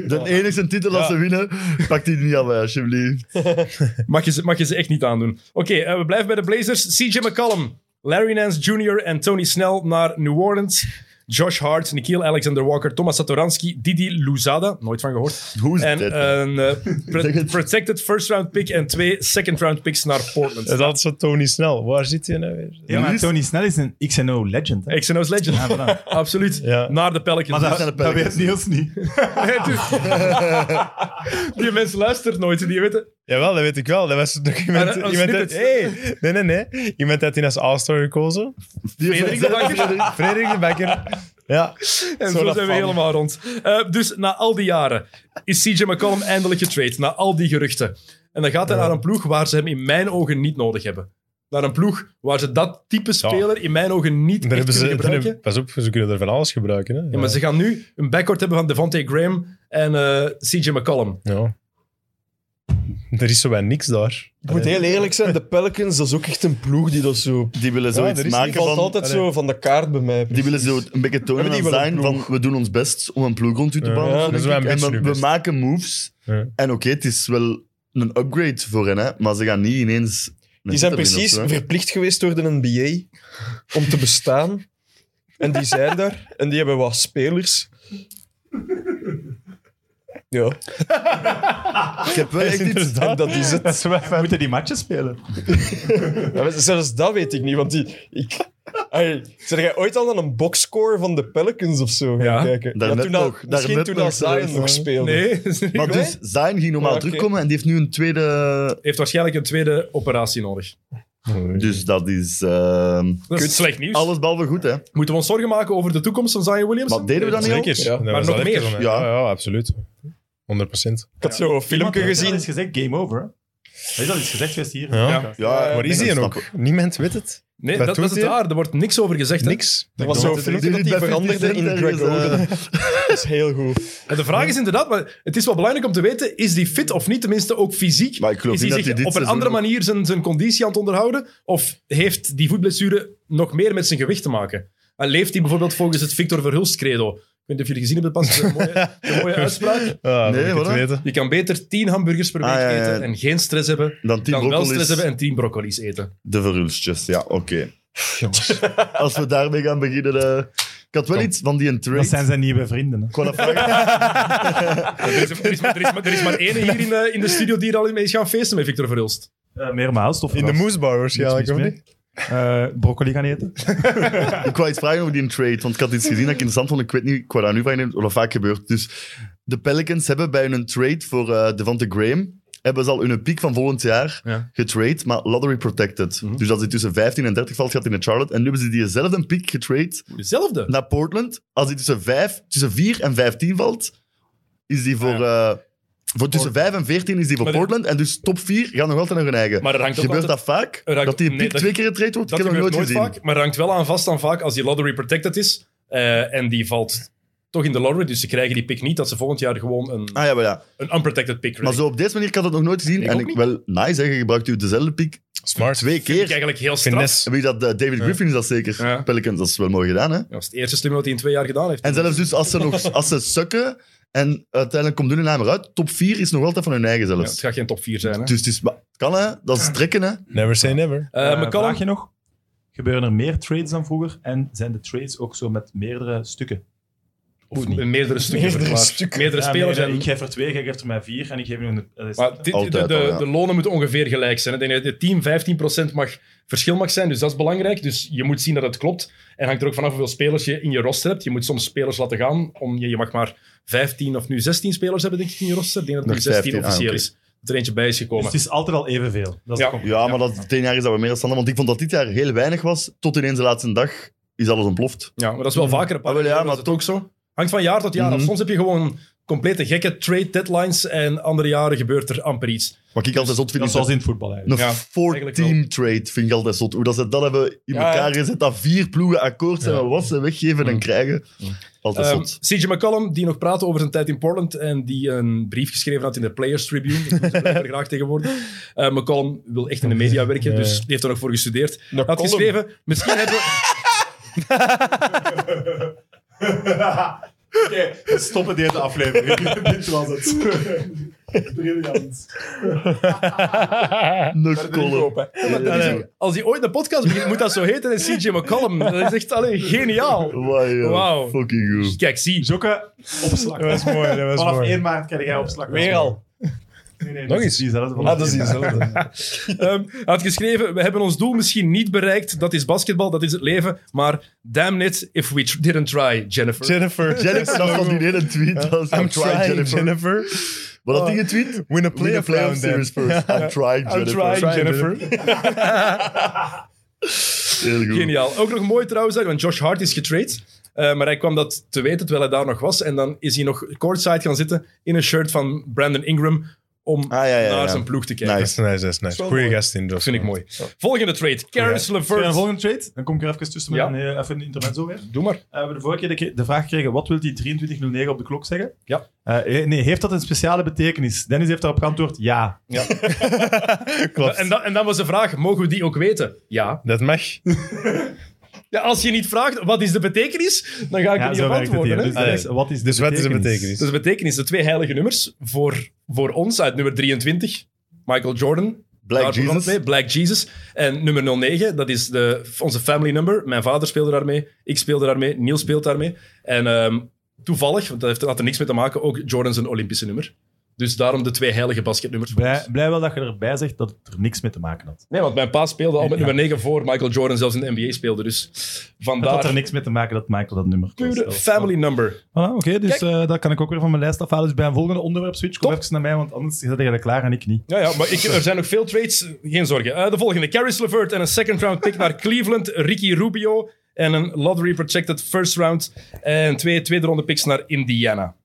S4: De enige titel dat ze winnen, pak die niet aan mij, alsjeblieft.
S6: mag, je ze, mag je ze echt niet aandoen. Oké, eh, we blijven bij de Blazers. CJ McCollum, Larry Nance Jr. en Tony Snell naar New Orleans. Josh Hart, Nikhil Alexander-Walker, Thomas Satoransky, Didi Luzada, nooit van gehoord.
S4: Hoe is dit?
S6: En een eh, pre-
S4: Zeg het.
S6: protected first round pick en twee second round picks naar Portland.
S3: Dat is zo Tony Snel. Waar zit hij nou weer?
S5: Ja, maar Tony Snell is een XNO-legend.
S6: XNO's Legend. Absoluut.
S3: Ja.
S6: Naar de Pelicans. Dus
S4: dat- zijn de
S5: dat
S4: Pelicans.
S5: weet Niels niet.
S6: Nee, dus- die mensen luisteren nooit. Die weten...
S3: Jawel, dat weet ik wel. Dat was toch iemand...
S6: Ah, dat-
S3: iemand
S6: snippet.
S3: uit-
S6: Hey.
S3: Nee, nee, nee. Iemand had hij als All-Star gekozen.
S4: Die
S6: Frederik de Bakker.
S3: Frederik de Bakker. Ja.
S6: En zo,
S3: dat
S6: zijn we
S3: van.
S6: helemaal rond. Eh, dus na al die jaren is CJ McCollum eindelijk getraind. Na al die geruchten. En dan gaat hij naar een ploeg waar ze hem in mijn ogen niet nodig hebben. Naar een ploeg waar ze dat type speler in mijn ogen niet
S3: Daar
S6: echt
S3: hebben
S6: kunnen
S3: ze, daar
S6: gebruiken.
S3: hebben- pas op, ze kunnen er van alles gebruiken. Hè.
S6: Ja, maar ze gaan nu een backcourt hebben van Devontae Graham en eh, CJ McCollum.
S3: Ja. Er is zo bij niks daar.
S2: Ik moet heel eerlijk zijn, de Pelicans, dat is ook echt een ploeg die dat zo...
S4: Die willen zoiets
S3: er is-
S4: maken
S2: Die valt
S4: van...
S2: altijd zo van de kaart bij mij.
S4: Die willen zo een beetje tonen
S2: Hebben die
S4: aan
S2: wel een
S4: zijn
S2: ploeg?
S4: van we doen ons best om een ploeg rond u te
S3: Ja.
S4: bouwen.
S2: Ja,
S4: denk
S3: dat is wel
S4: ik.
S3: een
S4: en
S3: beetje
S4: we,
S3: hun
S4: we
S3: best.
S4: maken moves.
S3: Ja.
S4: En oké, het is wel een upgrade voor hen, hè, maar ze gaan niet ineens... een
S2: Die
S4: titel
S2: zijn precies
S4: winnen of zo, hè.
S2: verplicht geweest door de NBA om te bestaan. En die zijn daar. En die hebben wat spelers. Ja.
S4: Ik heb wel echt iets...
S2: En dat is het.
S5: We moeten die matchen spelen.
S2: Ja, maar zelfs dat weet ik niet, want die... Ik, Ai, zeg jij ooit al naar een boxscore van de Pelicans of zo gaan
S6: Ja.
S2: kijken?
S4: Daarnet
S2: toen al-
S4: nog,
S2: misschien
S4: daarnet
S2: toen
S4: nog
S2: al Zion
S4: zelfs,
S2: nog
S4: hè.
S2: speelde.
S6: Nee, dat is niet
S4: Maar
S6: goed.
S4: dus, Zayn ging normaal
S2: Ja, oké.
S4: terugkomen en die heeft nu een tweede...
S6: heeft waarschijnlijk een tweede operatie nodig.
S4: Dus dat is... ehm,
S6: Dat is slecht nieuws.
S4: alles behalve goed, hè.
S6: Moeten we ons zorgen maken over de toekomst van Zion Williamson?
S4: Maar deden we dat niet al?
S3: Zeker.
S2: Ja.
S3: Dat
S6: Maar
S3: was
S6: nog
S3: al
S6: meer.
S3: even zo,
S4: Ja.
S3: Ja. ja, absoluut. 100 procent.
S2: Ik had zo een filmpje gezien.
S5: is gezegd, game over. Er is al iets gezegd geweest hier.
S3: Ja.
S4: Ja,
S3: Waar is
S4: mensen
S3: hij dan
S4: snappen.
S3: ook? Niemand weet het.
S6: Nee,
S3: Wat
S6: dat, dat is
S3: doet
S6: het
S3: hij?
S6: waar. Er wordt niks over gezegd. hè.
S3: Niks.
S2: Er was zo'n
S4: dacht dat
S2: filmpje dat
S4: die
S2: die
S4: bij 50
S2: veranderde in
S4: cent
S2: Greg
S4: ergens, eh,
S2: Oden. Dat is heel goed.
S6: En de vraag is inderdaad, maar het is wel belangrijk om te weten, is die fit of niet? Tenminste, ook fysiek.
S4: Maar ik geloof
S6: is
S4: niet
S6: hij
S4: dat
S6: zich op
S4: hij dit
S6: een
S4: seizoen
S6: andere
S4: ook-
S6: manier zijn, zijn conditie aan het onderhouden? Of heeft die voetblessure nog meer met zijn gewicht te maken? En leeft hij bijvoorbeeld volgens het Victor Verhulst credo? weet niet of jullie gezien hebben pas. Dat is een mooie, een mooie uitspraak.
S3: Ah,
S4: Nee,
S3: nee, ik het
S4: hoor.
S3: weten.
S6: Je kan beter 10 hamburgers per week
S4: Ah, ja, ja.
S6: eten en geen stress hebben.
S4: Dan tien
S6: dan wel stress
S4: broccolis,
S6: hebben en 10 broccolis eten.
S4: de verhulstjes. Ja, oké. Als we daarmee gaan beginnen... eh, ik had wel iets van die een trade.
S5: Dat zijn zijn nieuwe vrienden. Hè.
S4: Ik wou dat vragen.
S6: Er is, er, is, maar- er, is, maar- er is maar één hier in de, in de studio die er al mee is gaan feesten met Victor Verhulst.
S5: Eh, meermaals, tof.
S3: In de moesbar waarschijnlijk, of niet?
S5: Eh, broccoli gaan eten.
S6: Eh,
S4: Ik wou iets vragen over die trade, want ik had iets gezien dat ik interessant vond. Ik weet niet, ik wou daar nu van nemen, wat dat vaak gebeurt. Dus de Pelicans hebben bij hun trade voor eh Devante Graham, hebben ze al hun piek van volgend jaar
S6: Ja.
S4: getrade, maar lottery protected.
S5: Mhm.
S4: Dus als hij tussen 15 en 30 valt, gaat hij naar Charlotte. En nu hebben ze diezelfde piek getrade
S6: Hetzelfde.
S4: naar Portland. Als hij tussen, 5, tussen 4 en 15 valt, is die voor... eh, voor tussen 5 en 14 is die voor
S6: Ah, Maar de-
S4: Portland. En dus top 4 gaan nog altijd naar hun eigen.
S6: Maar er hangt ook
S4: Gebeurt
S6: altijd-
S4: dat vaak?
S6: er hangt-
S4: dat die
S6: nee,
S4: piek
S6: dat-
S4: twee keer getrade wordt?
S6: Dat
S4: ik heb dat
S6: gebeurt
S4: nooit
S6: nooit
S4: gezien.
S6: vaak, maar er hangt wel aan vast aan vaak als die lottery protected is eh, en die valt toch in de lottery, dus ze krijgen die pick niet, dat ze volgend jaar gewoon een,
S4: Ah ja, maar ja.
S6: een unprotected pick
S4: Maar
S6: krijgen.
S4: zo op deze manier, ik had dat nog nooit gezien.
S6: Ik
S4: en
S6: ook
S4: ik
S6: niet.
S4: wel nice, hè. je gebruikt u dezelfde piek
S3: Smart.
S4: twee
S6: Dat vind ik
S4: keer.
S6: eigenlijk heel straf.
S3: Finesse.
S4: En wie dat, eh, David Griffin is dat zeker.
S6: Ja.
S4: Pelicans, dat is wel mooi gedaan, hè.
S6: Dat is het eerste slimme wat hij in twee jaar gedaan heeft.
S4: En zelfs dus als ze, nog, als ze sukken en uiteindelijk komt hun naam eruit, top 4 is nog altijd van hun eigen
S6: Ja,
S4: zelfs.
S6: het gaat geen top 4 zijn. Hè?
S4: Dus het is, maar het kan, hè. Dat is trekken, hè.
S3: Never say never.
S6: Eh,
S5: Eh,
S6: McCollum,
S5: vraagje nog. Gebeuren er meer trades dan vroeger? En zijn de trades ook zo met meerdere stukken? Of
S6: Goed,
S5: niet?
S6: meerdere stukken.
S3: Meerdere
S6: verklaard.
S3: stukken.
S6: Meerdere
S5: Ja,
S6: spelers.
S5: meerdere.
S6: en-
S5: Ik geef er twee, jij geeft er mij vier en ik geef nu een... dat is-
S6: Maar dit- dit- de,
S4: Altijd
S6: de,
S4: al, ja.
S6: de lonen moeten ongeveer gelijk zijn. Ik denk dat het team 15% mag, verschil mag zijn, dus dat is belangrijk. Dus je moet zien dat het klopt. En hangt er ook vanaf hoeveel spelers je in je roster hebt. Je moet soms spelers laten gaan. Om, je, je mag maar 15 of nu 16 spelers hebben denk ik, in je roster. Ik denk dat het nu
S4: Nog
S6: 16
S4: 15, ah,
S6: officieel
S4: oké.
S6: is. Dat er eentje bij is
S5: dus
S6: gekomen.
S5: het is altijd al evenveel. Dat is
S6: Ja.
S5: het compliment.
S4: Ja, maar dat, tien jaar is dat we meer dan standaard. Want ik vond dat dit jaar heel weinig was. Tot ineens de laatste dag is alles ontploft.
S6: ja, maar dat is wel vaker. Een paar
S4: Ah, wel, ja,
S6: jaar was
S4: maar
S6: het ook zo. Hangt van jaar tot jaar af.
S4: Mhm.
S6: Soms heb je gewoon complete gekke trade deadlines en andere jaren gebeurt er amper iets.
S4: Wat ik altijd zot vind,
S5: Dat is
S4: is dat
S5: zoals in het voetbal eigenlijk.
S4: Een
S6: Ja,
S4: four-team trade vind ik altijd zot. Hoe dat ze dat hebben in
S6: Ja,
S4: elkaar gezet, dat vier ploegen akkoord zijn
S6: Ja.
S4: met wat ze weggeven en krijgen. Altijd
S6: Ehm,
S4: zot.
S6: CJ McCollum, die nog praatte over zijn tijd in Portland en die een brief geschreven had in de Players Tribune. Dat doen ze blijkbaar graag tegenwoordig. Eh, McCollum wil echt in de media werken, dus die heeft er nog voor gestudeerd. Hij had
S2: column.
S6: geschreven, misschien hebben we...
S5: We stoppen deze aflevering. Dit was het. Briljant.
S4: Nukkollen.
S6: Als hij ooit een podcast begint, moet dat zo heten, en CJ McCollum. Dat is echt alleen geniaal. Wauw.
S4: Wauw. Fucking goed.
S6: Kijk, zie.
S5: Jokke, opslag.
S3: Dat was mooi, dat was
S5: Vanaf
S3: mooi.
S5: 1 maart krijg jij opslag.
S2: Weer al.
S5: Nee, nee,
S2: Nog
S5: dat is
S2: eens.
S5: diezelfde van
S2: Ah, dat is
S5: één maart.
S2: diezelfde.
S6: Ehm, hij had geschreven, we hebben ons doel misschien niet bereikt. Dat is basketbal, dat is het leven. Maar damn it, if we tr- didn't try, Jennifer.
S3: Jennifer.
S4: Jennifer, dat was die hele tweet. Dat is, I'm,
S3: I'm
S4: trying, Jennifer.
S3: Jennifer.
S4: Wat had die getweet?
S3: Win
S4: Play a
S3: a playoff
S4: playoff
S3: round
S4: series
S3: then.
S4: first. I'm trying, Jennifer. Heel goed.
S6: Geniaal. Ook nog mooi trouwens, want Josh Hart is getraind. eh, maar hij kwam dat te weten terwijl hij daar nog was. En dan is hij nog courtside gaan zitten in een shirt van Brandon Ingram om
S4: Ah, ja, ja, ja.
S6: naar zijn ploeg te kijken.
S4: Nice.
S3: Dat is nice, dat is nice.
S2: wel
S3: Goeie
S2: mooi.
S3: gast in.
S6: Dat vind ik mooi. Volgende trade. Karis
S5: Zullen we
S6: LeVert.
S5: een volgende trade? Dan kom ik er even tussen met
S6: Ja.
S5: een, eh, even een intermezzo weer. Eh,
S6: Doe maar.
S5: we hebben de vorige keer de, ke- de vraag gekregen, wat wil die 2309 op de klok zeggen?
S6: Ja.
S5: Eh, eh, nee, heeft dat een speciale betekenis? Dennis heeft daarop geantwoord, ja.
S6: En dan, en dan was de vraag, mogen we die ook weten? Ja.
S3: Dat mag.
S6: ja. Als je niet vraagt, wat is de betekenis? Dan ga ik
S5: ja
S6: er niet op antwoorden. hè.
S5: hier. Dus,
S6: Dus,
S5: dat is- wat is de
S3: Dus wat is de
S5: betekenis?
S6: de
S3: betekenis?
S6: betekenis, de twee heilige nummers voor, voor ons uit nummer 23. Michael Jordan,
S4: Black
S6: Daar begon het
S4: Jesus.
S6: mee, Black Jesus. En nummer 09, dat is de, onze family number. Mijn vader speelde daarmee, ik speelde daarmee, Niels speelt daarmee. En ehm, toevallig, want dat heeft, had er niks mee te maken, ook Jordan zijn Olympische nummer. Dus daarom de twee heilige basketnummers. voor
S5: Blij,
S6: ons.
S5: blij wel dat je erbij zegt dat het er niks mee te maken had.
S6: Nee, want mijn pa speelde al met
S5: Ja.
S6: nummer 9 voor Michael Jordan zelfs in de NBA speelde. Dus
S5: Het had er
S6: vandaar
S5: niks mee te maken dat Michael dat nummer koos.
S6: pure
S5: Dat was-
S6: family number.
S5: Voilà, Oké, dus eh, dat kan ik ook weer van mijn lijst afhalen. Dus bij een volgende onderwerp switch, kom
S6: Top.
S5: even naar mij, want anders zit jij er klaar en ik niet.
S6: Ja, ja maar ik, er zijn nog veel trades. Geen zorgen. Eh, de volgende. Caris LeVert en een second round pick naar Cleveland. Ricky Rubio en een lottery projected first round. En twee tweede ronde picks naar Indiana.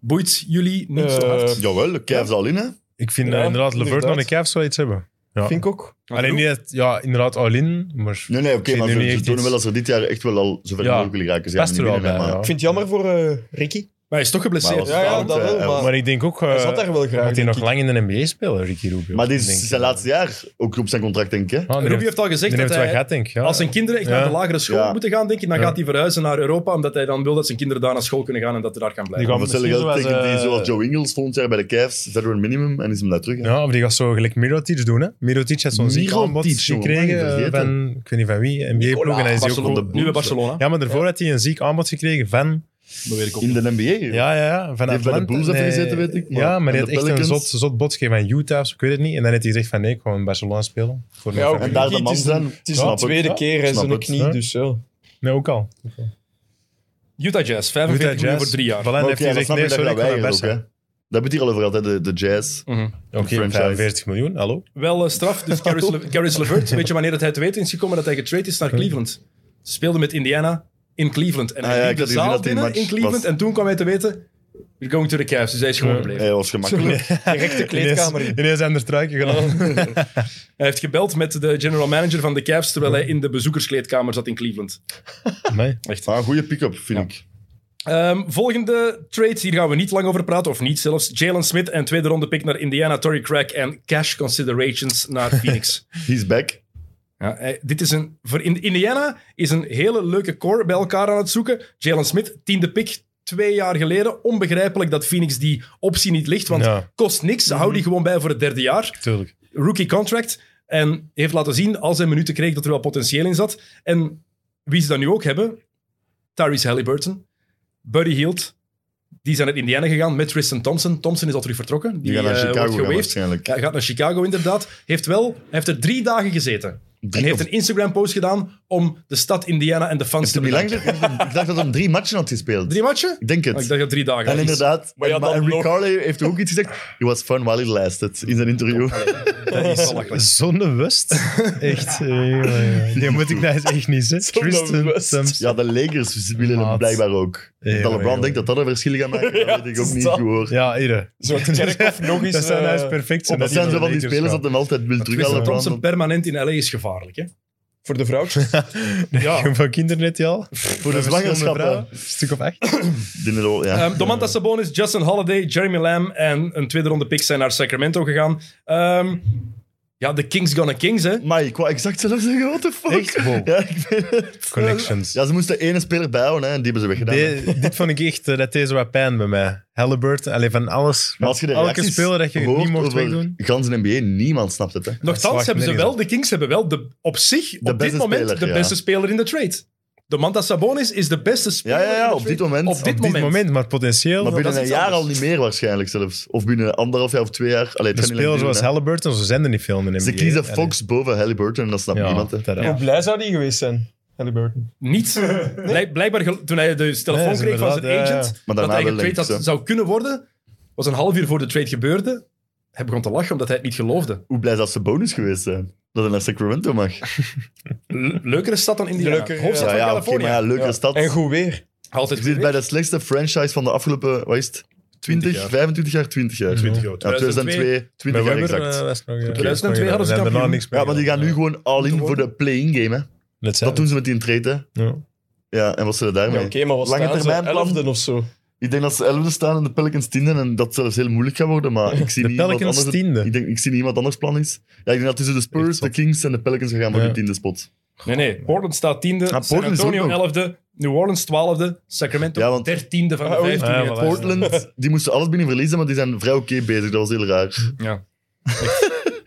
S6: Boeit jullie niet zo hard?
S2: Eh,
S4: Jawel, de Cavs al in, hè.
S3: Ik vind
S2: Ja,
S3: eh, inderdaad Levert
S2: inderdaad.
S3: nog een Cavs wel iets hebben. Ja.
S2: Vind ik ook.
S3: Alleen niet, dat- ja, inderdaad all-in, maar
S4: Nee, nee, oké,
S3: Ik zie
S4: maar
S3: nu
S4: ze,
S3: niet
S4: ze
S3: echt
S4: tonen
S3: iets.
S4: wel dat ze dit jaar echt wel al zover
S3: Ja,
S4: mogelijk willen raken. Ze
S3: past er
S4: gaan
S3: wel
S4: niet
S3: bij.
S4: winnen, hè,
S3: Ja.
S4: maar-
S2: Ik vind het jammer voor eh, Ricky.
S6: hij is toch geblesseerd. Ja,
S4: Maar als-
S6: ja.
S4: want,
S2: dat wel,
S4: eh,
S2: maar,
S3: Maar ik denk ook eh,
S2: hij zat daar wel graag.
S3: dat hij nog
S2: denk ik.
S3: lang in de NBA speelt, Ricky Rubio.
S4: Maar dit
S3: denk
S4: is
S3: ik.
S4: zijn laatste jaar, ook op zijn contract, denk ik. hè?
S3: Ah, die
S6: Rubio
S3: heeft-
S6: heeft al gezegd
S3: die
S6: dat
S3: heeft
S6: hij,
S3: wel gehad, denk ik. Ja.
S6: als zijn kinderen echt
S3: Ja.
S6: naar de lagere school
S4: Ja.
S6: moeten gaan, denk ik, dan
S3: Ja.
S6: gaat hij verhuizen naar Europa, omdat hij dan wil dat zijn kinderen daar naar school kunnen gaan en dat ze daar gaan
S5: Die
S6: blijven.
S5: gaan
S4: Om hetzelfde
S5: misschien
S4: geld
S5: zoals,
S4: tekent hij
S5: eh,
S4: zoals Joe Ingles volgend jaar bij de Cavs, veteran minimum, en is hem daar terug. hè?
S3: Ja, of die gaat zo gelijk Mirotic doen. Hè? Mirotic had zo'n ziek
S4: Mirotic,
S3: aanbod
S4: jongen, mag je
S3: gekregen eh,
S4: vergeten.
S3: van, ik weet niet van wie, NBA-ploeg. En hij is die ook
S4: Barcelona.
S3: goed.
S4: de
S6: nu bij
S4: Bulls,
S6: Barcelona.
S3: Ja, maar daarvoor had hij een ziek aanbod gekregen van...
S5: Dat weet ik ook
S4: In
S5: niet.
S4: de NBA. joh.
S3: Ja, ja, ja. Van
S4: Die heeft bij de
S3: Atlanta.
S4: Bulls even
S3: Nee,
S4: gezeten, weet ik, maar-
S3: ja, maar
S4: en
S3: die
S4: de
S3: had echt een zot,
S4: Pelicans.
S3: zot bod gekregen van Utah of zo, ik weet het niet. En dan heeft hij gezegd van nee, ik ga in Barcelona spelen. Voor mijn
S2: Ja, ook.
S4: En
S3: familie.
S4: daar de
S2: Het
S4: man
S2: is de-
S4: zijn.
S2: Het is
S4: snap
S2: de
S4: ik.
S2: tweede keer en
S4: snap
S2: zijn
S4: het.
S2: knie,
S3: Ja.
S2: dus ja.
S3: Nee, ook al.
S6: Utah Jazz, 45
S3: Utah
S6: miljoen
S3: Jazz.
S6: voor drie jaar.
S3: Voilà,
S4: Maar
S3: en
S4: oké,
S3: heeft hij
S4: dat
S3: gezegd
S4: snap
S3: nee,
S4: ik dat je
S3: sorry,
S4: dat
S3: ik ga naar
S4: weigert ook, hè.
S3: Barca.
S4: Dat betaalt al over altijd de, de jazz.
S6: Mhm.
S3: Oké,
S4: franchise.
S3: 45 miljoen, hallo.
S6: Wel eh, straf, dus Caris, Le Caris LeVert, weet je wanneer dat hij te weten is gekomen dat hij getraind is naar Cleveland? Ze speelden met Indiana in Cleveland. En hij
S4: Ah ja,
S6: liep
S4: ik
S6: de
S4: had gezien
S6: zaal
S4: dat die
S6: binnen
S4: match
S6: in Cleveland
S4: was.
S6: en toen kwam hij te weten, we're going to the Cavs, dus hij is gewoon
S3: Ja.
S6: gebleven.
S4: Hij was gemakkelijk.
S2: Direct de kleedkamer
S3: Ineens-
S2: in.
S3: Ineens aan de struiken gedaan.
S6: Hij heeft gebeld met de general manager van de Cavs terwijl hij in de bezoekerskleedkamer zat in Cleveland.
S3: Amai.
S4: Maar een goede pick-up, vind ik.
S6: Ehm, volgende trade, hier gaan we niet lang over praten, of niet zelfs. Jalen Smith en tweede ronde pick naar Indiana, Torrey Craig en cash considerations naar Phoenix.
S4: He's back.
S6: ja, eh, dit is een, voor in- Indiana is een hele leuke core bij elkaar aan het zoeken. Jalen Smith, tiende pick, twee jaar geleden. Onbegrijpelijk dat Phoenix die optie niet ligt, want
S3: Ja.
S6: kost niks. Hou
S4: Mhm.
S6: die gewoon bij voor het derde jaar.
S3: Tuurlijk.
S6: Rookie contract. En heeft laten zien, als hij minuten kreeg, dat er wel potentieel in zat. En wie ze dan nu ook hebben, Tyrese Halliburton, Buddy Hield, die zijn naar Indiana gegaan met Tristan Thompson. Thompson is al terug vertrokken.
S4: Die gaat naar
S6: eh, wordt
S4: Chicago gaan,
S6: gewaved.
S4: waarschijnlijk.
S6: Hij gaat naar Chicago, inderdaad. Heeft wel, hij heeft er drie dagen gezeten. en
S4: Drie
S6: heeft
S4: of-
S6: een Instagram-post gedaan om de stad Indiana en de fans
S4: Is
S6: te
S4: het niet lang?
S6: bedanken.
S4: Ik dacht dat hij drie matchen had gespeeld.
S6: Drie matchen?
S4: Ik denk
S6: Oh, ik
S4: het.
S6: dacht dat drie dagen
S4: En
S6: was.
S4: inderdaad,
S2: Maar ja,
S4: en- maar-
S2: dan
S4: en Rick
S2: nog-
S4: Carley heeft ook iets gezegd. It was fun while it lasted, in zijn interview.
S6: Dat is belachelijk.
S3: Zonnewust. Echt. eh, jongen, jongen. Die moet ik nou eens echt niet zeggen. Tristan
S2: Zonnewust.
S3: Thompson.
S4: Ja, de Lakers willen hem
S3: Maat.
S4: blijkbaar ook.
S3: Ja,
S4: dat LeBron
S3: ja.
S4: denkt dat dat een verschil gaat maken,
S2: Ja,
S4: dat weet ik ook
S2: dat
S4: niet
S2: is
S4: goed hoor.
S3: Ja, iedereen.
S2: Zo'n kerkhof nog eens...
S3: Dat zou nou
S2: eh,
S3: eens perfect zijn.
S4: Dat zijn
S3: die
S4: zo van die
S3: Lakers
S4: spelers
S3: gaan.
S4: dat hem altijd wil
S6: Tristan
S4: terughalen.
S6: Thompson
S4: LeBron.
S6: permanent in LA is gevaarlijk. Hè?
S2: Voor de vrouwtjes.
S3: Ja. Van kindernet, ja.
S4: Voor de zwangerschappen.
S3: Een stuk of echt.
S4: Die net al- ja.
S6: Ehm, Domantas Sabonis, Justin Holiday, Jeremy Lamb en een tweede ronde pick zijn naar Sacramento gegaan. Ehm, ja, de Kings gonna Kings, hè.
S4: Maar ik wou exact zelfs zeggen, what the fuck?
S3: Echt? Wow.
S4: Ja, ik weet het.
S3: Connections.
S4: Ja, ze moesten ene speler bijhouden hè, en die hebben ze weggedaan. hè.
S3: De- dit vond ik echt, eh, dat deed zo wat pijn bij mij. Halliburton, alleen van alles.
S4: Maar als je de
S3: Elke
S4: reacties
S3: speler dat je
S4: hoort
S3: niet mocht
S4: over
S3: wegdoen.
S4: Gans in NBA, niemand snapt het. Hè.
S6: Nochtans
S3: slaagt
S6: hebben ze
S3: nergens
S6: wel, de Kings hebben wel de, op zich, op dit
S4: beste
S6: moment,
S4: speler,
S6: de
S4: ja.
S6: beste speler in de trade. Domantas Sabonis is de beste speler
S4: Ja, ja,
S6: in
S4: ja,
S6: de
S4: op
S6: trade.
S4: dit moment.
S6: Op dit
S3: Op dit
S6: moment.
S3: moment, maar potentieel.
S4: maar
S3: dat
S4: binnen
S3: is
S4: een
S3: iets
S4: jaar
S3: anders.
S4: al niet meer waarschijnlijk zelfs. Of binnen anderhalf jaar of twee jaar. Allee, het
S3: De
S4: gaat niet
S3: spelers
S4: lang
S3: zoals
S4: duren,
S3: Halliburton, ze zijn er niet veel in de NBA.
S4: hè. Ze kiezen
S3: Allee.
S4: Fox boven Halliburton en dat snapt
S3: Ja,
S4: niemand. Hè.
S3: tada.
S2: Hoe blij zou die geweest zijn, Halliburton?
S6: Niet. Blijk- Blijkbaar, gel- toen hij de telefoon
S3: Nee, is
S6: kreeg van zijn
S3: inderdaad, ja,
S6: agent, dat
S4: Maar daarna
S6: hij
S4: wel
S6: getrade
S4: links,
S6: dat
S4: hè.
S6: zou kunnen worden, was een half uur voor de trade gebeurde. Hij begon te lachen omdat hij het niet geloofde.
S4: Hoe blij zou ze bonus geweest zijn? Dat hij naar Sacramento mag.
S6: Le- leukere stad dan Indiana.
S2: Leuker, ja.
S6: Hoofdstad van
S4: Ja, ja, oké,
S6: Californië.
S4: maar ja, leukere
S2: Ja.
S4: stad.
S2: En goed weer.
S6: Altijd
S4: Je zit
S6: goed
S4: bij
S6: weer.
S4: de slechtste franchise van de afgelopen, wat is het? 20,
S6: 20 jaar.
S4: 25 jaar, 20 jaar.
S1: 20
S4: Ja,
S1: jaar.
S4: 2002, 20
S3: Bij
S4: jaar
S3: Weber,
S4: exact.
S3: eh, was het nog, eh,
S6: 2002 hadden ze
S3: we hebben
S6: kampioen.
S3: daar niks mee
S4: Ja, maar die gaan
S3: gedaan.
S4: nu gewoon all-in voor de play-in game, hè.
S3: Dat zijn
S4: Dat doen ze met die trade, hè.
S3: Ja.
S4: Ja, en wat ze
S2: Ja,
S4: daarmee?
S2: Oké, maar was
S4: Lange
S2: Lange termijn
S4: termijn plan?
S2: elfde of zo?
S4: Ik denk dat ze 11 staan en de Pelicans 10 en dat zelfs heel moeilijk gaat worden, maar ik zie
S3: De
S4: niet iemand
S3: Pelicans
S4: anders...
S3: tiende.
S4: Ik, denk, ik zie niet iemand anders plan is. Ja, ik denk dat tussen de Spurs,
S3: Echt
S4: de
S3: zot.
S4: Kings en de Pelicans gaan voor
S3: Ja.
S4: die tiende spot.
S6: Nee, nee. Portland staat tiende,
S4: Ah,
S6: San
S4: Portland is
S6: Antonio
S4: ook nog.
S6: elfde, New Orleans twaalfde, Sacramento
S4: Ja, want-
S6: dertiende van de
S2: Ah, oei.
S6: vijftien.
S3: Ja,
S6: in het-
S3: voilà.
S4: Portland, die moesten alles binnen verliezen, maar die zijn vrij oké bezig. Dat was heel raar.
S6: Ja.
S4: tweede-
S6: Anthony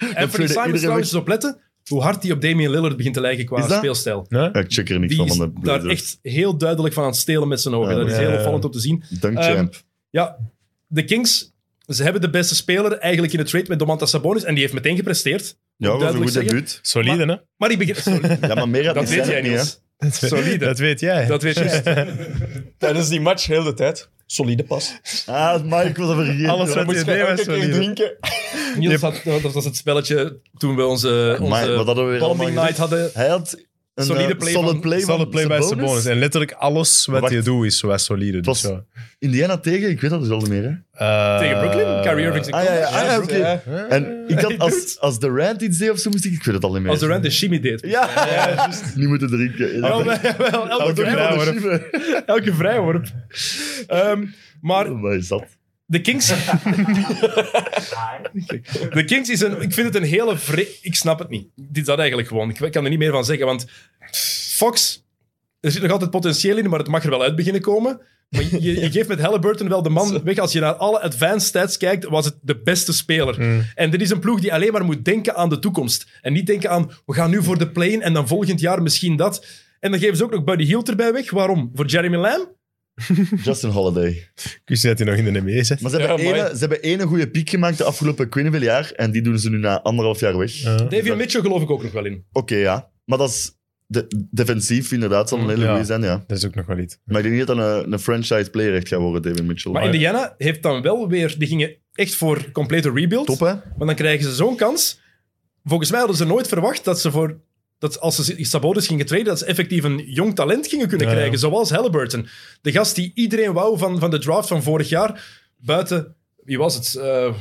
S6: Simons
S4: iedereen
S6: trouwens, eens op letten hoe hard hij op Damian Lillard begint te lijken qua
S4: Is dat?
S6: speelstijl.
S3: Ja?
S4: Ja, ik check er niks
S6: Die
S4: van
S6: is
S4: van de
S6: daar
S4: Blazers.
S6: echt heel duidelijk van aan het stelen met zijn ogen.
S4: Ja,
S6: dat is
S3: ja,
S6: heel
S3: ja.
S6: opvallend om te zien.
S4: Dank,
S6: Ehm,
S4: champ.
S6: Ja, de Kings, ze hebben de beste speler eigenlijk in de trade met Domantas Sabonis. En die heeft meteen gepresteerd.
S4: Ja, dat was een
S6: duidelijk
S4: goed
S6: zeggen.
S4: debuut.
S3: Solide, hè?
S6: Maar die begint...
S4: Ja, maar meer had
S6: Dat
S4: niet
S6: weet
S4: zijn,
S6: jij
S4: ook niet, hè.
S6: niet, Solide.
S3: Dat weet jij.
S6: Dat weet je.
S2: Tijdens die match, heel de tijd. Solide pas.
S4: Ah, Mike was er vergeten.
S3: Alles
S4: Ja,
S3: wat
S2: Moest
S3: je
S2: je
S3: deed was
S2: elke keer
S3: solide.
S2: drinken.
S6: Niels had, dat was het spelletje toen we onze,
S4: Amai,
S6: onze
S4: wat hadden we weer allemaal
S6: Bonding Night
S4: gezegd?
S6: hadden.
S4: Hij had Een,
S6: Solide
S4: eh,
S6: play
S4: solid
S6: van-
S4: play,
S3: Solid
S4: van
S3: play bij
S4: Sabonis.
S3: Sabonis. En letterlijk alles wat
S4: Wacht.
S3: je doet is zo wat solide. Dus
S4: was-
S3: ja.
S4: Indiana tegen, ik weet dat dus al niet meer. Hè?
S3: Eh,
S6: Tegen Brooklyn? Kyrie Irving zijn
S4: Ah ja, ja,
S6: coach.
S4: ah, ja, oké.
S3: Eh,
S4: En ik had, als, als de Rand iets deed of zo, moest ik, ik weet het al niet meer.
S6: Als Durant de shimmy deed.
S4: Ja, niet moeten drinken.
S6: Wel, wel, wel, elke,
S4: Elke
S6: vrij,
S4: vrouw,
S6: elke,
S4: hoor.
S6: vrijworp. Ehm, maar
S4: Wat is dat?
S6: de Kings... de Kings is een... Ik vind het een hele... vre- Ik snap het niet. Dit is dat eigenlijk gewoon. Ik kan er niet meer van zeggen, want... Fox... Er zit nog altijd potentieel in, maar het mag er wel uit beginnen komen. Maar je, je geeft met Halliburton wel de man weg. Als je naar alle advanced stats kijkt, was het de beste speler. En dit is een ploeg die alleen maar moet denken aan de toekomst. En niet denken aan, we gaan nu voor de play en dan volgend jaar misschien dat. En dan geven ze ook nog Buddy Hield erbij weg. Waarom? Voor Jeremy Lamb?
S4: Justin Holiday.
S3: Ik wist niet dat hij nog in de NBA zit.
S4: Maar ze hebben,
S2: Ja,
S4: ene,
S2: amai.
S4: ze hebben ene goede piek gemaakt de afgelopen ik weet niet hoeveel jaar. En die doen ze nu na anderhalf jaar weg.
S3: Eh,
S6: Davion Mitchell geloof ik ook nog wel in.
S4: Oké, ja. Maar dat is de, defensief inderdaad. Zal een hele
S3: Ja.
S4: goede zijn, ja.
S3: dat is ook nog wel iets.
S4: Maar ik denk niet dat dat een, een franchise player echt gaat worden, David Mitchell.
S6: Maar Indiana heeft dan wel weer... Die gingen echt voor complete rebuild.
S4: Top, hè?
S6: Maar dan krijgen ze zo'n kans. Volgens mij hadden ze nooit verwacht dat ze voor... Dat als ze Sabonis gingen traden, dat ze effectief een jong talent gingen kunnen
S3: Ja, ja.
S6: krijgen. Zoals Halliburton. De gast die iedereen wou van, van de draft van vorig jaar. Buiten... Wie was het? Eh,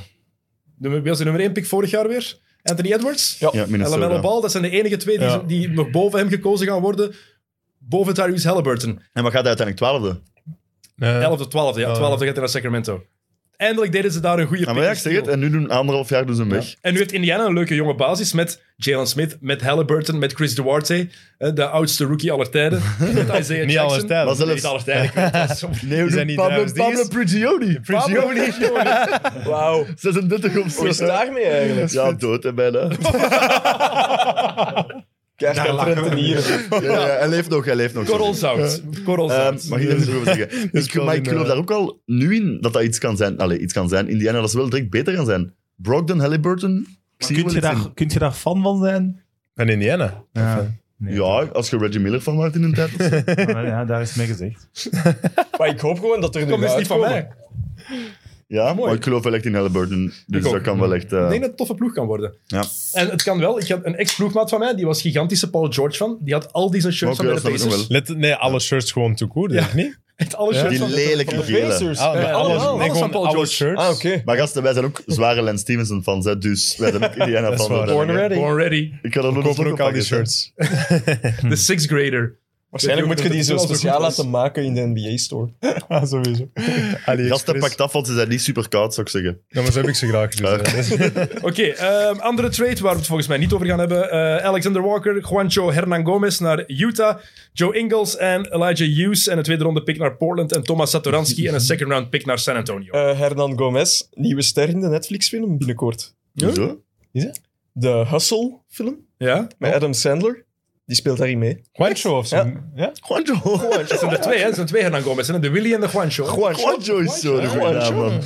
S6: nummer- wie was de nummer 1 pick vorig jaar weer? Anthony Edwards?
S4: Ja,
S6: En LaMelo
S4: Minnesota.
S6: Ball, dat zijn de enige twee die,
S3: Ja.
S6: die nog boven hem gekozen gaan worden. Boven Tyrese Halliburton.
S4: En wat gaat hij uiteindelijk twaalfde?
S3: Eh,
S6: 11 of 12, ja.
S3: Ja.
S6: 12 gaat hij naar Sacramento. Eindelijk deden ze daar een goede
S4: En Ah, maar ja, ik zeg het. En nu doen anderhalf jaar doen ze hem weg.
S6: En nu heeft Indiana een leuke jonge basis met Jalen Smith, met Halliburton, met Chris Duarte, eh, de oudste rookie aller tijden. Met Isaiah Jackson.
S3: Niet alles tijd.
S4: Maar
S3: Dat
S4: zelfs-
S6: Niet aller tijden. ik weet het, dat is zo-
S4: Nee, hoe
S3: Die
S4: doen
S3: zijn niet
S4: Pablo,
S3: trouwens, die
S4: Pablo
S3: is-
S4: Prigioni.
S6: Pablo niet, jongen.
S2: Wauw.
S4: 36 of
S2: Hoe is
S4: zo.
S2: het daarmee eigenlijk?
S4: Ja, dood hè, bijna.
S2: Kijk,
S5: Daar lachen we
S2: hier.
S4: Ja, ja, hij leeft nog, hij leeft nog.
S6: Korrelzout. Korrelzout.
S4: Ehm, mag ik daar iets over zeggen?
S3: is
S4: ik,
S3: wel
S4: maar ik
S3: in,
S4: geloof
S3: eh,
S4: daar ook al nu in dat dat iets kan zijn. Allee, iets kan zijn. Indiana, dat ze wel direct beter gaan zijn. Brogdon, Halliburton. Ik zie
S5: Kunt
S4: wel
S5: je,
S4: iets
S5: daar, kunt je daar fan van zijn?
S3: Van Indiana.
S5: Ja, Ah,
S4: in. Ja, als je Reggie Miller van maakt in een tijd.
S5: ja daar is het mee gezegd.
S2: Maar ik hoop gewoon dat er nu
S6: Kom, dat is niet van mij.
S2: uitkomen.
S6: Ik
S4: Ja,
S6: Mooi.
S4: maar ik geloof wel echt in Halliburton. Dus
S6: ook.
S4: dat kan wel echt... eh,
S6: denk dat het een toffe ploeg kan worden.
S4: Ja.
S6: En het kan wel. Ik had een ex-ploegmaat van mij, die was gigantische Paul George van. Die had al die zijn shirts
S4: Maar
S6: van
S4: oké,
S6: bij de
S4: dat snap ik
S6: Pacers.
S4: nog
S3: Let, nee, alle shirts gewoon te koer, denk ik niet?
S6: Echt alle shirts
S4: Die
S6: van de-
S4: lelijke
S2: De
S4: gele.
S2: Pacers.
S3: Ah,
S2: Eh,
S3: maar alles,
S2: allemaal.
S3: nee,
S6: alles
S3: gewoon
S6: van Paul
S3: alle
S6: George.
S3: shirts.
S2: Ah, oké.
S4: Maar gasten, wij zijn ook zware Lance Stevenson fans, hè, dus wij zijn ook Indiana
S3: Dat is
S4: fans.
S3: waar.
S2: Born ready.
S6: Born ready.
S4: Ik kan er nog
S3: We
S4: eens
S3: kopen ook al die
S4: oppakken, hè.
S3: shirts.
S6: De sixth grader.
S2: Waarschijnlijk moet je die zo
S6: Dat is wel zo
S2: speciaal
S6: goed als-
S2: laten maken in de NBA-store.
S3: Ah, sowieso.
S4: Gasten,
S3: AliExpress.
S4: pakt af, want ze zijn niet super koud, zou ik zeggen.
S3: Ja, maar zo heb ik ze graag. Dus, eh, dat is-
S6: Oké, ehm, andere trade waar we het volgens mij niet over gaan hebben. Eh, Alexander Walker, Juancho Hernan Gomez naar Utah. Joe Ingles en Elijah Hughes. En een tweede ronde pick naar Portland. En Thomas Satoransky en een second round pick naar San Antonio.
S2: Eh, Hernan Gomez, nieuwe ster in de Netflix-film binnenkort.
S6: Ja?
S4: Hoezo?
S2: De Hustle-film
S6: ja?
S2: met Adam Sandler. Die speelt daarin mee.
S3: Juancho of zo.
S2: Ja.
S3: Ja?
S4: Juanjo.
S6: Dat zijn er twee, hè? Dat zijn twee Hernan Gomez. Hè? De Willy en de Juancho. Oké,
S4: Juanjo is zo de goede naam, man.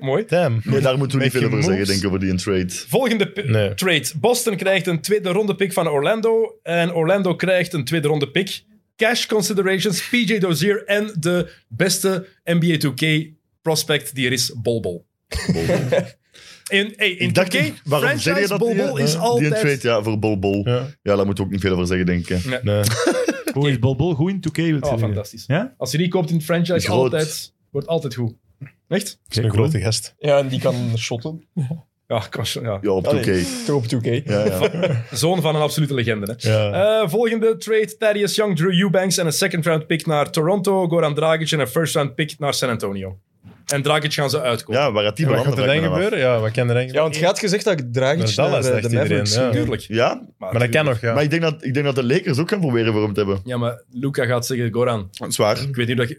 S6: mooi.
S3: Damn.
S4: Nee, daar moeten we niet veel
S3: Making
S4: over zeggen,
S3: moves.
S4: denk ik, over die in trade.
S6: Volgende pi-
S3: Nee.
S6: trade. Boston krijgt een tweede ronde pick van Orlando. En Orlando krijgt een tweede ronde pick. Cash considerations, PJ Dozier en de beste NBA 2K prospect die er is, Bol Bol. In, hey, in
S4: Ik dacht,
S6: 2K,
S4: ik- waarom zeg je
S6: franchise
S4: dat
S6: Bol
S4: die- eh,
S6: Bol is
S4: Die in
S6: altijd...
S4: trade, ja, voor Bol Bol. Ja.
S3: Ja.
S4: daar moeten we ook niet veel over zeggen, denk ik. hè.
S3: Nee.
S5: Hoe is Bol Bol goed in 2K? wil je
S6: Oh,
S5: zeggen?
S6: fantastisch.
S5: Ja?
S6: Als je die koopt in het franchise,
S4: Groot.
S6: altijd, wordt altijd goed. Echt?
S3: Dat is een grote gast.
S2: Ja, en die kan shotten.
S6: Ja, kost- ja.
S4: Ja, op
S2: Allee.
S4: 2K.
S2: Toch op 2K.
S4: Ja, ja.
S6: Zoon van een absolute legende. Hè?
S3: Ja.
S6: Eh, volgende trade: Thaddeus Young, Drew Eubanks en een second round pick naar Toronto. Goran Dragic en een first round pick naar San Antonio. En Dragic gaan ze uitkomen.
S4: ja, waar gaat die
S3: wat
S4: belanden?
S3: kan er
S4: vraag ik
S3: dan
S4: me af.
S3: gebeuren? Ja, wat kan er dan
S2: Ja,
S3: gebeuren?
S2: want je had gezegd dat ik Dragic
S3: Maar
S2: naar
S3: Dallas,
S2: eh, de
S3: dacht iedereen,
S2: Mavericks
S3: ja.
S2: ging.
S6: Tuurlijk.
S4: Ja,
S3: Maar dat kan nog, ja.
S4: maar ik denk, dat, ik denk dat de Lakers ook gaan proberen voor hem te hebben.
S6: Ja, maar Luca gaat zeggen: Goran,
S4: Dat is waar.
S6: ik weet niet dat je.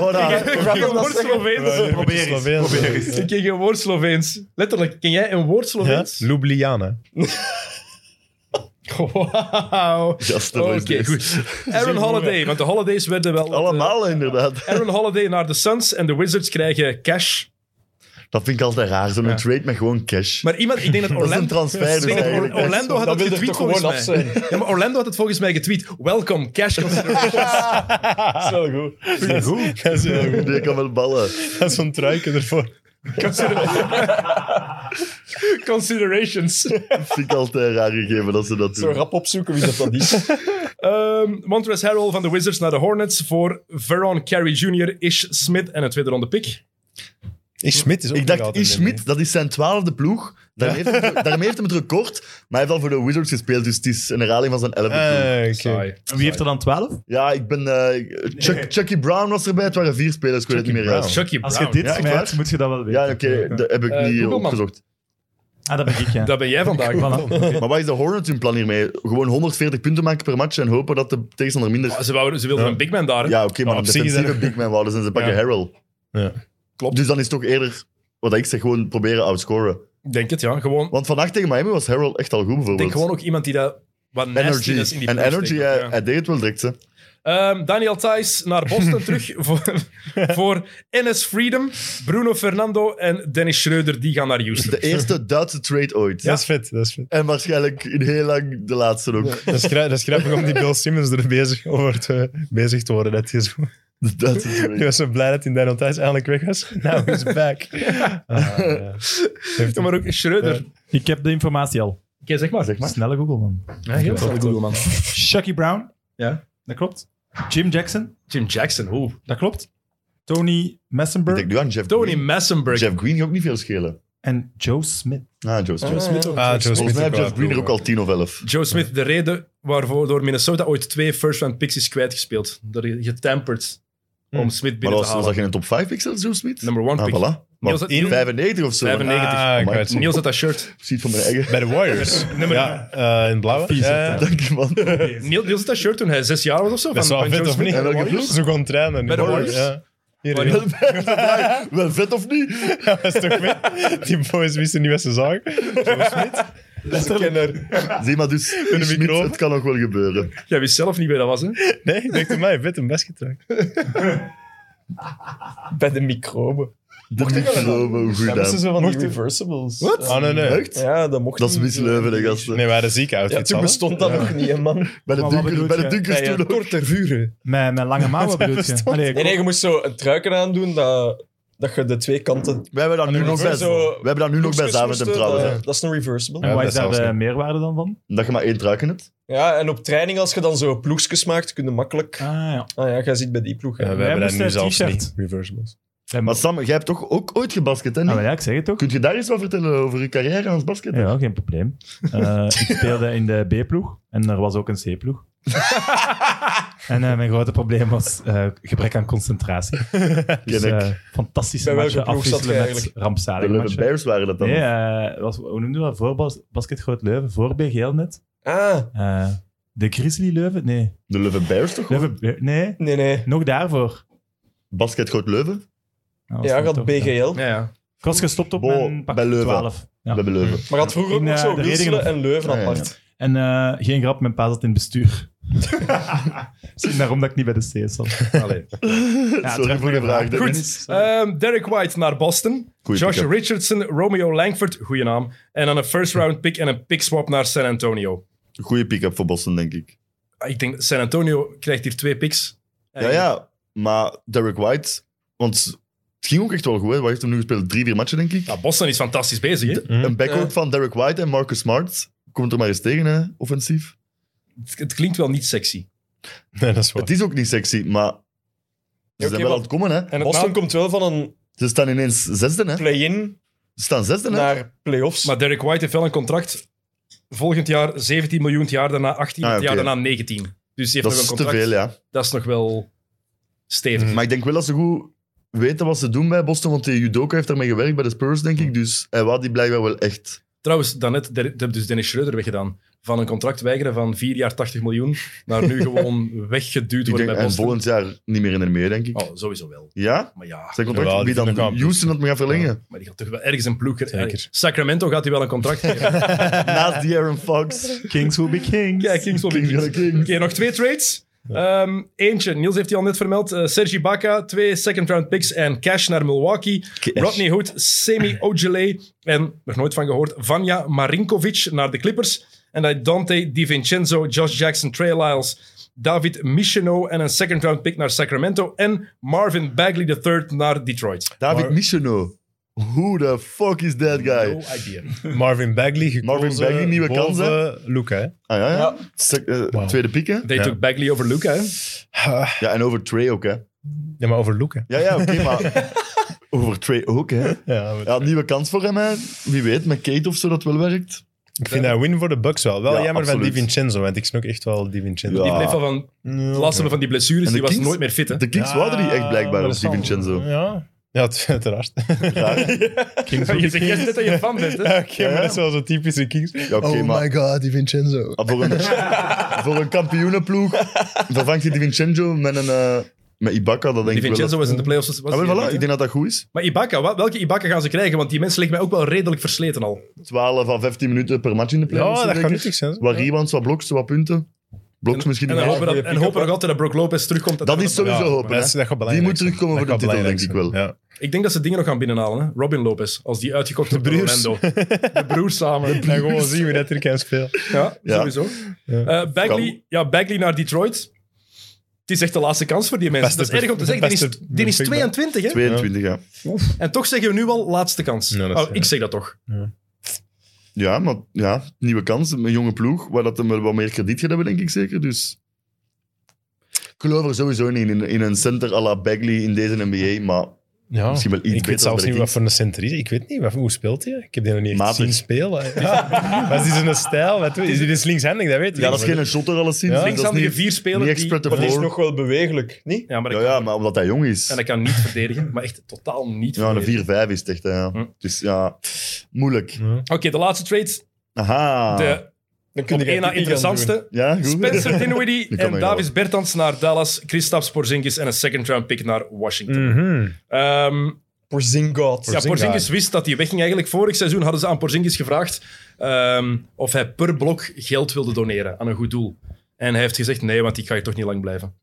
S4: Oh, daar.
S6: Ik ken geen woord
S4: Eh,
S6: Sloveens.
S3: Probeer eens. Probeer eens.
S6: Ik ken geen woord Sloveens. Letterlijk, ken jij een woord
S3: Ja?
S6: Sloveens?
S3: Ljubljana.
S6: Wauw.
S4: Gasten,
S6: Oké,
S4: wat is dit?
S6: goed. Aaron Holiday, want de Holidays werden wel.
S4: Allemaal, inderdaad.
S6: Aaron Holiday naar de Suns en de Wizards krijgen cash.
S4: Dat vind ik altijd raar, zo'n trade met gewoon cash.
S6: Maar iemand, ik denk dat
S4: dat is een
S6: Orlando.
S4: transfer.
S6: Ik
S4: dus
S6: denk dat
S4: eigenlijk.
S6: Or- Orlando had
S2: Dat
S6: het
S2: wil er
S6: getweet
S2: toch gewoon af
S6: volgens mij.
S2: zijn.
S6: Ja, maar Orlando had het volgens mij getweet. Welcome, cash considerations.
S2: Dat is wel goed.
S3: Goed. Dat is heel goed.
S4: Die kan wel ballen.
S3: Dat is zo'n truiken ervoor.
S6: Consider- Considerations.
S4: Vind ik altijd raar gegeven dat ze dat
S2: Zo
S4: doen.
S2: rap opzoeken wie dat, dat is.
S6: Ehm Montrezl Harrell van de Wizards naar de Hornets voor Veron Carey Jr., Ish Smith en een tweede ronde pick.
S3: Is Smit is ook
S4: Ik
S3: nog
S4: dacht,
S3: altijd
S4: is
S3: in de
S4: Schmidt, dat is zijn twaalfde ploeg. Daarmee, heeft hij, daarmee heeft hij het record. Maar hij heeft al voor de Wizards gespeeld, dus het is een herhaling van zijn
S3: NBA.
S4: 11
S3: Ah, oké.
S6: Saai.
S5: En wie heeft er dan 12?
S4: Ja, ik ben... eh, Chuck, Chucky Brown was erbij. Het waren vier spelers, ik weet het niet
S3: Chucky
S4: meer. juist.
S3: Brown.
S6: Chucky
S5: Als je
S6: Brown.
S5: dit
S4: Ja, echt
S5: smijt,
S4: waar.
S5: moet je dat wel weten.
S4: Ja, oké, dat heb ik
S6: Eh,
S4: niet
S6: Google, man.
S4: opgezocht.
S5: Ah, dat ben ik, ja.
S6: Dat ben jij vandaag.
S5: Voilà.
S4: Maar wat is de Hornets hun plan hiermee? Gewoon 140 punten maken per match en hopen dat de tegenstander minder...
S6: Maar Ze, wouden, ze wilden
S3: Ja.
S6: een big man daar. hè?
S4: Ja, oké, maar
S3: op
S4: een
S3: zich is
S4: defensieve
S3: dat-
S4: big man wouden ze en ze pakken
S3: Ja.
S4: Harrell.
S3: Ja.
S4: Klopt. Dus dan is het toch eerder... Wat ik zeg, gewoon proberen outscoren.
S6: Ik denk het, ja. Gewoon,
S4: Want vandaag tegen Miami was Harrell echt al goed,
S6: ik denk
S4: bijvoorbeeld.
S6: gewoon ook iemand die dat wat nasty is in
S4: energy.
S6: die
S4: En
S6: ploeg
S4: energy, eh,
S6: steekt,
S4: hij,
S6: ja.
S4: hij deed het wel direct, hè.
S6: Ehm, Daniel Thijs naar Boston terug voor, voor NS Freedom, Bruno Fernando en Dennis Schreuder. Die gaan naar Houston.
S4: De eerste Duitse trade ooit.
S3: Dat is vet, dat is vet.
S4: En waarschijnlijk in heel lang de laatste ook.
S3: Dat is, gra- dat is grappig om die Bill Simmons er bezig over te, bezig te worden. Dat hij zo,
S4: De Duitse
S3: die
S4: trade.
S3: was zo blij dat hij Daniel Thijs eindelijk weg was. Now he's back. Ah, ja. Heeft
S6: Ja, maar ook Schreuder.
S5: Eh, Ik heb de informatie al.
S6: Oké, zeg maar.
S4: Zeg maar.
S5: Snelle Google, man.
S6: Ja, heel snel, Google, man.
S5: Chucky Brown. Ja, dat klopt. Jim Jackson.
S6: Jim Jackson, hoe?
S5: Dat klopt. Tony
S4: Ik
S5: Messenberg.
S4: denk nu aan Jeff
S6: Tony
S4: Green.
S6: Messenberg.
S4: Jeff Green gaat ook niet veel schelen.
S5: En Joe Smith.
S4: Ah, Joe Smith.
S3: Ah, Joe
S4: Volgens
S3: Smith
S4: mij heeft
S3: ook
S4: Jeff Green er ook al 10 of 11.
S6: Joe Smith, de reden waarvoor door Minnesota ooit twee first-round picks is kwijtgespeeld. Door getamperd om Smith
S4: Hmm. Maar
S6: binnen
S4: was,
S6: te
S4: was
S6: halen.
S4: dat geen top 5 pick zelfs, Joe Smith?
S6: Number one
S4: ah,
S6: pick.
S4: voilà. Maar
S6: Niels had-
S4: 95 of zo.
S6: 95.
S3: Ah, ik wou het zeggen.
S6: Niels had dat shirt.
S4: Ziet van mijn eigen.
S3: Bij de Warriors. ja, eh, in het blauwe.
S5: Vies,
S3: Ja,
S5: hè.
S4: Dank je, man.
S6: Niels, Niels had dat shirt toen hij zes jaar was of zo.
S3: dat is
S6: van-
S3: wel
S6: van
S3: vet,
S6: Joe
S3: of
S6: Smith.
S3: niet?
S4: En welke
S3: Ze
S4: ploeg?
S3: Zo gewoon trainen. nu.
S6: Bij de Warriors.
S3: Ja. Hier,
S6: Warriors.
S3: hier.
S4: Wel vet of niet?
S3: Ja, dat is toch vet? Die boys wisten niet wat ze zagen.
S4: Zie maar dus, Smith,
S3: micro.
S4: het kan nog wel gebeuren.
S6: Jij wist zelf niet wie dat was, hè?
S3: Nee, ik dacht aan mij, vet een baskettrack.
S2: Bij de microben.
S4: De microbe, hoe goed
S2: Dat is
S4: aan.
S2: zo van die reversibles.
S6: Wat?
S3: Oh, nee, nee.
S4: Echt?
S2: Ja, dat mocht
S4: Dat is
S2: niet. eh,
S4: misleuven, de gasten.
S3: Nee, we hadden zieke
S2: Ja,
S3: outfits
S2: toen
S3: al, hè?
S2: bestond dat nog niet, hè, man.
S4: Bij de
S5: Maar wat
S4: dunkers
S5: bedoel
S4: bij de
S5: je?
S4: dunkers toen ook.
S2: ter vuren.
S5: Met, met lange mouwen bedoel je? Ah, nee,
S2: Nee, nee, je moest zo een truiken aandoen dat, dat je de twee kanten...
S4: We hebben dat nu
S2: Aan de
S4: nog bij,
S2: reverse zo-
S4: we hebben dat nu nog bij
S2: Hoekjes
S4: Zaventem
S2: moesten, eh,
S4: trouwens.
S2: dat-
S4: hè.
S2: Dat is een reversible.
S5: En
S3: Ja,
S5: wat
S3: dat
S5: is daar
S3: zelfs
S5: de
S3: niet.
S5: meerwaarde dan van?
S4: Dat je maar één truiken hebt.
S2: Ja, en op training, als je dan zo ploegjes maakt, kun je makkelijk...
S5: Ah ja.
S2: Ah ja, jij zit bij die ploeg.
S3: Ja,
S2: Ja,
S3: we
S5: Wij
S3: hebben dat
S5: moesten
S3: nu
S5: een
S3: zelfs
S5: t-shirt.
S3: niet. Reversibles.
S4: Maar Sam, jij hebt toch ook ooit gebasket, hè?
S5: Ah,
S4: niet?
S5: maar ja, ik zeg het toch.
S4: Kun je daar eens wat vertellen over je carrière als basket?
S5: Ja, geen probleem. Eh, ik speelde in de B-ploeg en er was ook een C-ploeg. en eh, mijn grote probleem was eh, gebrek aan concentratie. Dus,
S4: Ken ik.
S5: eh, fantastische
S2: Bij welke
S5: matchen
S2: ploeg zat
S5: afwisselen
S2: jij
S5: met
S2: eigenlijk?
S4: de
S5: rampzalige
S4: Leuven
S5: matchen.
S4: Bears waren dat dan.
S5: Nee, eh, was, hoe noemde dat? Voor Bas- Basket Groot Leuven, voor BGL net.
S2: Ah,
S5: Eh, de Grizzly Leuven? Nee.
S4: De Leuven Bears toch?
S5: Leuven, Be- nee,
S2: nee, nee.
S5: nog daarvoor.
S4: Basket Groot Leuven?
S5: Ah, was
S2: Ja,
S5: dat
S2: gaat
S5: toch-
S2: BGL.
S6: Ja, ja.
S5: Ik was gestopt op
S4: Bo-
S5: mijn
S4: bij
S5: pakje
S4: Leuven.
S5: 12. Ja.
S4: We hebben Leuven.
S2: Maar had vroeger ook
S5: In,
S2: nog
S5: eh,
S2: zo
S5: de
S2: Wielselen
S5: Redingen.
S2: en Leuven
S4: Ah, ja,
S2: apart.
S5: En eh, geen grap, mijn pa zat in het bestuur. Misschien daarom dat ik niet bij de CS zat.
S6: Allee.
S5: Ja,
S4: Sorry
S5: terug
S4: voor de vraag. Dennis.
S6: Ehm, Derek White naar Boston.
S4: Goeie
S6: Josh
S4: pick-up.
S6: Richardson, Romeo Langford, goede naam. En dan een first-round pick en een pick swap naar San Antonio.
S4: Goeie pick-up voor Boston, denk ik.
S6: Ah, Ik denk, San Antonio krijgt hier twee picks.
S4: Ja, ja. Maar Derek White, want het ging ook echt wel goed. Hè. Wat heeft hem nu gespeeld? Drie, vier matchen, denk ik.
S6: Nou, Boston is fantastisch bezig, hè?
S3: Mm.
S4: Een backcourt
S2: Ja.
S4: van Derek White en Marcus Smart. Komt er maar eens tegen, hè, offensief.
S6: Het, het klinkt wel niet sexy.
S3: Nee, dat is waar.
S4: Het is ook niet sexy, maar ze
S2: Ja,
S4: zijn wel
S2: oké,
S4: aan
S2: want
S4: het komen, hè.
S6: En het
S2: Boston
S6: na-
S2: komt wel van een
S4: Ze staan ineens zesde, hè.
S2: play-in
S4: Ze staan zesde, hè.
S2: naar play-offs.
S6: Maar Derek White heeft wel een contract. Volgend jaar 17 miljoen, het jaar daarna 18,
S4: Ah,
S6: het jaar
S4: oké.
S6: daarna 19. Dus die heeft
S4: Dat
S6: nog
S4: is
S6: een
S4: te
S6: contract. Mhm.
S4: veel, ja. Mm.
S6: Dat is nog wel stevig.
S4: Maar ik denk wel dat ze goed weten wat ze doen bij Boston, want die judoka heeft daarmee gewerkt bij de Spurs, denk ik. Dus hij wou die blijkbaar wel echt.
S6: Trouwens, daarnet Der- heb dus Dennis Schreuder weggedaan. Van een contract weigeren van 4 jaar 80 miljoen naar nu gewoon weggeduwd
S4: Ik
S6: worden
S4: denk,
S6: bij
S4: en
S6: Boston.
S4: volgend jaar niet meer in en meer, denk ik.
S6: Oh, sowieso wel.
S4: Ja?
S6: Maar ja,
S4: Zijn contract?
S3: Jawel, die
S4: Wie dan?
S3: vinden elkaar
S4: Houston dat me gaat verlengen.
S6: maar die gaat toch wel ergens een ploeg... Eh,
S3: Zeker.
S6: Sacramento gaat hij wel een contract geven.
S4: Naast die Aaron Fox.
S5: Kings will be kings.
S6: Kijk, Kings will be
S4: Kings
S6: Kings.
S4: will be kings.
S6: Oké, nog twee trades. Ehm, eentje, Niels heeft die al net vermeld. Eh, Sergi Baca, twee second-round picks en cash naar Milwaukee. Rodney Hood, Semi Ojeley en, nog nooit van gehoord, Vanja Marinkovic naar de Clippers. En dan Dante DiVincenzo, Josh Jackson, Trey Lyles, David Michino en een second-round pick naar Sacramento. En Marvin Bagley III naar Detroit.
S4: David
S3: Maar-
S4: Michonneau. Who the fuck is that guy?
S6: No idea.
S3: Marvin Bagley gekozen
S4: Marvin Bagley, nieuwe
S3: boven
S4: kansen.
S3: Luca, hè?
S4: Ah ja, ja.
S2: Ja.
S4: Sec- eh,
S3: Wauw.
S4: Tweede piek, hè?
S6: They
S3: Ja.
S6: took Bagley over Luca, hè?
S4: Ja, en over Trey ook, hè?
S3: Ja, maar over Luca.
S4: Ja, ja, oké, maar... over Trey ook, hè?
S3: Ja, maar-
S4: Ja, nieuwe kans voor hem, hè? Wie weet, met Kate of zo dat wel werkt.
S3: ik vind dat een win voor de Bucks wel. Wel
S4: Ja,
S3: jammer van
S4: absoluut.
S3: Di Vincenzo, want ik snok echt wel Di
S4: Ja.
S3: Vincenzo.
S6: Die bleef al van... Het laatste van die blessures,
S4: Ah. En de
S6: die was
S4: Kings?
S6: nooit meer fit, hè?
S4: De Kings wouden die echt blijkbaar
S3: maar
S4: op
S3: dat zal-
S4: Di Vincenzo.
S3: Ja, ja het- uiteraard.
S4: Raar, hè?
S6: Je zegt net dat je fan bent, hè?
S3: Oké, maar dat is wel zo'n typische Kings.
S4: Ja, oké, maar...
S3: god, Di Vincenzo.
S4: Ah, Voor een, voor een kampioenenploeg vervangt hij Di Vincenzo met een... eh, met Ibaka, dat denk
S6: Die
S4: ik wel...
S6: Vincenzo was in de playoffs. was- was
S4: Ah, wel,
S6: die
S4: voilà,
S6: niet, hè?
S4: ik denk dat dat goed is.
S6: Maar Ibaka, wa- welke Ibaka gaan ze krijgen? Want die mensen lijkt mij ook wel redelijk versleten al.
S4: 12 à 15 minuten per match in de playoffs.
S3: Ja, dat
S4: zeker?
S3: gaat nuttig zijn.
S4: Wat rebounds, wat bloks, wat punten. Bloks misschien
S6: En
S4: niet
S6: dan
S4: meer.
S6: hopen, dat, en hopen we nog altijd dat Brook Lopez terugkomt.
S4: Dat is sowieso
S3: Ja,
S4: hopen.
S3: dat, is,
S4: hè.
S3: dat gaat belangrijk
S4: moet
S3: zijn.
S4: terugkomen
S3: Dat
S4: voor de
S3: gaat
S4: titel,
S3: belangrijk
S4: denk ik
S3: zijn. Ja.
S6: Ik denk dat ze dingen nog gaan binnenhalen. Hè? Robin Lopez, als die uitgekocht wordt door
S3: broers.
S6: Orlando. De broers samen.
S3: Dan gewoon zien wie dat er kan spelen.
S6: Ja,
S4: Ja.
S6: sowieso. Eh, Bagley,
S4: Kan.
S6: ja, Bagley naar Detroit. Het is echt de laatste kans voor die mensen.
S3: Beste
S6: dat is erg om te
S3: pers-
S6: zeggen. Die is,
S3: beste
S6: die is
S3: pickback.
S6: 22, hè?
S4: 22, ja.
S6: En toch zeggen we nu al laatste kans.
S3: Ja, dat is-
S6: oh, ik zeg dat toch.
S4: Ja, maar ja, nieuwe kans. Een jonge ploeg, waar dat hem wel wat meer krediet gaat hebben, denk ik zeker. Dus ik geloof er sowieso niet in, in een center à la Bagley in deze NBA, maar
S3: Ja.
S4: misschien wel iets
S3: ik
S4: beter
S3: weet
S4: dan
S3: zelfs
S4: bij
S3: niet
S4: de
S3: wat
S4: Kings.
S3: voor een center is. Ik weet niet, wat, hoe speelt hij? Ik heb die nog niet echt
S4: Matig.
S3: zien spelen. Ja. Wat is dit een stijl? Wat, is dit is linkshandig, dat weet ik.
S4: Ja, dat is geen shotter alleszins.
S3: Ja,
S4: Dat is
S6: Linkshandige
S4: niet-
S6: vier
S4: niet
S6: spelers die...
S4: expert
S2: Maar die is
S4: ervoor.
S2: nog wel bewegelijk, niet?
S6: Ja, maar
S4: Ja,
S6: ik,
S4: ja, maar omdat hij jong is.
S6: En ik kan niet verdedigen. Maar echt totaal niet
S4: Ja, een
S6: verdedigen.
S4: 4-5 is het echt, hè,
S6: Hm.
S4: ja. Dus ja, moeilijk.
S6: Oké, de laatste trade.
S4: Aha.
S6: De
S2: Dan kun
S6: op
S2: je
S6: één na
S2: Pippen gaan
S6: nou,
S2: doen.
S6: interessantste.
S4: Ja, goed.
S6: Spencer
S4: Die
S6: Dinwiddie
S4: kan
S6: en
S4: mij wel.
S6: Davis Bertans naar Dallas. Kristaps Porzingis en een second round pick naar Washington.
S3: Mhm.
S6: Ehm,
S2: Porzingis.
S6: ja, Porzingis wist dat hij wegging eigenlijk. Vorig seizoen hadden ze aan Porzingis gevraagd ehm, of hij per blok geld wilde doneren aan een goed doel. En hij heeft gezegd nee, want ik ga hier toch niet lang blijven.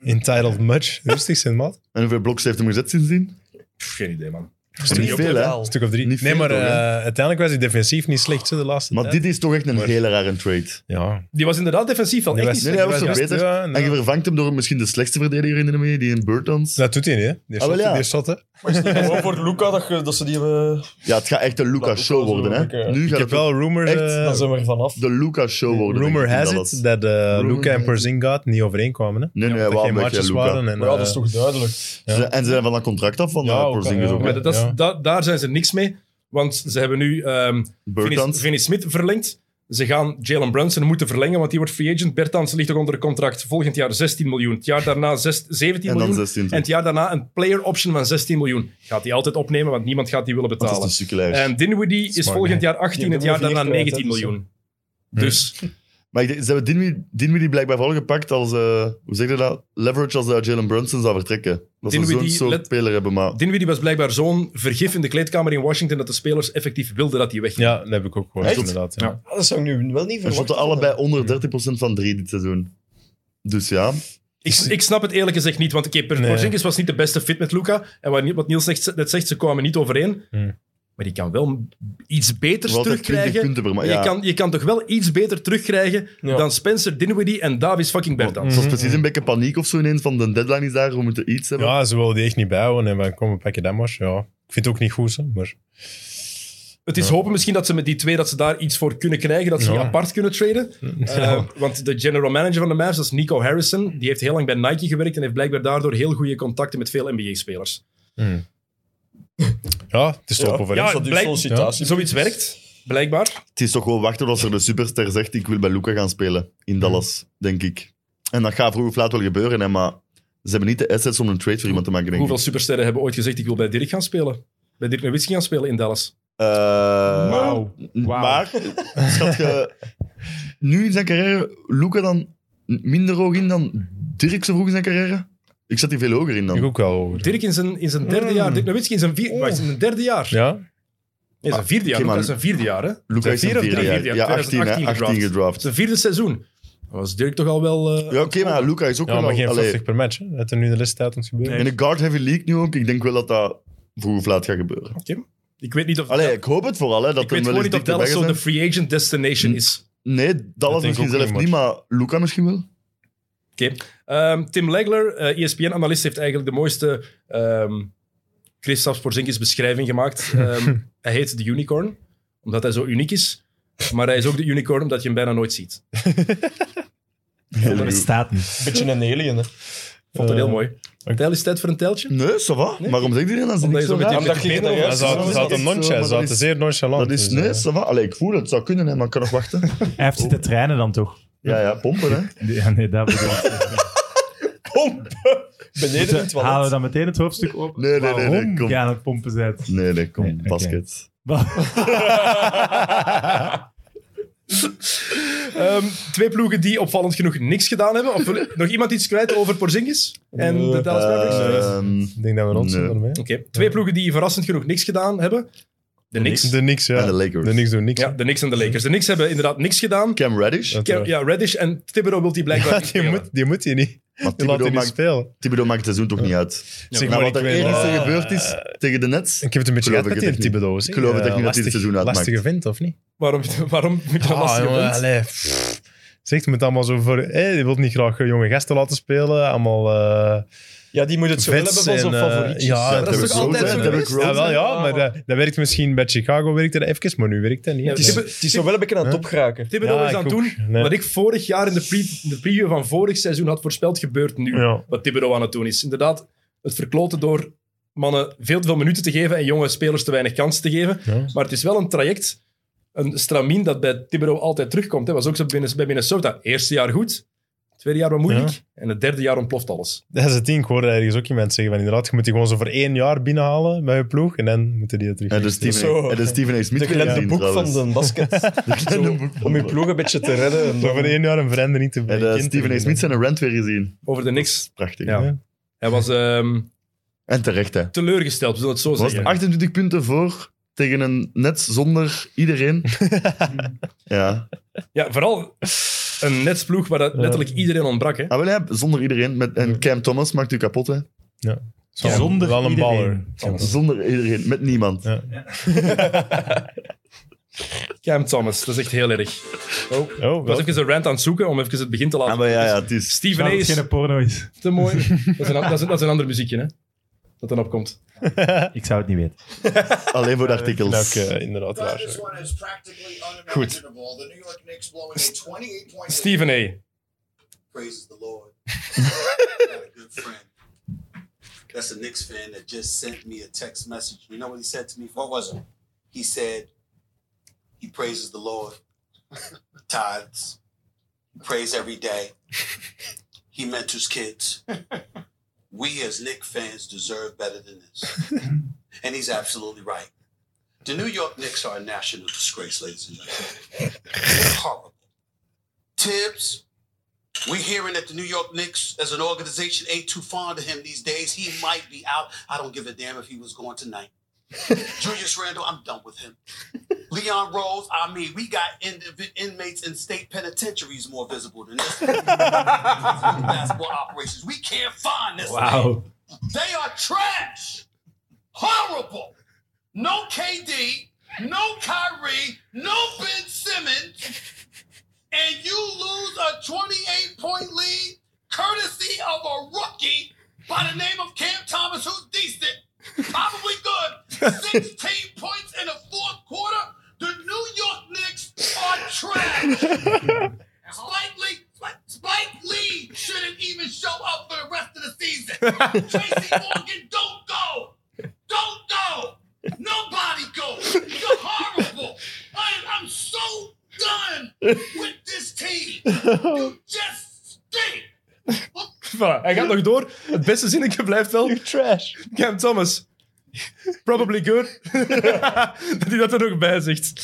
S3: Entitled much. Rustig zijn, maat.
S4: En hoeveel bloks heeft hem gezet sindsdien?
S6: Pff, geen idee, man.
S4: Niet veel, hè?
S3: Een stuk of drie.
S4: Niet
S3: nee,
S4: veel
S3: maar
S4: toch, hè?
S3: eh, uiteindelijk was hij defensief niet slecht zo, de laatste
S4: Maar
S3: tijd.
S4: dit is toch echt een hele rare trade.
S3: Ja.
S6: Die was inderdaad defensief wel
S3: Die
S6: echt
S3: was-
S6: niet
S4: Nee, nee, hij was
S3: Ja,
S4: toch
S3: juist,
S4: beter.
S3: ja,
S4: En
S3: nou.
S4: je vervangt hem door misschien de slechtste verdediger in de NBA, die in Burtons.
S3: Dat doet hij niet, hè? Die
S4: Ah, wel,
S3: shot,
S4: ja.
S3: die shot, hè.
S2: Gewoon voor Luca dat, je- dat ze die eh, hebben.
S4: Ja, het gaat echt de
S2: Dat is wel
S4: Luca-show
S2: zo,
S4: worden, hè.
S2: oké.
S4: Nu
S3: Ik
S4: gaat
S3: heb
S4: het wel
S3: wel rumors...
S2: Echt,
S3: eh,
S2: dan zijn we er vanaf.
S4: de Luca-show worden.
S3: Rumor
S4: denk ik, in
S3: has
S4: Dallas.
S3: it dat eh Luca
S4: has
S3: en
S4: it.
S3: Porzingaat niet overeenkwamen. Hè?
S4: Nee, nee,
S3: Dat
S4: hij wou
S3: geen
S4: een
S3: matches
S4: beetje Luca.
S3: waren. En,
S2: Maar ja, dat
S3: eh,
S2: is toch duidelijk.
S4: Ze zijn- En ze zijn van dat contract af van
S3: Ja,
S4: ja,
S3: ook,
S4: Porzingis
S3: ja.
S4: ook.
S6: Maar
S4: hè.
S6: dat, dat is-
S3: Ja.
S6: da- daar zijn ze niks mee, want ze hebben nu ehm Vinnie,
S4: Bertans.
S6: Vinnie Smith verlengd. Ze gaan Jalen Brunson moeten verlengen, want die wordt free agent. Bertans ligt nog onder contract. Volgend jaar 16 miljoen. Het jaar daarna zes- 17
S4: En dan
S6: miljoen.
S4: 16
S6: En het jaar daarna een player option van 16 miljoen. Gaat die altijd opnemen, want niemand gaat die willen
S4: Dat is
S6: betalen.
S4: een sukkelaar.
S6: En Dinwiddie is
S3: Smart,
S6: volgend jaar
S2: Die
S6: 18,
S2: hebben
S6: het jaar
S2: we
S6: daarna
S2: verliefd kwijt, hè,
S6: 19
S2: dus,
S6: miljoen. Dus
S4: Maar ik denk- ze hebben Dinwiddie, Dinwiddie blijkbaar vooral gepakt als, eh, hoe zeg je dat, leverage als eh, Jalen Brunson zou vertrekken. Dat ze zo'n
S6: Dinwiddie,
S4: soort
S6: let-
S4: speler hebben, maar...
S6: Dinwiddie was blijkbaar zo'n vergif in de kleedkamer in Washington dat de spelers effectief wilden dat hij weg.
S3: Ja, dat heb ik ook gehoord,
S4: Echt?
S3: inderdaad. Ja.
S6: Ja.
S2: Ah, dat zou ik nu wel niet
S4: We
S2: verwachten.
S4: shotten allebei onder 30% van drie dit seizoen. Dus ja,
S6: Ik, ik snap het eerlijk gezegd niet, want oké, Per
S3: Nee.
S6: Porzingis was niet de beste fit met Luca. En wat, wat Niels zegt, net zegt, ze kwamen niet overeen.
S3: Hmm.
S6: Maar die kan wel iets beters
S4: wel altijd 20
S6: terugkrijgen.
S4: punten per ma-
S6: Je,
S4: Ja.
S6: kan, je kan toch wel iets beter terugkrijgen
S2: Ja.
S6: dan Spencer Dinwiddie en Davis fucking Bertans.
S4: Het was precies een beetje paniek of zo ineens, van de deadline is daar, we moeten iets hebben.
S3: ja, ze wilden die echt niet bijhouden. En dan komen pakken dat maar. Ja. Ik vind het ook niet goed, zo, maar...
S6: Het is hopen misschien dat ze met die twee dat ze daar iets voor kunnen krijgen, dat ze die
S3: Ja.
S6: apart kunnen traden.
S3: Ja.
S6: Eh, want de general manager van de Mavs, dat is Nico Harrison, die heeft heel lang bij Nike gewerkt en heeft blijkbaar daardoor heel goede contacten met veel NBA-spelers.
S3: Ja, het is top
S2: Ja.
S3: over.
S6: Ja,
S2: Ja,
S3: hè.
S2: dat is
S6: blijk-
S2: zo'n citatie.
S6: Zoiets werkt, blijkbaar.
S4: Het is toch gewoon wachten als er de superster zegt, ik wil bij Luca gaan spelen in Dallas, denk ik. En dat gaat vroeg of laat wel gebeuren, hè, maar ze hebben niet de assets om een trade voor iemand te maken, denk
S6: Hoeveel
S4: ik.
S6: supersterren hebben ooit gezegd, ik wil bij Dirk gaan spelen? Bij Dirk Nowitzki gaan spelen in Dallas.
S4: Eh,
S5: Wauw.
S4: Maar, schat je, nu in zijn carrière, Luca dan minder hoog in dan Dirk zo vroeg in zijn carrière? Ik zat hier veel hoger in dan.
S3: Ik ook wel over.
S6: Dirk in zijn, in zijn derde
S3: Mm.
S6: jaar, Dirk Nowitzki in zijn, vier, wacht, in zijn derde jaar.
S3: Ja?
S6: Nee, zijn vierde jaar,
S4: Oh. Ah, Oké, maar-
S6: dat is zijn vierde jaar. Hè?
S4: Luca is
S6: Vier
S4: zijn
S6: of
S4: vierde
S6: drie?
S4: jaar.
S6: Vierde jaar,
S4: Ja, 18, hè,
S6: 2018
S4: 18 gedraft.
S6: Zijn vierde seizoen. Dan was Dirk toch al wel... eh,
S4: Ja, oké, maar Luca is ook
S3: Ja,
S4: wel...
S3: maar
S4: al-
S3: geen
S4: allee,
S3: 50 per match. Hè. Dat er nu de laatste tijd ons gebeurt.
S4: in de guard heavy league nu ook, ik denk wel dat dat vroeg of laat gaat gebeuren.
S6: Ik weet niet of...
S4: Allee, ik hoop het vooral, hè, dat
S6: ik weet
S4: hem wel
S6: gewoon
S4: eens
S6: niet of
S4: dichterbij
S6: Dallas zo de
S4: zijn.
S6: free agent
S4: Hm.
S6: destination is.
S4: Nee, dat was
S3: denk
S4: misschien
S3: ik ook
S4: zelf
S3: niet,
S4: niet, maar Luca misschien wel.
S6: E Oké. Ehm, Tim Legler, eh ESPN-analyst, heeft eigenlijk de mooiste ehm, Christophe Porzingis beschrijving gemaakt. Ehm, hij heet de unicorn, omdat hij zo uniek is. Maar hij is ook de unicorn omdat je hem bijna nooit ziet.
S5: Dat bestaat niet.
S2: Beetje een alien, hè.
S6: Vond
S2: Eh,
S6: het heel mooi. Tel is het tijd voor een teltje?
S4: Nee, ça va. Maar Waarom zegt iedereen dat ze
S6: Omdat je
S4: niks zo
S6: zo met
S4: raar?
S6: die
S2: Omdat je
S6: Wikipedia
S2: geen
S3: Ze
S6: juist
S2: juiste-
S3: zaten- ze zaten
S4: dat is zo, maar
S3: nonchalant, ze zaten
S4: dat is-
S3: zeer nonchalant.
S4: Dat is,
S3: dus,
S4: nee,
S3: eh,
S4: ça va. Allee, ik voel het, het zou kunnen, hè, maar ik kan nog wachten.
S5: Hij heeft
S4: Oh.
S5: zitten trainen dan toch?
S4: Ja, ja, pompen, hè.
S5: Ja, nee, dat bedoel ik.
S2: Pompen. Beneden in het
S5: Halen we
S2: toilet.
S5: dan meteen het hoofdstuk op?
S4: Nee, nee, nee, nee,
S5: Waarom
S4: kom.
S5: je aan het pompen bent.
S4: Nee, nee, kom,
S5: Nee, oké.
S4: basket.
S6: Ehm, twee ploegen die opvallend genoeg niks gedaan hebben. Of wil- nog iemand iets kwijt over Porzingis en de
S2: Nee.
S3: Eh,
S6: Dallas Mavericks?
S4: Ehm,
S3: Ik denk dat we rond zijn
S4: Nee.
S3: daarmee.
S6: Oké, twee ploegen die verrassend genoeg niks gedaan hebben. De Knicks.
S3: De niks, ja.
S4: En de Lakers.
S3: De niks doen niks.
S6: Ja, de Knicks en de Lakers. De Knicks hebben inderdaad niks gedaan.
S4: Cam Reddish.
S3: Dat, eh,
S6: Ja, Reddish en Thibodeau wil die blijkbaar
S3: ja,
S6: niet
S3: die,
S6: spelen.
S3: moet, die moet hij niet.
S4: Maar
S3: Die laat hij
S4: Thibodeau
S3: niet
S4: maakt,
S3: spelen.
S4: Thibodeau maakt het seizoen toch niet uit.
S3: Zeg
S4: Na
S3: maar,
S4: wat
S3: ik,
S4: er
S3: weet,
S4: eergisteren
S3: eh,
S4: gebeurd is tegen de Nets.
S3: ik heb het een beetje
S4: geloof
S3: gehad
S4: ik
S3: met die
S4: het echt niet.
S3: Thibodeau.
S4: Ik geloof het echt
S3: Eh,
S4: niet dat hij dit
S3: lastig-
S4: seizoen uitmaakt.
S3: Lastige vindt, of niet?
S6: Waarom, waarom moet je dat
S3: Ah,
S6: lastig
S3: jongen,
S6: vinden?
S3: allee, pff. Zeg, je moet allemaal zo voor... Hé, je wilt niet graag eh, jonge gasten laten spelen. Allemaal... eh,
S2: Ja, die moet het zo wel hebben
S3: Vets
S2: van zijn
S3: en, eh,
S2: favorietjes.
S3: ja,
S4: Ja,
S3: dat
S4: Derrick
S3: is toch
S4: Rose,
S2: altijd
S4: hè,
S2: zo
S4: Derrick
S2: geweest?
S4: Rose.
S3: Ja, wel ja,
S2: Ah.
S3: maar dat, dat werkt misschien bij Chicago werkte dat even, maar nu werkt dat niet.
S6: Ja,
S3: Het
S6: Thib-
S3: is-
S2: Het is zo wel een beetje aan het top geraken.
S6: Thibodeau
S3: Ja,
S6: is aan
S3: ik
S6: het doen
S3: ook. Nee.
S6: wat ik vorig jaar in de, pre- in de preview van vorig seizoen had voorspeld, gebeurt nu.
S3: Ja.
S6: Wat Thibodeau aan het doen is. Inderdaad, het verkloten door mannen veel te veel minuten te geven en jonge spelers te weinig kansen te geven.
S3: Ja.
S6: Maar het is wel een traject, een stramien dat bij Thibodeau altijd terugkomt. Dat was ook zo binnen- bij Minnesota. Eerste jaar goed, tweede jaar wat moeilijk en het derde jaar ontploft alles.
S3: Dat is het ding, ik hoorde ergens ook iemand zeggen van inderdaad, je moet die gewoon zo voor één jaar binnenhalen bij je ploeg en dan moeten die het terug.
S4: En eh, de dus Steven,
S2: Zo.
S4: en de Steven A. Smith
S2: De kleine
S4: gezien,
S2: boek van
S4: trouwens.
S2: de basket. Zo, Om je ploeg een beetje te redden. en
S3: Zo
S2: dan-
S3: voor één jaar een verende niet te
S4: En
S3: kind
S4: eh,
S3: te
S4: Steven A.
S3: vinden.
S4: Smith zijn een rant weer gezien.
S6: Over de niks.
S4: Prachtig.
S6: Ja. Hij was ehm,
S4: En terecht, hè. Het
S6: teleurgesteld, we zullen het zo
S4: was
S6: zeggen.
S4: 28 punten voor tegen een Nets zonder iedereen. ja.
S6: Ja, vooral een netsploeg waar dat letterlijk iedereen ontbrak. Hè.
S4: Ah, wel, ja, zonder iedereen. Met, en Cam Thomas maakt u kapot, hè.
S3: Zo,
S5: Zonder
S3: Wel een
S5: iedereen.
S3: baller.
S4: Zonder iedereen, met niemand.
S3: Ja.
S6: Cam Thomas, dat is echt heel erg. Oh, ik
S3: Oh,
S6: was
S3: wel.
S6: even een rant aan het zoeken om even het begin te laten.
S4: Ah, maar ja, ja, het is...
S6: Steven A.
S5: Dat het
S6: is
S5: geen porno is.
S6: te mooi. Dat is, een, dat, is een, dat is een ander muziekje, hè? Dat dan opkomt.
S5: Ik zou het niet weten.
S4: Alleen voor de artikels.
S3: ook eh, inderdaad waar.
S7: This one is practically unimaginable. The New York Knicks blowing a 28 point
S6: Steven A.
S7: Praises the Lord. I got a good friend. That's a Knicks fan that just sent me a text message. You know what he said to me? What was it? He said, he praises the Lord. Tithes. Prays every day. He mentors kids. We as Knicks fans deserve better than this. And he's absolutely right. The New York Knicks are a national disgrace, ladies and gentlemen. They're horrible. Tibbs, we hearing that the New York Knicks as an organization ain't too fond of him these days. He might be out. I don't give a damn if he was going tonight. Julius Randle, I'm done with him. Leon Rose, I mean, we got in- inmates in state penitentiaries more visible than this. basketball operations. We can't find this.
S5: Wauw.
S7: They are trash. Horrible. No KD, no Kyrie, no Ben Simmons. And you lose a 28 point lead courtesy of a rookie by the name of Cam Thomas, who's decent, probably good. 16 points in the fourth quarter. The New York Knicks are trash. Spike Lee, Spike- Spike Lee shouldn't even show up for the rest of the season. Tracy Morgan, don't go. Don't go. Nobody go. You're horrible. I, I'm so done with this team. You just stink.
S6: Voilà, hij gaat nog door. Het beste zinnetje blijft wel.
S3: Trash.
S6: Cam Thomas. Probably good. dat hij dat er nog bij zegt.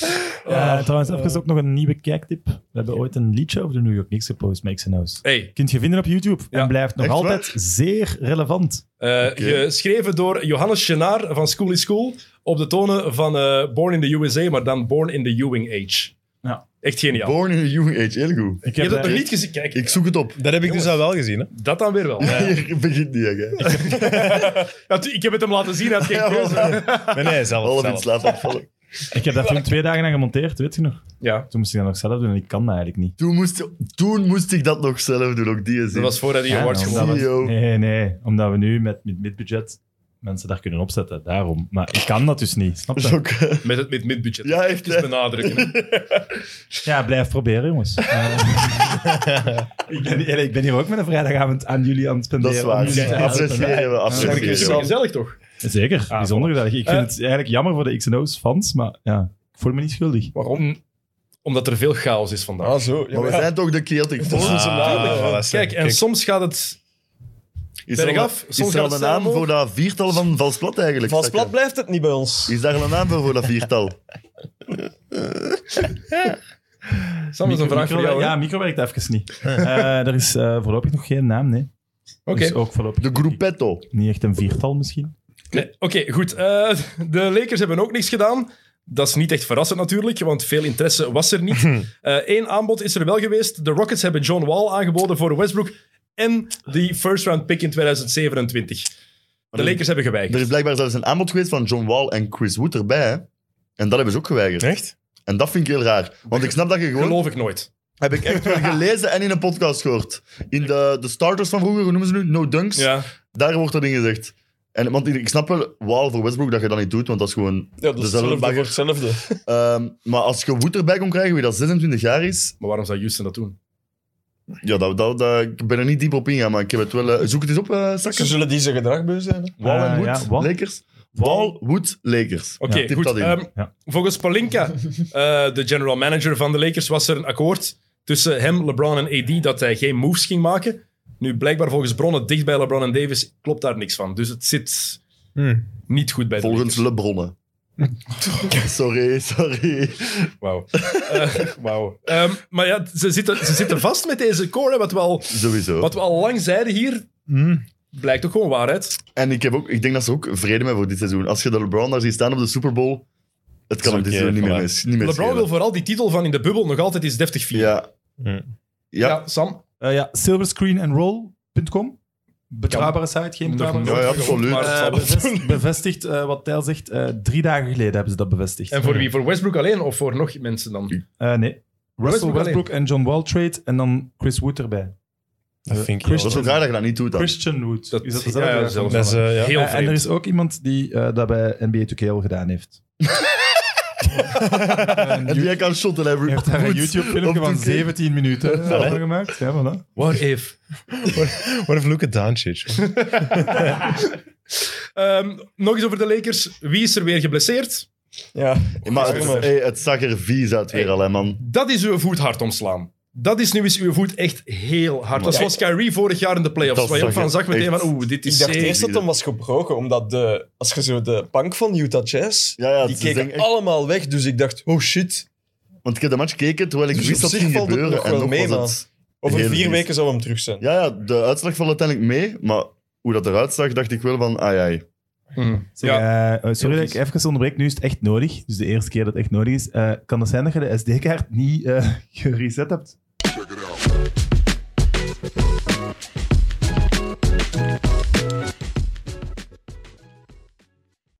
S5: Ja, Eh, trouwens, even ook nog een nieuwe kijktip. We hebben ooit een liedje over de New York Knicks gepost, Makes and House.
S6: Hey,
S5: Kunt je vinden op YouTube
S6: Ja.
S5: en blijft nog
S4: Echt
S5: altijd
S4: waar?
S5: zeer relevant.
S6: eh, geschreven door Johannes Chenaar van School is School. Op de tonen van eh, Born in the USA, maar dan Born in the Ewing Age.
S5: Ja.
S6: Echt geniaal.
S4: Born in a young age, heel goed.
S6: Je
S5: Ik
S6: hebt
S5: heb,
S6: dat nog
S5: eh,
S6: niet gezien. Kijk,
S4: Ik zoek het op.
S3: Dat heb ik dus al wel gezien. Hè.
S6: dat dan weer wel.
S4: Hier begint die, hè.
S6: Ja, tu- ik heb het hem laten zien. Hij had geen keuze.
S3: Nee, nee, zelf.
S4: Half in
S3: zelf.
S4: slaap afvallen.
S5: ik heb daar toen twee dagen aan gemonteerd, weet je nog?
S6: Ja,
S5: Toen moest ik dat nog zelf doen en ik kan dat eigenlijk niet.
S4: Toen moest, toen moest ik dat nog zelf doen, ook die zin.
S6: dat was voor hij die
S5: Ja,
S6: awards
S4: E
S5: nou,
S6: gewonnen
S5: dat
S6: had.
S5: was-
S4: CEO.
S5: Nee, nee, omdat we nu met, met midbudget mensen daar kunnen opzetten. Daarom. Maar ik kan dat dus niet. Snap
S4: Dat is
S5: je?
S4: ook, eh,
S6: Met het met midbudget.
S4: Ja, echt,
S6: Het is
S4: hè.
S6: benadrukken. hè.
S5: Ja, blijf proberen, jongens. Eh, ik, ben, hier- ik ben hier ook met een vrijdagavond aan jullie aan het
S4: dat
S5: spenderen.
S4: is
S5: om
S4: waar.
S5: jullie te helpen.
S4: Appreciëren we,
S6: Dat is
S4: appreciëren
S6: wel
S4: we.
S6: gezellig, toch?
S5: Zeker, bijzonder gezellig. Ik vind
S6: Eh,
S5: het eigenlijk jammer voor de X&O's fans, maar ja, ik voel me niet schuldig.
S6: Waarom? Omdat er veel chaos is vandaag.
S2: Ah, zo. Ja,
S4: Maar we zijn toch de Ah, Celtic Four?
S6: Kijk, en soms gaat het
S4: Is er al-
S6: bergaf, soms
S4: is er
S6: gaat
S4: al
S6: het
S4: een naam
S6: samen
S4: voor
S6: omhoog.
S4: dat viertal van Valsplat eigenlijk?
S2: Vals
S4: Zakken?
S2: plat blijft het niet bij ons.
S4: Is daar al een naam voor, voor dat viertal?
S6: Sam, dat is een vraag voor jou. hè?
S5: Ja, micro werkt even niet. Eh, er is eh, voorlopig nog geen naam, nee.
S6: Oké.
S5: Dus ook voorlopig
S4: De Gruppetto.
S5: niet echt een viertal misschien.
S6: Nee, Oké, goed. Eh, de Lakers hebben ook niks gedaan. Dat is niet echt verrassend natuurlijk, want veel interesse was er niet. Eén aanbod is er wel geweest. De Rockets hebben John Wall aangeboden voor Westbrook en die first round pick in 2027. De Lakers hebben
S4: Er
S6: geweigerd.
S4: is blijkbaar zelfs een aanbod geweest van John Wall en Chris Wood erbij. hè. En dat hebben ze ook geweigerd.
S2: Echt?
S4: En dat vind ik heel raar. Want ik snap dat je gewoon...
S6: Geloof ik nooit.
S4: Heb ik echt wel gelezen en in een podcast gehoord. In de, de starters van vroeger, hoe noemen ze nu? No Dunks.
S6: Ja.
S4: Daar wordt dat in gezegd. En, want ik snap wel, Wall voor Westbrook, dat je dat niet doet, want dat is gewoon...
S2: Ja, dat is
S4: Dezelfde
S2: hetzelfde
S4: bagger.
S2: voor hetzelfde.
S4: Ehm, maar als je Wood erbij kon krijgen, wie dat 26 jaar is...
S6: Maar waarom zou Houston dat doen?
S4: Ja, dat, dat, dat- ik ben er niet diep op ingegaan, maar ik heb het wel... eh, zoek het eens op, eh
S2: Ze
S4: Sakken.
S2: zullen die zijn gedrag beu zijn. hè.
S4: Wall en
S5: Eh,
S4: Wood,
S5: ja, Wall.
S4: Lakers. Wall, Wood, Lakers.
S6: Oké,
S4: Ja, typ
S6: goed.
S4: dat in.
S6: ehm,
S5: Ja.
S6: Volgens Palinka, eh, de general manager van de Lakers, was er een akkoord tussen hem, LeBron en AD dat hij geen moves ging maken. Nu, blijkbaar volgens bronnen dicht bij LeBron en Davis klopt daar niks van. Dus het zit
S4: Hmm.
S6: niet goed bij de
S4: Volgens
S6: Lakers.
S4: Lebronnen. sorry, sorry.
S6: Wauw. Eh, Wauw. Ehm, maar ja, ze zitten, ze zitten vast met deze core. hè, Wat we al,
S4: Sowieso.
S6: wat we al lang zeiden hier,
S4: Hmm.
S6: blijkt ook gewoon waarheid.
S4: En ik, heb ook, ik denk dat ze ook vrede mee voor dit seizoen. Als je de LeBron daar ziet staan op de Super Bowl, het kan hem
S3: Is
S4: dit
S3: oké,
S4: seizoen niet meer,
S3: voilà.
S4: mis, niet meer
S6: LeBron wil
S4: schelen.
S6: vooral die titel van in de bubbel nog altijd eens deftig vieren.
S4: Ja.
S3: Hm.
S4: Ja.
S6: Ja, Sam.
S5: Eh ja, silverscreenandroll.com. Betrouwbare site, geen betrouwbare
S4: nooit.
S5: site.
S4: Ja, absoluut.
S6: Maar het
S5: Eh,
S6: zal wel doen.
S5: bevestigd, bevestigd eh, wat Tijl zegt, eh, drie dagen geleden hebben ze dat bevestigd.
S6: En voor wie? Voor Westbrook alleen of voor nog mensen dan?
S5: Eh, nee. Russell
S6: Westbrook
S5: Westbrook en John Wall trade en dan Chris Wood
S3: Dat
S5: erbij. Eh,
S3: vind ik
S4: Dat is ook raar dat je dat niet doet dan.
S5: Christian Wood.
S6: Dat-
S5: is dat
S6: ja,
S5: dezelfde?
S6: zelfs.
S3: Dat is, eh, ja.
S6: Heel
S5: Eh, en er
S6: vreemd.
S5: is ook iemand die eh, dat bij NBA 2K al gedaan heeft. en
S4: En jij kan shotten, hè,
S5: heeft daar een
S4: Goed. Op
S5: YouTube-filmpje van
S4: 2K.
S5: 17 minuten eh,
S3: hè?
S5: over gemaakt. Ja, voilà.
S6: What if?
S3: What if Luka Doncic?
S6: Ehm, nog eens over de Lakers. Wie is er weer geblesseerd?
S2: Ja.
S4: Maar het, hey, het zag er vies uit weer al, hè, man.
S6: Dat is uw voet hard omslaan. Dat is nu eens uw voet echt heel hard. Dat
S2: Ja,
S6: was Kyrie vorig jaar in de playoffs.
S4: Dat
S6: Waar je ook
S4: zag
S6: van
S4: je
S6: zag meteen
S4: echt.
S6: van, oeh, dit
S2: Ik
S6: is
S2: dacht
S6: zeer-
S2: eerst dat hem was gebroken, omdat de, als je zo de bank van Utah Jazz,
S4: Ja, ja,
S2: die
S4: ze
S2: keken
S4: zijn echt-
S2: allemaal weg. Dus ik dacht, oh shit,
S4: Want ik heb de match gekeken terwijl ik
S2: Dus
S4: wist dat
S2: op
S4: het
S2: zich
S4: ging
S2: valt het
S4: gebeuren.
S2: nog
S4: en
S2: wel
S4: nog
S2: mee,
S4: was het...
S2: over
S4: Heel
S2: vier
S4: triest.
S2: weken zou hem terug zijn.
S4: Ja, ja, de uitslag valt uiteindelijk mee, maar hoe dat eruit zag, dacht ik wel van, ai, ai.
S6: Hmm.
S5: Zeg,
S6: Ja.
S5: eh, eh, sorry dat ik even onderbreek. Nu is het echt nodig. Dus de eerste keer dat het echt nodig is. Eh, kan het zijn dat je de SD-kaart niet eh, gereset hebt?